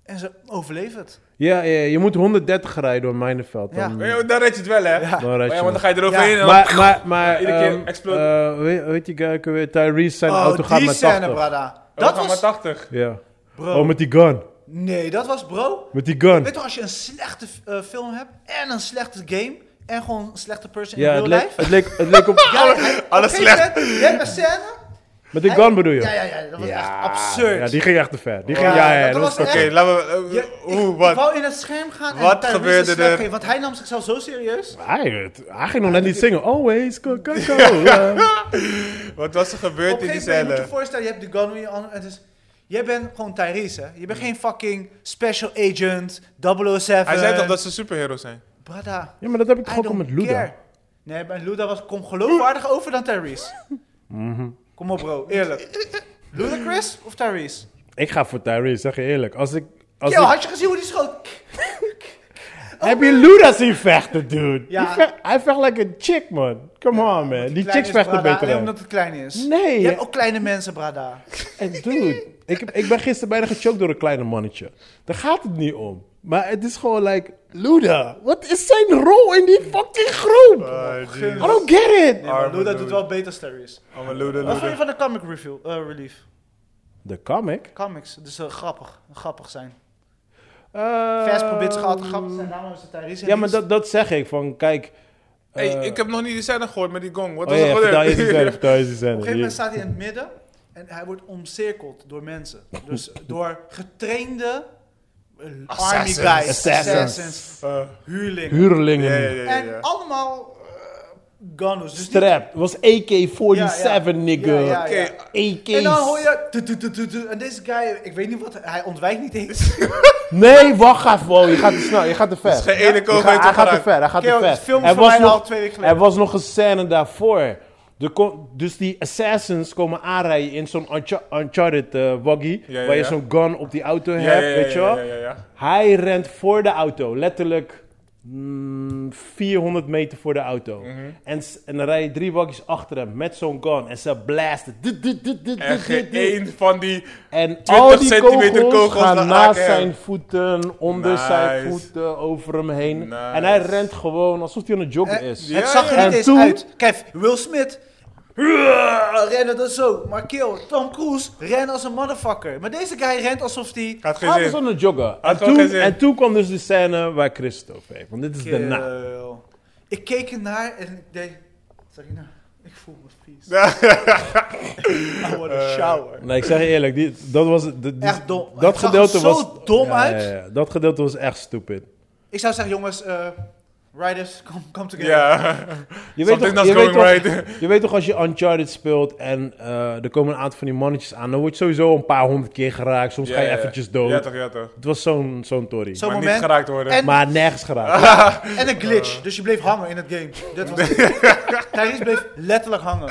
En ze overleven het.
Ja, ja, je moet 130 rijden door Mijnenveld.
Ja.
Dan,
Ja, dan red je het wel, hè?
Ja.
dan
Maar
rijd
ja,
je
want dan
nog.
ga je eroverheen
Ja.
en dan...
Maar, maar, maar
Iedere keer
ehm,
explode.
eh, weet, weet je guy ook weer? Tyrese, zijn
oh,
auto gaat
die
met
scène,
80.
brada.
Oh, we
Dat
gaan maar
was...
80.
Ja.
Bro.
Oh, met die gun.
Nee, dat was bro.
Met die gun.
Weet toch, als je een slechte eh, film hebt en een slechte game en gewoon een slechte person
Ja,
in
het
real
leek,
life.
het, leek, het leek op...
Ja, hij-
alles
oké,
slecht.
Sven, Je hebt een scène.
Met die
Hij-
gun bedoel je?
Ja, ja, ja. Dat was
Ja,
echt absurd.
Ja, die ging echt te ver. Die ging,
Ja,
ja, ja,
dat
dat
was
was-
Oké,
Echt?
laten we...
Ja,
eh,
ik-
Oeh,
Ik
wat?
wou in het scherm gaan en
Wat
Tyrese
gebeurde
een slag
er?
geven, want hij nam zichzelf zo serieus.
Hij, het- hij ging nog net niet zingen. Always go, go, go. Ja.
Wat was er
Op
gebeurd
een
in die
gegeven moment moet je
cellen?
voorstellen, je hebt de gun in je hand. Het is, jij bent gewoon Tyrese, hè? Je bent geen fucking special agent, 007.
Mm. Hij zei toch dat ze superhero's zijn?
Brada,
Ja, maar dat heb ik toch
I
ook al
don't
met Luda.
care. Nee, maar Luda was, kom geloofwaardig over dan Tyrese.
Mhm.
Kom op bro, eerlijk. Ludacris of Tyrese?
Ik ga voor Tyrese, zeg je eerlijk. Als ik... Als
Yo,
ik-
had je gezien hoe die schoot?
Heb je Luda zien vechten, dude?
Ja.
Die vecht- hij vecht like een chick, man. Come on, man. Die, chicks vechten
brada,
beter
alleen
dan.
omdat het klein is.
Nee.
Je hebt ook kleine mensen, brada.
En dude, ik, heb- ik ben gisteren bijna gechoked door een kleine mannetje. Daar gaat het niet om. Maar het is gewoon like... Luda, wat is zijn rol in die fucking groep?
Eh,
Ah,
I don't get
Nee,
it.
maar
Arme
Luda
dude.
doet wel beter als Tyrese.
Oh, mijn loeder,
Wat vond je
loeder.
van de comic review, eh, relief?
De comic?
Comics, dus eh, grappig. Grappig zijn.
Uh,
Vers probeert zich altijd grappig te zijn, daarom is het Tyrese.
Ja, maar dat, dat zeg ik. Van kijk...
Hey,
eh,
ik heb nog niet die scène gehoord met die gong. Wat
Oh
was
ja,
er
ja,
gebeurd?
vertel je die zelf, vertel je die zelf.
Op een gegeven moment staat hij in het midden en hij wordt omcirkeld door mensen. Dus door getrainde eh, army
Assassins.
guys, assassins,
Eh,
huurlingen.
Huurlingen.
ja, ja, ja,
En
ja.
allemaal eh gunners. Dus niet-
Strap. was AK-47, nigga.
Ja, ja, ja.
Oké,
AK's.
En dan hoor je... tu- tu- tu- tu- tu- En deze guy, ik weet niet wat, hij ontwijkt niet eens.
Nee, wacht even. wow, je gaat te snel, je gaat te ver.
is geen ene
Je
kogel
gaat-
heeft
Hij gaat te
geraakt.
ver, hij gaat
Kerel,
te ver.
die film is
Er
voor
was
mij
nog-
al twee weken geleden.
Er was nog een scène daarvoor. Er kon- dus die assassins komen aanrijden in zo'n Uncha- Uncharted eh, waggie.
Ja, ja,
waar je
ja.
zo'n gun op die auto
Ja,
hebt,
ja, ja,
weet je
ja,
wel.
ja, ja, ja.
Hij rent voor de auto, letterlijk mm, 400 meter voor de auto.
Mhm.
en, s- en dan rij je drie waggies achter hem met zo'n gun. En ze blasten. Dit, dit, dit, dit,
En
dit, dit,
geen
dit.
één van die...
En al die
centimeter
kogels,
kogels
gaan
raken
naast
hem.
zijn voeten, onder
Nice.
zijn voeten, over hem heen.
Nice.
En hij rent gewoon alsof hij aan het joggen is.
Ja,
Eh, het zag er
ja.
niet
En
eens
toen-
uit. Kijk, Will Smith. ruah, Rennen dat zo. Maar kill, Tom Cruise rennen als een motherfucker. Maar deze guy rent alsof die.
Gaat geen
Hij Ah, was
zin.
aan het joggen. En
Had gewoon
toen,
geen zin.
en toen kwam dus de scène waar Christophe het over heeft. Want dit is de
Kill.
naam.
Ik keek ernaar en ik deed. Zeg je nou? Ik voel me vies. I want a shower.
Nee, ik zeg je eerlijk, die, dat was... de- die-
Echt dom. Het
Eh, Dat
zag er
gedeelte
zo
was...
dom
Ja,
uit.
ja, ja. dat gedeelte was echt stupid.
Ik zou zeggen, jongens, eh, riders, come, come together.
Ja.
Je weet,
Something
toch,
that's
je, weet
going
toch,
right.
je weet toch, als je Uncharted speelt en eh, er komen een aantal van die mannetjes aan, dan word je sowieso een paar honderd keer geraakt. Soms ga je
Ja, ja.
eventjes dood.
Ja toch, ja toch.
Het was zo'n zo'n tory.
Zo'n
Maar niet Eh.
moment.
geraakt worden.
En-
Maar nergens geraakt.
En een glitch, dus je bleef hangen in het game. Dat was het. Tyrese bleef letterlijk hangen.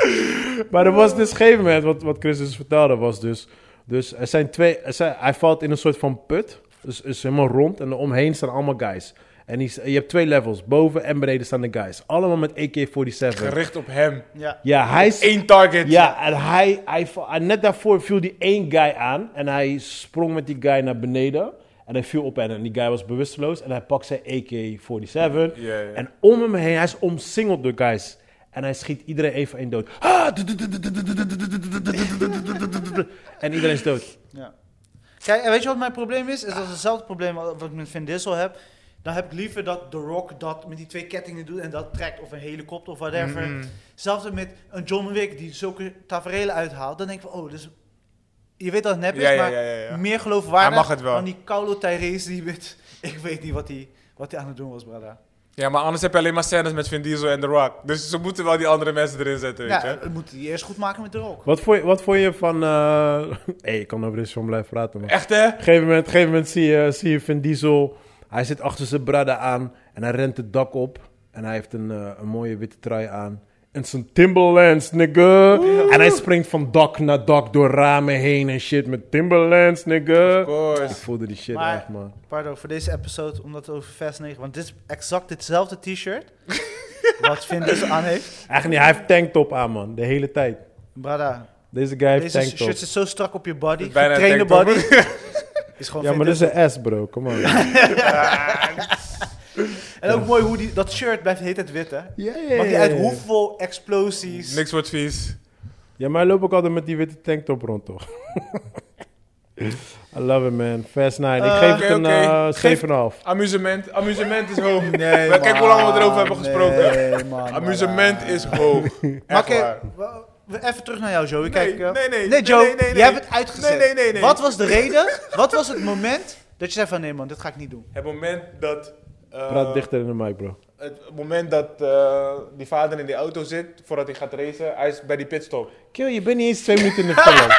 maar er was dus een gegeven moment, wat, wat Chris dus vertelde, was dus... Dus er zijn twee... er zijn- hij valt in een soort van put. Dus is helemaal rond en omheen staan allemaal guys. En die, je hebt twee levels. Boven en beneden staan de guys. Allemaal met AK-47.
Gericht op hem.
Ja.
Ja, hij... is-
Eén target.
Ja, en hij, hij, va- en net daarvoor viel die één guy aan. En hij sprong met die guy naar beneden. En hij viel op hen. En die guy was bewusteloos. En hij pakt zijn AK-47.
ja.
En om hem heen, hij is omsingeld door guys. En hij schiet iedereen even één dood. Ah! En iedereen is dood.
Ja. Kijk, en weet je wat mijn probleem is? Is dat hetzelfde probleem wat wat ik met Vin Diesel heb. Dan heb ik liever dat The Rock dat met die twee kettingen doet en dat trekt of een helikopter of whatever.
Mm-hmm.
Hetzelfde met een John Wick die zulke tafereelen uithaalt. Dan denk ik van, oh, dus je weet dat het nep is,
Ja, ja,
maar
ja, ja, ja.
meer
Hij mag
geloofwaardig
het wel.
dan die Kaulo Tyrese die met, ik weet niet wat hij wat die aan het doen was, brada.
Ja, maar anders heb je alleen maar scènes met Vin Diesel en The Rock. Dus ze moeten wel die andere mensen erin zetten, weet
Ja,
je.
het moet je eerst goed maken met de rook.
Wat vond je, wat vond je van... eh hey, ik kan over deze film blijven praten, maar...
Echt, hè?
Op een gegeven moment, op een gegeven moment zie, je, zie je Vin Diesel. Hij zit achter zijn brada aan en hij rent het dak op. En hij heeft een, eh, een mooie witte trui aan. En zijn Timberlands, nigga. En hij springt van dak naar dak door ramen heen en shit met Timberlands, nigga.
Of course.
Ik voelde die shit
Maar-
echt, man.
Pardon, voor deze episode, omdat het over Fast 9... Want dit is exact hetzelfde t-shirt... wat Vin Diesel aan heeft.
Eigenlijk niet, hij heeft tanktop aan, man. De hele tijd.
Brada,
Deze guy heeft
deze
tanktop.
shirt zit zo strak op je body.
Bijna een
Getrainde body.
tanktop.
is gewoon
Ja,
Vin
maar dus- dit is
Diesel.
een S, bro. Come on. Ja,
En ook mooi hoe die, dat shirt blijft de hele tijd wit, hè.
ja,
Maakt niet
ja,
uit
ja.
hoeveel explosies...
Niks wordt vies.
Ja, maar hij loopt ook altijd met die witte tanktop rond, toch? I love it, man. Fast 9.
Eh,
ik geef
Ah, oké,
het een
oké.
eh,
Geef-
7,5.
Amusement. Amusement is hoog.
Nee,
Maar kijk hoe lang we erover hebben
man.
gesproken.
Nee, man,
Amusement
man.
is hoog.
Maar
Echt
oké,
waar.
wa- wa- even terug naar jou, Joey. Kijk, eh,
nee, nee,
nee,
nee,
Joe,
nee, nee,
je
nee.
hebt het uitgezet.
Nee, nee, nee, nee.
Wat was de reden? Wat was het moment dat je zei van, nee man, dit ga ik niet doen?
Het moment dat... eh,
Praat dichter in de mic, bro.
Het moment dat eh, die vader in die auto zit, voordat hij gaat racen, hij is bij die pitstop.
Kill, je bent niet eens twee minuten in de film.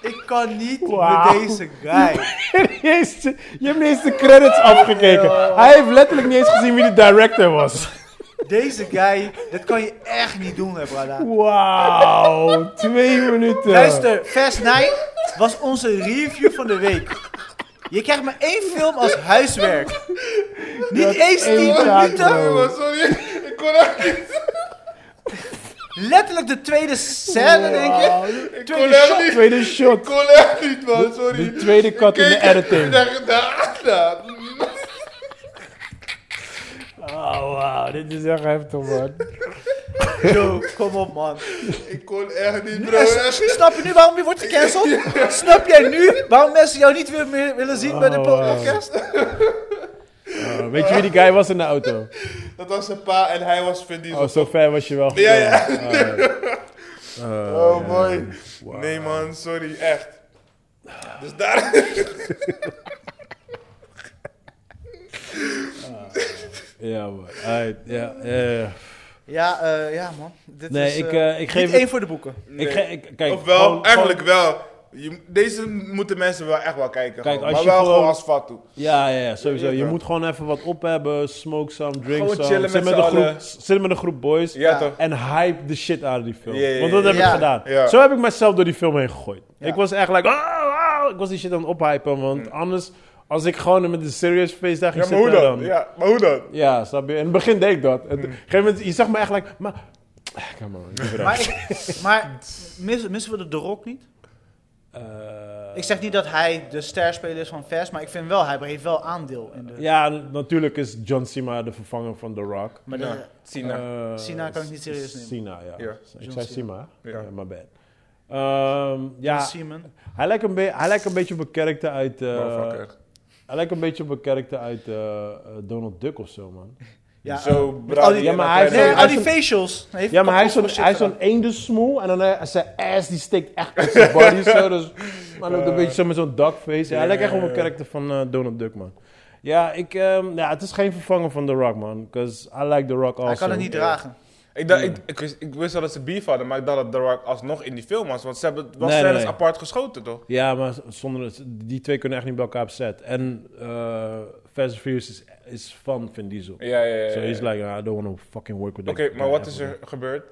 Ik kan niet
Wauw.
met deze guy.
Jezus, je hebt niet eens de credits afgekeken. Hij heeft letterlijk niet eens gezien wie de director was.
Deze guy, dat kan je echt niet doen, hè, brada.
Wauw, twee minuten.
Luister, Fast Night was onze review van de week. Je krijgt maar één film als huiswerk. Niet eens 10
één taak,
minuten.
bro.
sorry, ik kon echt niet.
Letterlijk de tweede scène, denk
Wauw,
je.
de
Tweede shot.
Tweede shot.
kon echt niet, man, sorry.
De tweede cut in de editing. Oh, wauw, dit is echt heftig, man.
Joe, kom op, man.
Ik kon echt niet,
Ja, s- snap je nu waarom je wordt gecanceld? Snap jij nu waarom mensen jou niet weer meer willen zien bij de
Oh,
po-
wow.
podcast?
Oh, weet je wie die guy was in de auto?
Dat was zijn pa en hij was Vin Diesel.
Oh, zo ver was je wel.
Ja, ja.
gekomen. Oh,
Oh,
ja.
boy.
Wauw.
Nee, man, sorry, echt. Dus daar...
Ja, man. Alright, ja, eh.
Ja, eh, ja man. Dit
Nee,
Dus,
is, eh,
ik, eh, ik geef
niet
het-
één voor de boeken.
Nee.
Ik ge- ik, kijk,
Ofwel,
gewoon-
eigenlijk
gewoon-
wel. Je- deze moeten mensen wel echt wel kijken.
Kijk,
gewoon.
als
maar wel
je gewoon-
gewoon als fat toe.
ja, ja, ja, sowieso.
Ja,
Je
toch.
moet gewoon even wat op hebben. Smoke some, drink
Gewoon
some.
chillen met
zit, met
z'n
een groep,
allen.
zit met een groep boys.
Ja, toch?
En hype de shit uit die film.
Ja, ja, ja,
Want dat
ja,
heb
ja.
ik gedaan.
Ja.
Zo heb ik mezelf door die film heen gegooid. Ik was echt like, oh, wow. ik was die shit aan het ophypen. Want anders, als ik gewoon met een serious face daar ging
Ja, maar hoe
zitten
dan?
dan...
Ja, maar hoe dan?
Ja, snap je? In het begin deed ik dat. En op een gegeven moment, je zag me echt like, maar... Ah, Come on, give it up.
Maar, ik- maar mis- missen we de, de Rock niet?
Eh,
Ik zeg niet dat hij de sterspeler is van Fast, maar ik vind wel, hij heeft wel aandeel in de...
Ja, n- natuurlijk is John Cena de vervanger van The Rock.
Maar de-
Ja. Sina.
Eh,
Cena kan ik niet serieus nemen.
Cena, ja.
Ja.
Ik
John
zei
Cena.
Cena.
Ja.
Ja, my bad. Ehm, ja,
Seaman.
hij lijkt, een be- hij lijkt een beetje op een karakter uit... eh,
Motherfucker.
hij lijkt een beetje op een karakter uit eh, eh, Donald Duck of zo, man.
Ja, eh,
Zo
al
braaf.
die-
Ja, maar hij
nee,
hij
al
is
die
een-
facials. Hij heeft
Ja, maar hij is
kapot
zo'n
veel
hij is
shit
zo'n eendensmoel en dan eh, zijn ass die steekt echt uit zijn body zo. Dus, maar dan ook een beetje zo met zo'n duckface. Ja, hij lijkt echt op een karakter van eh, Donald Duck, man. Ja, ik, ehm, ja, het is geen vervanger van The Rock, man. Because I like The Rock
gedaan.
also.
Hij kan het niet dragen.
Ik, dacht, ik, ik, wist, ik wist wel dat ze beef hadden, maar ik dacht dat The Rock alsnog in die film was. Want ze hebben het wel
Nee,
scènes
nee.
apart geschoten, toch?
Ja, maar zonder, het- die twee kunnen echt niet bij elkaar op set. En eh Fast and Furious is, is van Vin Diesel.
Ja, ja, ja.
So he's like, I don't want to fucking work with that
Eh, Oké, maar
guy
wat is
ever.
er gebeurd?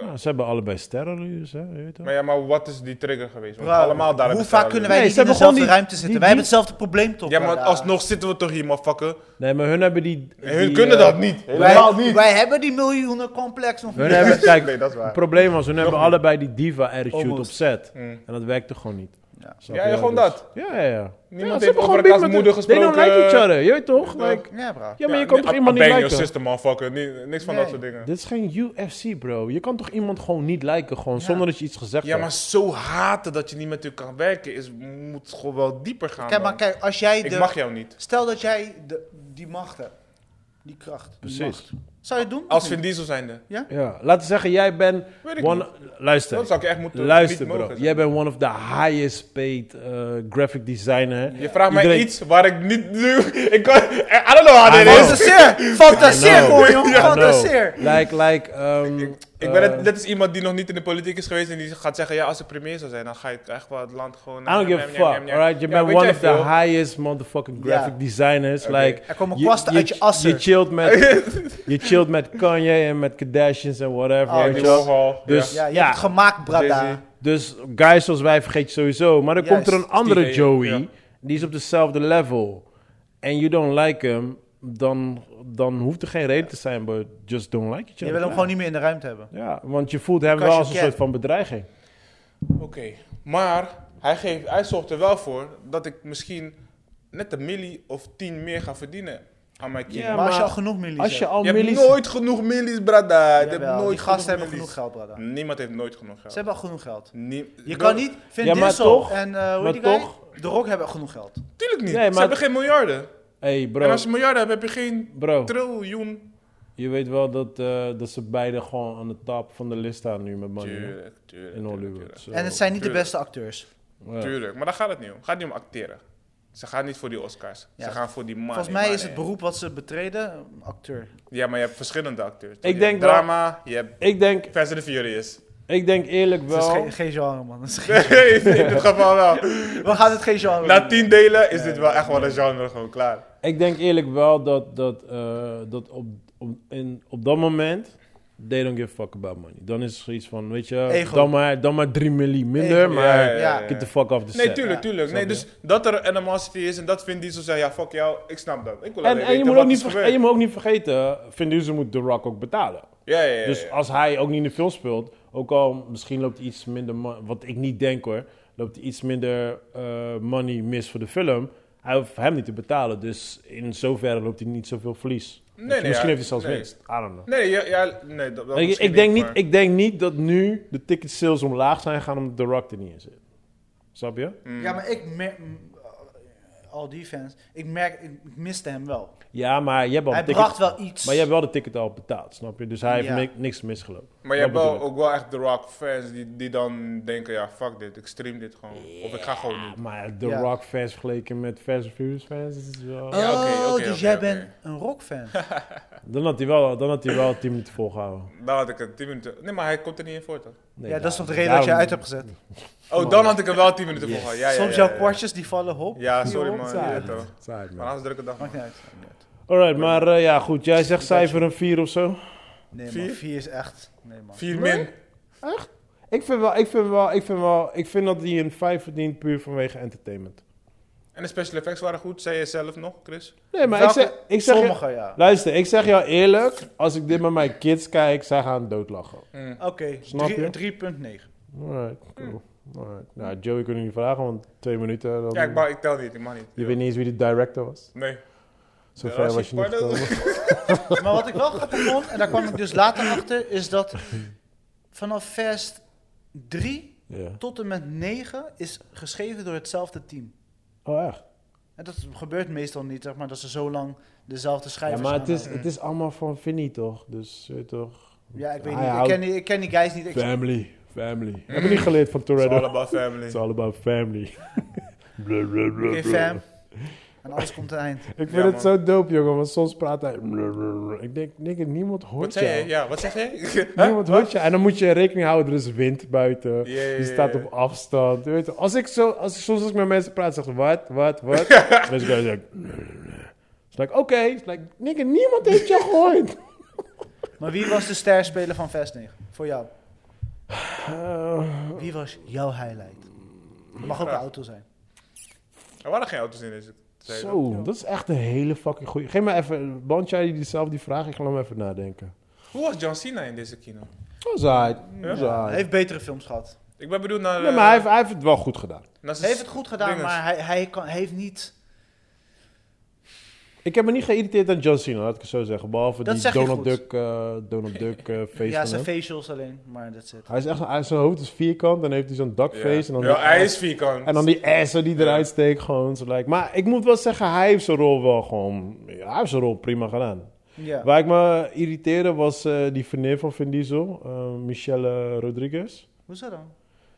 Nou, ze hebben allebei sterren, dus, hè, je weet toch?
Maar ja, maar wat is die trigger geweest? Want
Bro,
allemaal daar
hoe
hebben
vaak
ze
kunnen
Nee,
wij
ze
niet in
hebben gewoon
dezelfde
die-
ruimte zitten?
die-
Wij hebben
die-
hetzelfde probleem toch?
Ja, maar
brada?
alsnog zitten we toch hier, motherfucker?
Nee, maar hun hebben die...
Hun
die,
kunnen
eh,
dat niet.
Wij,
Helemaal niet.
wij hebben die miljoenen complex nog
Hun
niet.
hebben, kijk,
Nee, dat is waar.
het probleem was, hun hebben
niet.
allebei die diva-attitude
Almost.
op set.
Mm.
En dat werkte gewoon niet.
Ja.
Snap
Ja,
je?
ja, gewoon
Dus-
dat.
Ja, ja, ja.
Niemand
ja, ze
heeft
hebben
over
gewoon
elkaars
beef met
moeder
hun- They don't
gesproken.
like each other, je weet toch? Like,
Ja, bra.
ja, maar je kan toch
a-
iemand
a
niet
bang your
liken?
sister, motherfucker. Ni- niks van
Nee.
dat soort dingen.
Dit is geen UFC, bro. Je kan toch iemand gewoon niet liken, gewoon zonder dat je iets gezegd
Ja, maar
hebt?
zo haten dat je niet met u kan werken is, moet gewoon wel dieper gaan.
Kijk, maar
man.
kijk, als jij
ik
de...
mag jou niet.
Stel dat jij de, die macht hebt. Die kracht, die
Precies.
macht. Zou je het doen?
Als Vin Diesel zijnde.
Ja, laten we zeggen, jij bent...
Weet ik
One, luister,
Dat zou ik echt moeten
luister
niet mogen
bro.
zeggen.
Jij bent one of the highest paid eh, graphic designer.
Je vraagt mij
Iedereen-
iets waar ik niet nu. Ik kan. I don't know how
I
that
know.
is.
Fantaseer! Fantaseer
I know.
gewoon, jongen!
I know.
Fantaseer!
Like, like... ehm,
Ik ben net,
eh,
net als iemand die nog niet in de politiek is geweest en die gaat zeggen: ja, als ik premier zou zijn, dan ga ik echt wel het land gewoon.
I don't give a fuck, alright? Je bent one of the highest motherfucking graphic
Ja.
designers. Like,
Er komen kwasten uit je assen.
Je chillt met, je chillt met Kanye en met Kardashians en whatever.
Oh,
weet
die
je wel.
Dus.
Dus-
ja, je
Ja.
hebt het gemaakt,
Jay-Z.
brada.
Dus guys zoals wij vergeet je sowieso. Maar dan komt er
Juist,
een andere
die-
Joey,
ja.
die is op dezelfde level. En you don't like him, dan, dan hoeft er geen reden te zijn, but just don't like each other.
Je wil hem gewoon niet meer in de ruimte hebben.
Ja, want je voelt hem
Because
wel
you
als een
can.
soort van bedreiging.
Oké, maar hij, geeft, hij zorgt er wel voor dat ik misschien net een milli of tien meer ga verdienen aan mijn kind.
Ja,
maar, als je
maar
al genoeg millies
Als je
hebt.
al
je hebt
millies...
nooit genoeg millies, brada. Je hebt
Jawel,
nooit
die gasten hebben
millies.
genoeg geld, brada.
Niemand heeft nooit genoeg
Ze
geld.
hebben al genoeg geld.
Nie-
Je
Bro,
kan niet... Vin
Ja, maar
Diesel
toch-
en eh, hoe
maar
heet die guy?
toch-
De Rock hebben genoeg geld.
Tuurlijk niet.
Nee,
Ze
maar-
hebben geen miljarden.
hey
En
bro,
als je miljarden hebt, heb je geen
bro,
triljoen.
je weet wel dat, eh, dat ze beiden gewoon aan de top van de list staan nu met money. hè?
Tuurlijk, tuurlijk.
In Hollywood.
Tuurlijk,
so,
En het zijn niet de
tuurlijk.
beste acteurs.
ja.
tuurlijk. maar daar gaat het niet om. Het gaat niet om acteren. Ze gaan niet voor die Oscars.
Ja.
Ze gaan voor die money.
Volgens mij is
money.
het beroep wat ze betreden, acteur.
Ja, maar je hebt verschillende acteurs.
Ik
je
denk
hebt drama, je hebt
Ik denk,
Fast and the Furious.
ik denk eerlijk
Het is
wel...
geen, geen genre, man. Het is geen-
Nee, in dit geval wel.
We gaan het geen genre
Na
noemen.
tien delen is dit wel echt wel een genre gewoon klaar.
Ik denk eerlijk wel dat, dat, eh, dat op, op, in, op dat moment. They don't give a fuck about money. Dan is het zoiets van, weet je,
Ego.
dan maar, dan maar 3 milli minder,
Ego.
maar
ja.
get the fuck off the
Nee,
set.
tuurlijk,
Ja,
tuurlijk. Nee, dus dat er animosity is en dat Vin Diesel zegt, ja, fuck jou, ik snap dat. Ik wil alleen
En, en, je
weten
moet
wat
ook
is
niet verge- en
gebeurd.
je moet ook niet vergeten, Vin Diesel moet The Rock ook betalen.
Ja, ja, ja. ja.
Dus als hij ook niet in de film speelt, ook al misschien loopt iets minder, mo- wat ik niet denk hoor, loopt iets minder eh, money mis voor de film, hij hoeft hem niet te betalen. Dus in zoverre loopt hij niet zoveel verlies.
Nee,
Weet je,
nee,
misschien
ja,
heeft hij zelfs
nee.
winst. I don't know.
Nee, ja, ja, nee, dat, dat
Ik,
misschien
ik, denk niet,
maar-
ik denk niet dat nu de ticket sales omlaag zijn gaan omdat The Rock er niet in zit. Snap je?
Mm.
Ja, maar ik merk... Al die fans. Ik merk, ik miste hem wel.
Ja, maar je hebt al
Hij
de ticket,
bracht wel iets.
maar je hebt wel de ticket al betaald, snap je? Dus hij heeft
Ja.
ni- niks misgelopen.
Maar je
Dat
hebt wel,
bedoel ik.
ook wel echt The Rock fans die, die dan denken, ja, fuck dit, ik stream dit gewoon. Of ik ga gewoon niet.
Maar The
Ja.
Rock fans vergeleken met Fast and Furious fans is wel...
Ja, oké,
oh,
oké,
dus
oké,
jij
oké.
bent een rockfan.
Dan had hij wel, dan had hij wel 10 minuten volgehouden.
Dan had ik het 10 minuten... Nee, maar hij komt er niet in voor, toch?
Nee,
ja, dat is toch de
daarom-
reden dat je uit hebt gezet.
Oh, dan had ik er wel 10 minuten voor gehad. Oh, Ja, ja,
Soms
ja,
jouw
ja, ja.
kwartjes die vallen, hop.
Ja, sorry man.
Saai,
Ja,
man.
toch.
Saai, man.
Maar anders drukke dag. man.
Maakt niet uit. maakt niet uit.
Alright, maar eh, ja, goed. Jij zegt cijfer een 4 of zo?
Nee,
Vier?
man. Vier is echt... Nee, man.
4 min.
Ik vind wel, ik vind wel, ik vind wel, ik vind dat hij een 5 verdient puur vanwege entertainment.
En de special effects waren goed, zei je zelf nog, Chris?
Nee, maar
Welke-
ik zeg, ik zeg je-
Sommige, ja.
Luister, ik zeg jou eerlijk, als ik dit met mijn kids kijk, zij gaan doodlachen.
Oké,
Snap
drie-
je?
3.9.
Alright,
Hm.
cool. Alright. Nou, Joey kunnen niet vragen, want twee minuten. Dan...
Ja, ik, mag- ik tel niet, ik mag niet.
Je weet niet eens wie de director was.
Nee.
Zo
Ja,
ver
als
was
je
je niet
pardon-
gekomen.
Maar wat ik wel grappig vond, en daar kwam ik dus later achter, is dat vanaf vers 3
Ja.
tot en met 9 is geschreven door hetzelfde team.
Oh, echt?
En dat gebeurt meestal niet, zeg maar, dat ze zo lang dezelfde
Ja,
schrijvers
maar het is,
aanhouden.
het is allemaal van Vinny, toch? Dus, je weet toch?
Ja, ik weet
Hij
niet. Ik
houdt-
ken, die- ik ken die guys niet. Ik,
Family, family.
Mm.
Heb je niet geleerd van
It's all
Toretto?
about family.
It's all about family. Blub, blub, blub,
oké,
blub.
fam. En alles komt aan het eind.
Ik vind
Ja,
het
man.
zo dope, jongen, want soms praat hij... blub, blub, blub. Ik denk, nigga, niemand
Wat
hoort
zei
jou.
je? Ja, wat zeg je?
Nee, want hoort je- En dan moet je rekening houden, er is wind buiten.
ja, ja,
je staat
ja.
op afstand. Je weet, als ik zo, als, soms als ik met mensen praat, zeg ik, wat, wat, wat. En dan zeggen ze, "Is like, oké. Is like, nigga, niemand heeft jou gehoord.
Maar wie was de sterspeler van vers 9? Voor jou.
Eh,
Wie was jouw highlight? Het mag ook een auto zijn.
Er waren geen auto's in deze. zei je
zo, dat is echt een hele fucking goeie. Geef me even, want jij die zelf die vraag, ik ga hem even nadenken.
dat? Hoe was John Cena in deze kino?
Dat
Oh,
is aight,
Ja. eh,
dat is
Hij
aight.
heeft betere films gehad.
Ik ben bedoeld naar...
Nee, maar hij heeft, hij heeft het wel goed gedaan.
Hij heeft het goed gedaan, maar hij, hij, kan, hij heeft niet...
Ik heb me niet geïrriteerd aan John Cena, laat ik het zo zeggen. Behalve
Dat
die
zeg je
Donald
goed.
Duck, eh, Donald Duck eh, face
Ja,
van
zijn
hem.
facials alleen, maar dat zit.
Hij is echt, hij, zijn hoofd is vierkant, dan heeft hij zo'n dakface. En, dan
Ja,
die
hij
ass-
is vierkant.
en dan die assen die
Ja.
eruit steekt, gewoon zo lijkt. Maar ik moet wel zeggen, hij heeft zijn rol wel gewoon... ja, Hij heeft zijn rol prima gedaan.
Ja.
Waar ik me irriteerde was eh, die verneer van Vin Diesel, eh, Michelle Rodriguez.
Hoezo dan?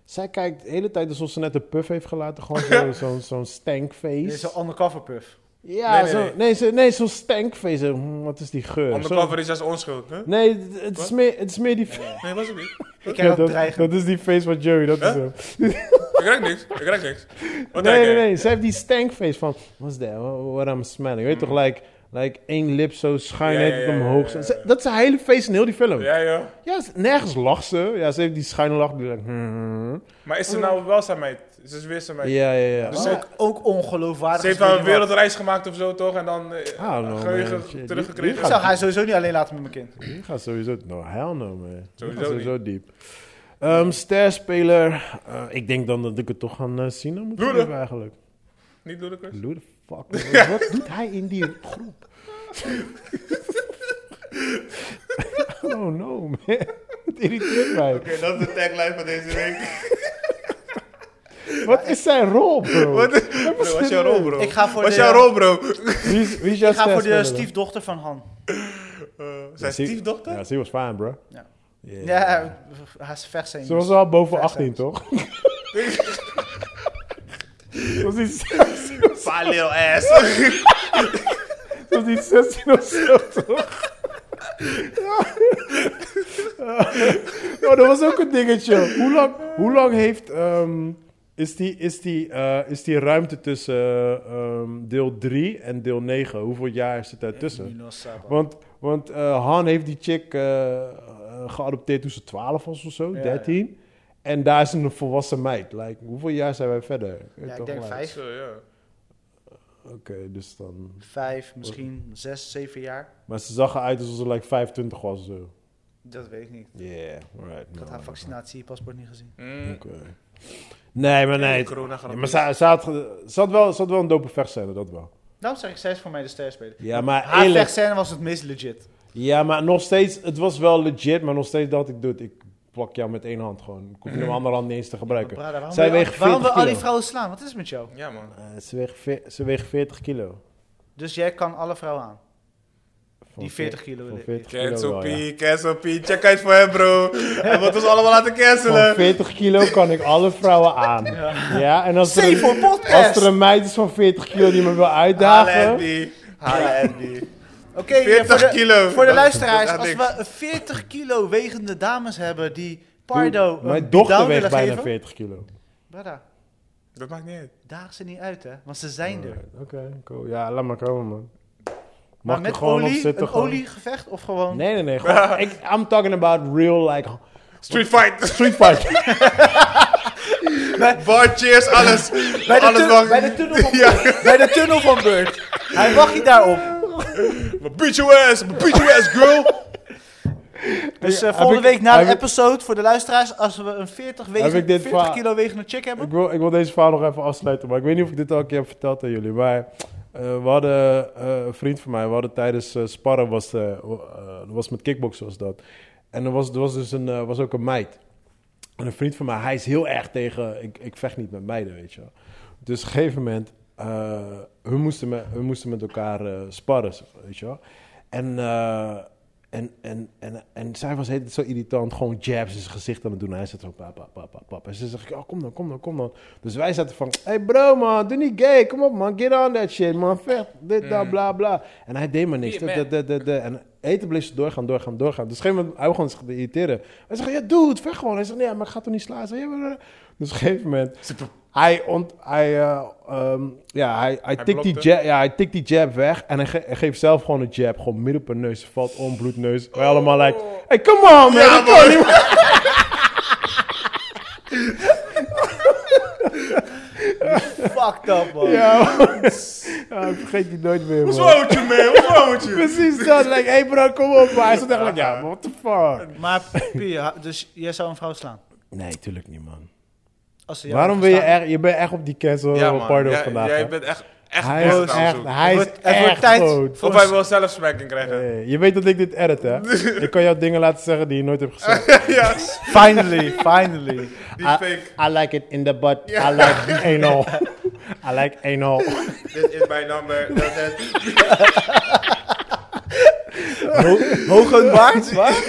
Zij kijkt de hele tijd alsof ze net een puff heeft gelaten. Gewoon zo- zo'n zo'n stankface.
Dit is een undercover puff.
Ja,
Nee, nee,
nee, nee. nee, zo- nee, zo'n stankface. Hm, wat is die geur? Zo-
Undercover is als onschuld, hè?
Nee, het- het is,
Wat?
meer, het is meer die...
Nee, was het niet.
Ik
Ja,
heb dat
dat,
dreigend.
dat is die face van Joey, dat is
Huh?
hem.
Ik ruik niks. Ik ruik niks. Wat
nee,
ruik
nee,
jij?
nee. Ze heeft die stankface van... What's that? Wha- What I'm smelling? Weet toch, like... Like één lip zo schuin
Ja,
heet
ja,
het
ja, ja,
omhoog.
ja, ja.
Ze- Dat is haar hele face in heel die film. Ja,
Ja, joh.
ze- nergens lacht ze. Ja, ze heeft die schuine lach. die like, hmm.
Maar is ze nou wel zijn meid? Is ze weer zijn meid?
Ja, ja, ja.
Dus
Ah,
ze-
Ook, ook ongeloofwaardig.
Ze heeft
is
wel een
Willy Wonka.
wereldreis gemaakt of zo, toch? En dan eh,
Ah, nou,
geheugen
man, shit.
teruggekregen.
Die-
Ik zou haar sowieso niet alleen laten met mijn kind.
Die gaat sowieso... No, hell no, man. Die gaat
Sowieso
sowieso diep. Ehm sterspeler. eh, ik denk dan dat ik het toch aan eh, Sina moet
Loede.
geven eigenlijk.
Niet Ludacris?
Who the fuck? Wat- Wat doet hij in die groep? I don't know, man. Het irriteert mij.
Oké, dat is de tagline van deze week.
Wat is zijn rol, bro?
Wat Wat is jouw rol, bro?
Ik ga voor
Wat is
de-
jouw rol, bro?
Wie is, wie is jouw
Ik ga voor de
sterspeler dan?
stiefdochter van Han.
Eh, Zijn
Zie-
stiefdochter?
Ja, ze was fijn, bro.
Ja.
Yeah.
Ja, haar is versen.
Ze was al boven
Vijf
18, toch? Ze was niet,
Fat little ass.
ze was niet 16 of zo, toch? Ja. Oh, dat was ook een dingetje. Hoe lang, hoe lang heeft... ehm, is, die, is, die, eh, is die ruimte tussen eh, ehm, deel 3 en deel 9? Hoeveel jaar zit daar tussen? Want, want eh, Han heeft die chick eh, eh, geadopteerd toen ze 12 was of zo,
Ja,
13. En daar is een volwassen meid. Like, hoeveel jaar zijn wij verder?
Ja, ik
Toch,
denk
like,
vijf.
Zo, ja.
Oké, dus dan.
Vijf, misschien zes, zeven jaar.
Maar ze zag eruit alsof ze like 25 was. Zo.
Dat weet ik niet.
Yeah, right.
Ik had
no,
haar
no.
vaccinatiepaspoort niet gezien.
Mm.
Oké. Nee, maar nee.
Corona gaat
Ja, maar ze, ze, had, ge- ze, had wel, ze had wel een dope vechtscène, dat wel.
Daarom zeg ik, zij is voor mij de sterspeler.
Ja, maar
Haar
eerlijk.
vechtscène was het meest legit.
Ja, maar nog steeds, het was wel legit, maar nog steeds dacht ik, doet. ik plak jou met één hand gewoon. Ik hoef je mijn andere hand niet eens te gebruiken.
Brada, waarom
Zij
wil je-
weegt
waarom wil
40
al die
kilo.
vrouwen slaan? Wat is het met jou?
Ja, man.
Eh, ze, weegt ve- ze weegt 40 kilo.
Dus jij kan alle vrouwen aan.
Van
Die 40 kilo
Van
willen-
40 kilo
Cancel
wel,
P,
ja.
cancel P. Check uit voor hem, bro. Hij wil ons allemaal laten
Van
cancelen.
40 kilo kan ik alle vrouwen aan. Ja, en als er,
Save
een,
for podcast!
als er een meid is van 40 kilo die me wil
Halen,
uitdagen...
Andy. Halen, Andy.
Oké, ja, voor
40
de,
kilo.
voor de
Dat
luisteraars,
gaat
als
niks.
we 40 kilo wegende dames hebben die
Dude,
Pardo
Mijn
een beatdown
dochter weegt
willen
bijna
geven,
40 kilo.
Brada,
Dat maakt niet uit.
daag ze niet uit, hè? Want ze zijn er.
Oké, cool. Ja, laat maar komen, man. Mag
Maar
ik
met
er gewoon op
olie,
zitten?
een
gewoon?
oliegevecht of gewoon...
Nee, nee, nee. Gewoon, ik, I'm talking about real, like,
Street fight.
street fight.
Bar, cheers, alles.
Bij de,
alles
tun-
mag.
bij de tunnel van Beurt. Bij de tunnel van Beurt. Hij wacht niet daarop.
Maar Beat your ass. maar Beat your ass, girl.
Dus
Heb
eh, volgende
ik-
week na
heb
de
ik-
episode voor de luisteraars, als we een 40, wegen,
ik dit
40
va-
kilo wegende chick hebben.
ik, wil, ik wil deze verhaal nog even afsluiten, maar ik weet niet of ik dit al een keer heb verteld aan jullie. Maar eh, we hadden eh, een vriend van mij, we hadden tijdens eh, sparren, was, eh, oh, eh, was met kickboksen was dat. En er was, er was dus een, eh, was ook een meid. En een vriend van mij, hij is heel erg tegen, ik, ik vecht niet met meiden, weet je wel. Dus op een gegeven moment, eh we, moesten met, we moesten met elkaar eh, sparren, weet je wel. En, eh, en, en, en, en zij was heel zo irritant, gewoon jabs in zijn gezicht aan het doen. En hij zat zo, pap, pap, pap, pap, pap. En ze zegt, oh, kom dan, kom dan, kom dan. Dus wij zaten van, hey bro man, doe niet gay, kom op man, get on that shit man, vecht, dit, dat, bla, bla. En hij deed maar niks.
Yeah, man.
Dat, dat, dat, dat. En eten bleef ze doorgaan, doorgaan, doorgaan. Dus op een gegeven moment, hij begon zich te irriteren. Hij zegt, ja dude, vecht gewoon. Hij zegt, nee, maar ik ga toch niet slaan. Hij zegt, ja, maar- Dus op een gegeven moment, hij, ont, hij, eh, ehm, ja, hij, hij, tikt die
blokte.
jab, ja, hij tikt die jab weg en hij, ge- hij geeft zelf gewoon een jab. Gewoon midden op een neus, valt om, bloedneus. Wij allemaal like, hey, come on man,
Oh. Ja,
dat kan
man.
niet, man.
Fucked up, man.
Ja, man. Ja, ik vergeet die nooit meer,
What's
man.
wrong with you, man? What's wrong with you?
Precies dat, like, hey bro, kom op. Maar hij zat echt like, ja, maar what the fuck.
Maar Pia, dus jij zou een vrouw slaan?
Nee, tuurlijk niet, man.
Als ze jou
Waarom
had
wil je
geslaan?
echt, je bent echt op die cancel
Ja,
ja,
man.
pardo
Jij,
vandaag.
jij
hè?
bent echt, echt
hij is
boos aan het
echt,
zoeken.
hij
Het
is
wordt- het wordt
echt
tijd
goed.
Of hij wil zelfsmerking krijgen.
Hey, Eh, je weet dat ik dit edit, hè? ik kan jou dingen laten zeggen die je nooit hebt gezegd.
ja,
Finally, finally.
die
Ah.
fake.
I like it in the butt. I like anal. I like anal.
Dit is mijn number. Dat is-
Hogen waard, waar?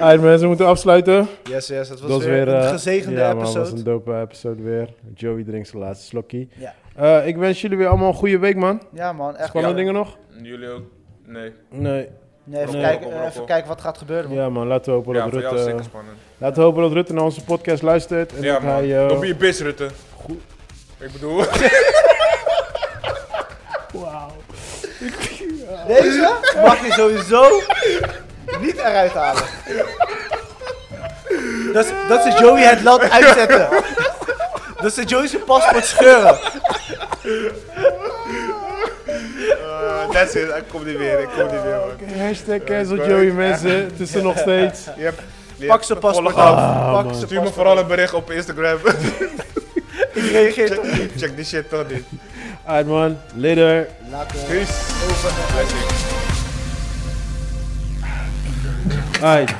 Alright mensen, we moeten afsluiten.
Yes, yes, dat was,
Dat was
weer,
weer
een
eh,
gezegende
ja, man,
episode.
was een dope episode weer. Joey drinkt zijn laatste slokkie.
Ja.
Eh, ik wens jullie weer allemaal een goede week, man.
Ja man, echt.
Spannende
Ja.
dingen nog?
Jullie ook? Nee.
Nee.
Nee, even,
Nee.
kijken,
Rob,
eh,
Rob,
even
Rob.
kijken wat gaat gebeuren man.
Ja, man, laten we hopen
Ja,
dat
voor jou is
Rutte.
zeker spannend.
Laten we hopen dat Rutte naar onze podcast luistert. En
Ja,
dat
man.
hij. eh,
Don't be a bitch, Rutte. Ik bedoel...
Deze mag je sowieso niet eruit halen. Dat, is- dat ze Joey het land uitzetten. Dat ze Joey zijn paspoort scheuren.
that's it. Ik kom niet weer. Ik kom niet weer, man.
Hashtag cancel Joey, mensen. Het is er nog steeds.
Yep.
Pak zijn paspoort
Volg af.
af. Pak zijn
Stuur me
paspoort
vooral een bericht op Instagram.
af. Ik reageer toch.
Check die shit toch niet.
Alright, man. Later.
Later.
Peace. Blessings.
Alright.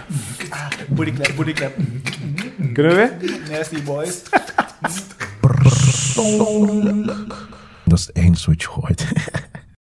Bodyclap, bodyclap.
Kunnen we weer?
Nasty boys.
Dat is het enige wat je gooit.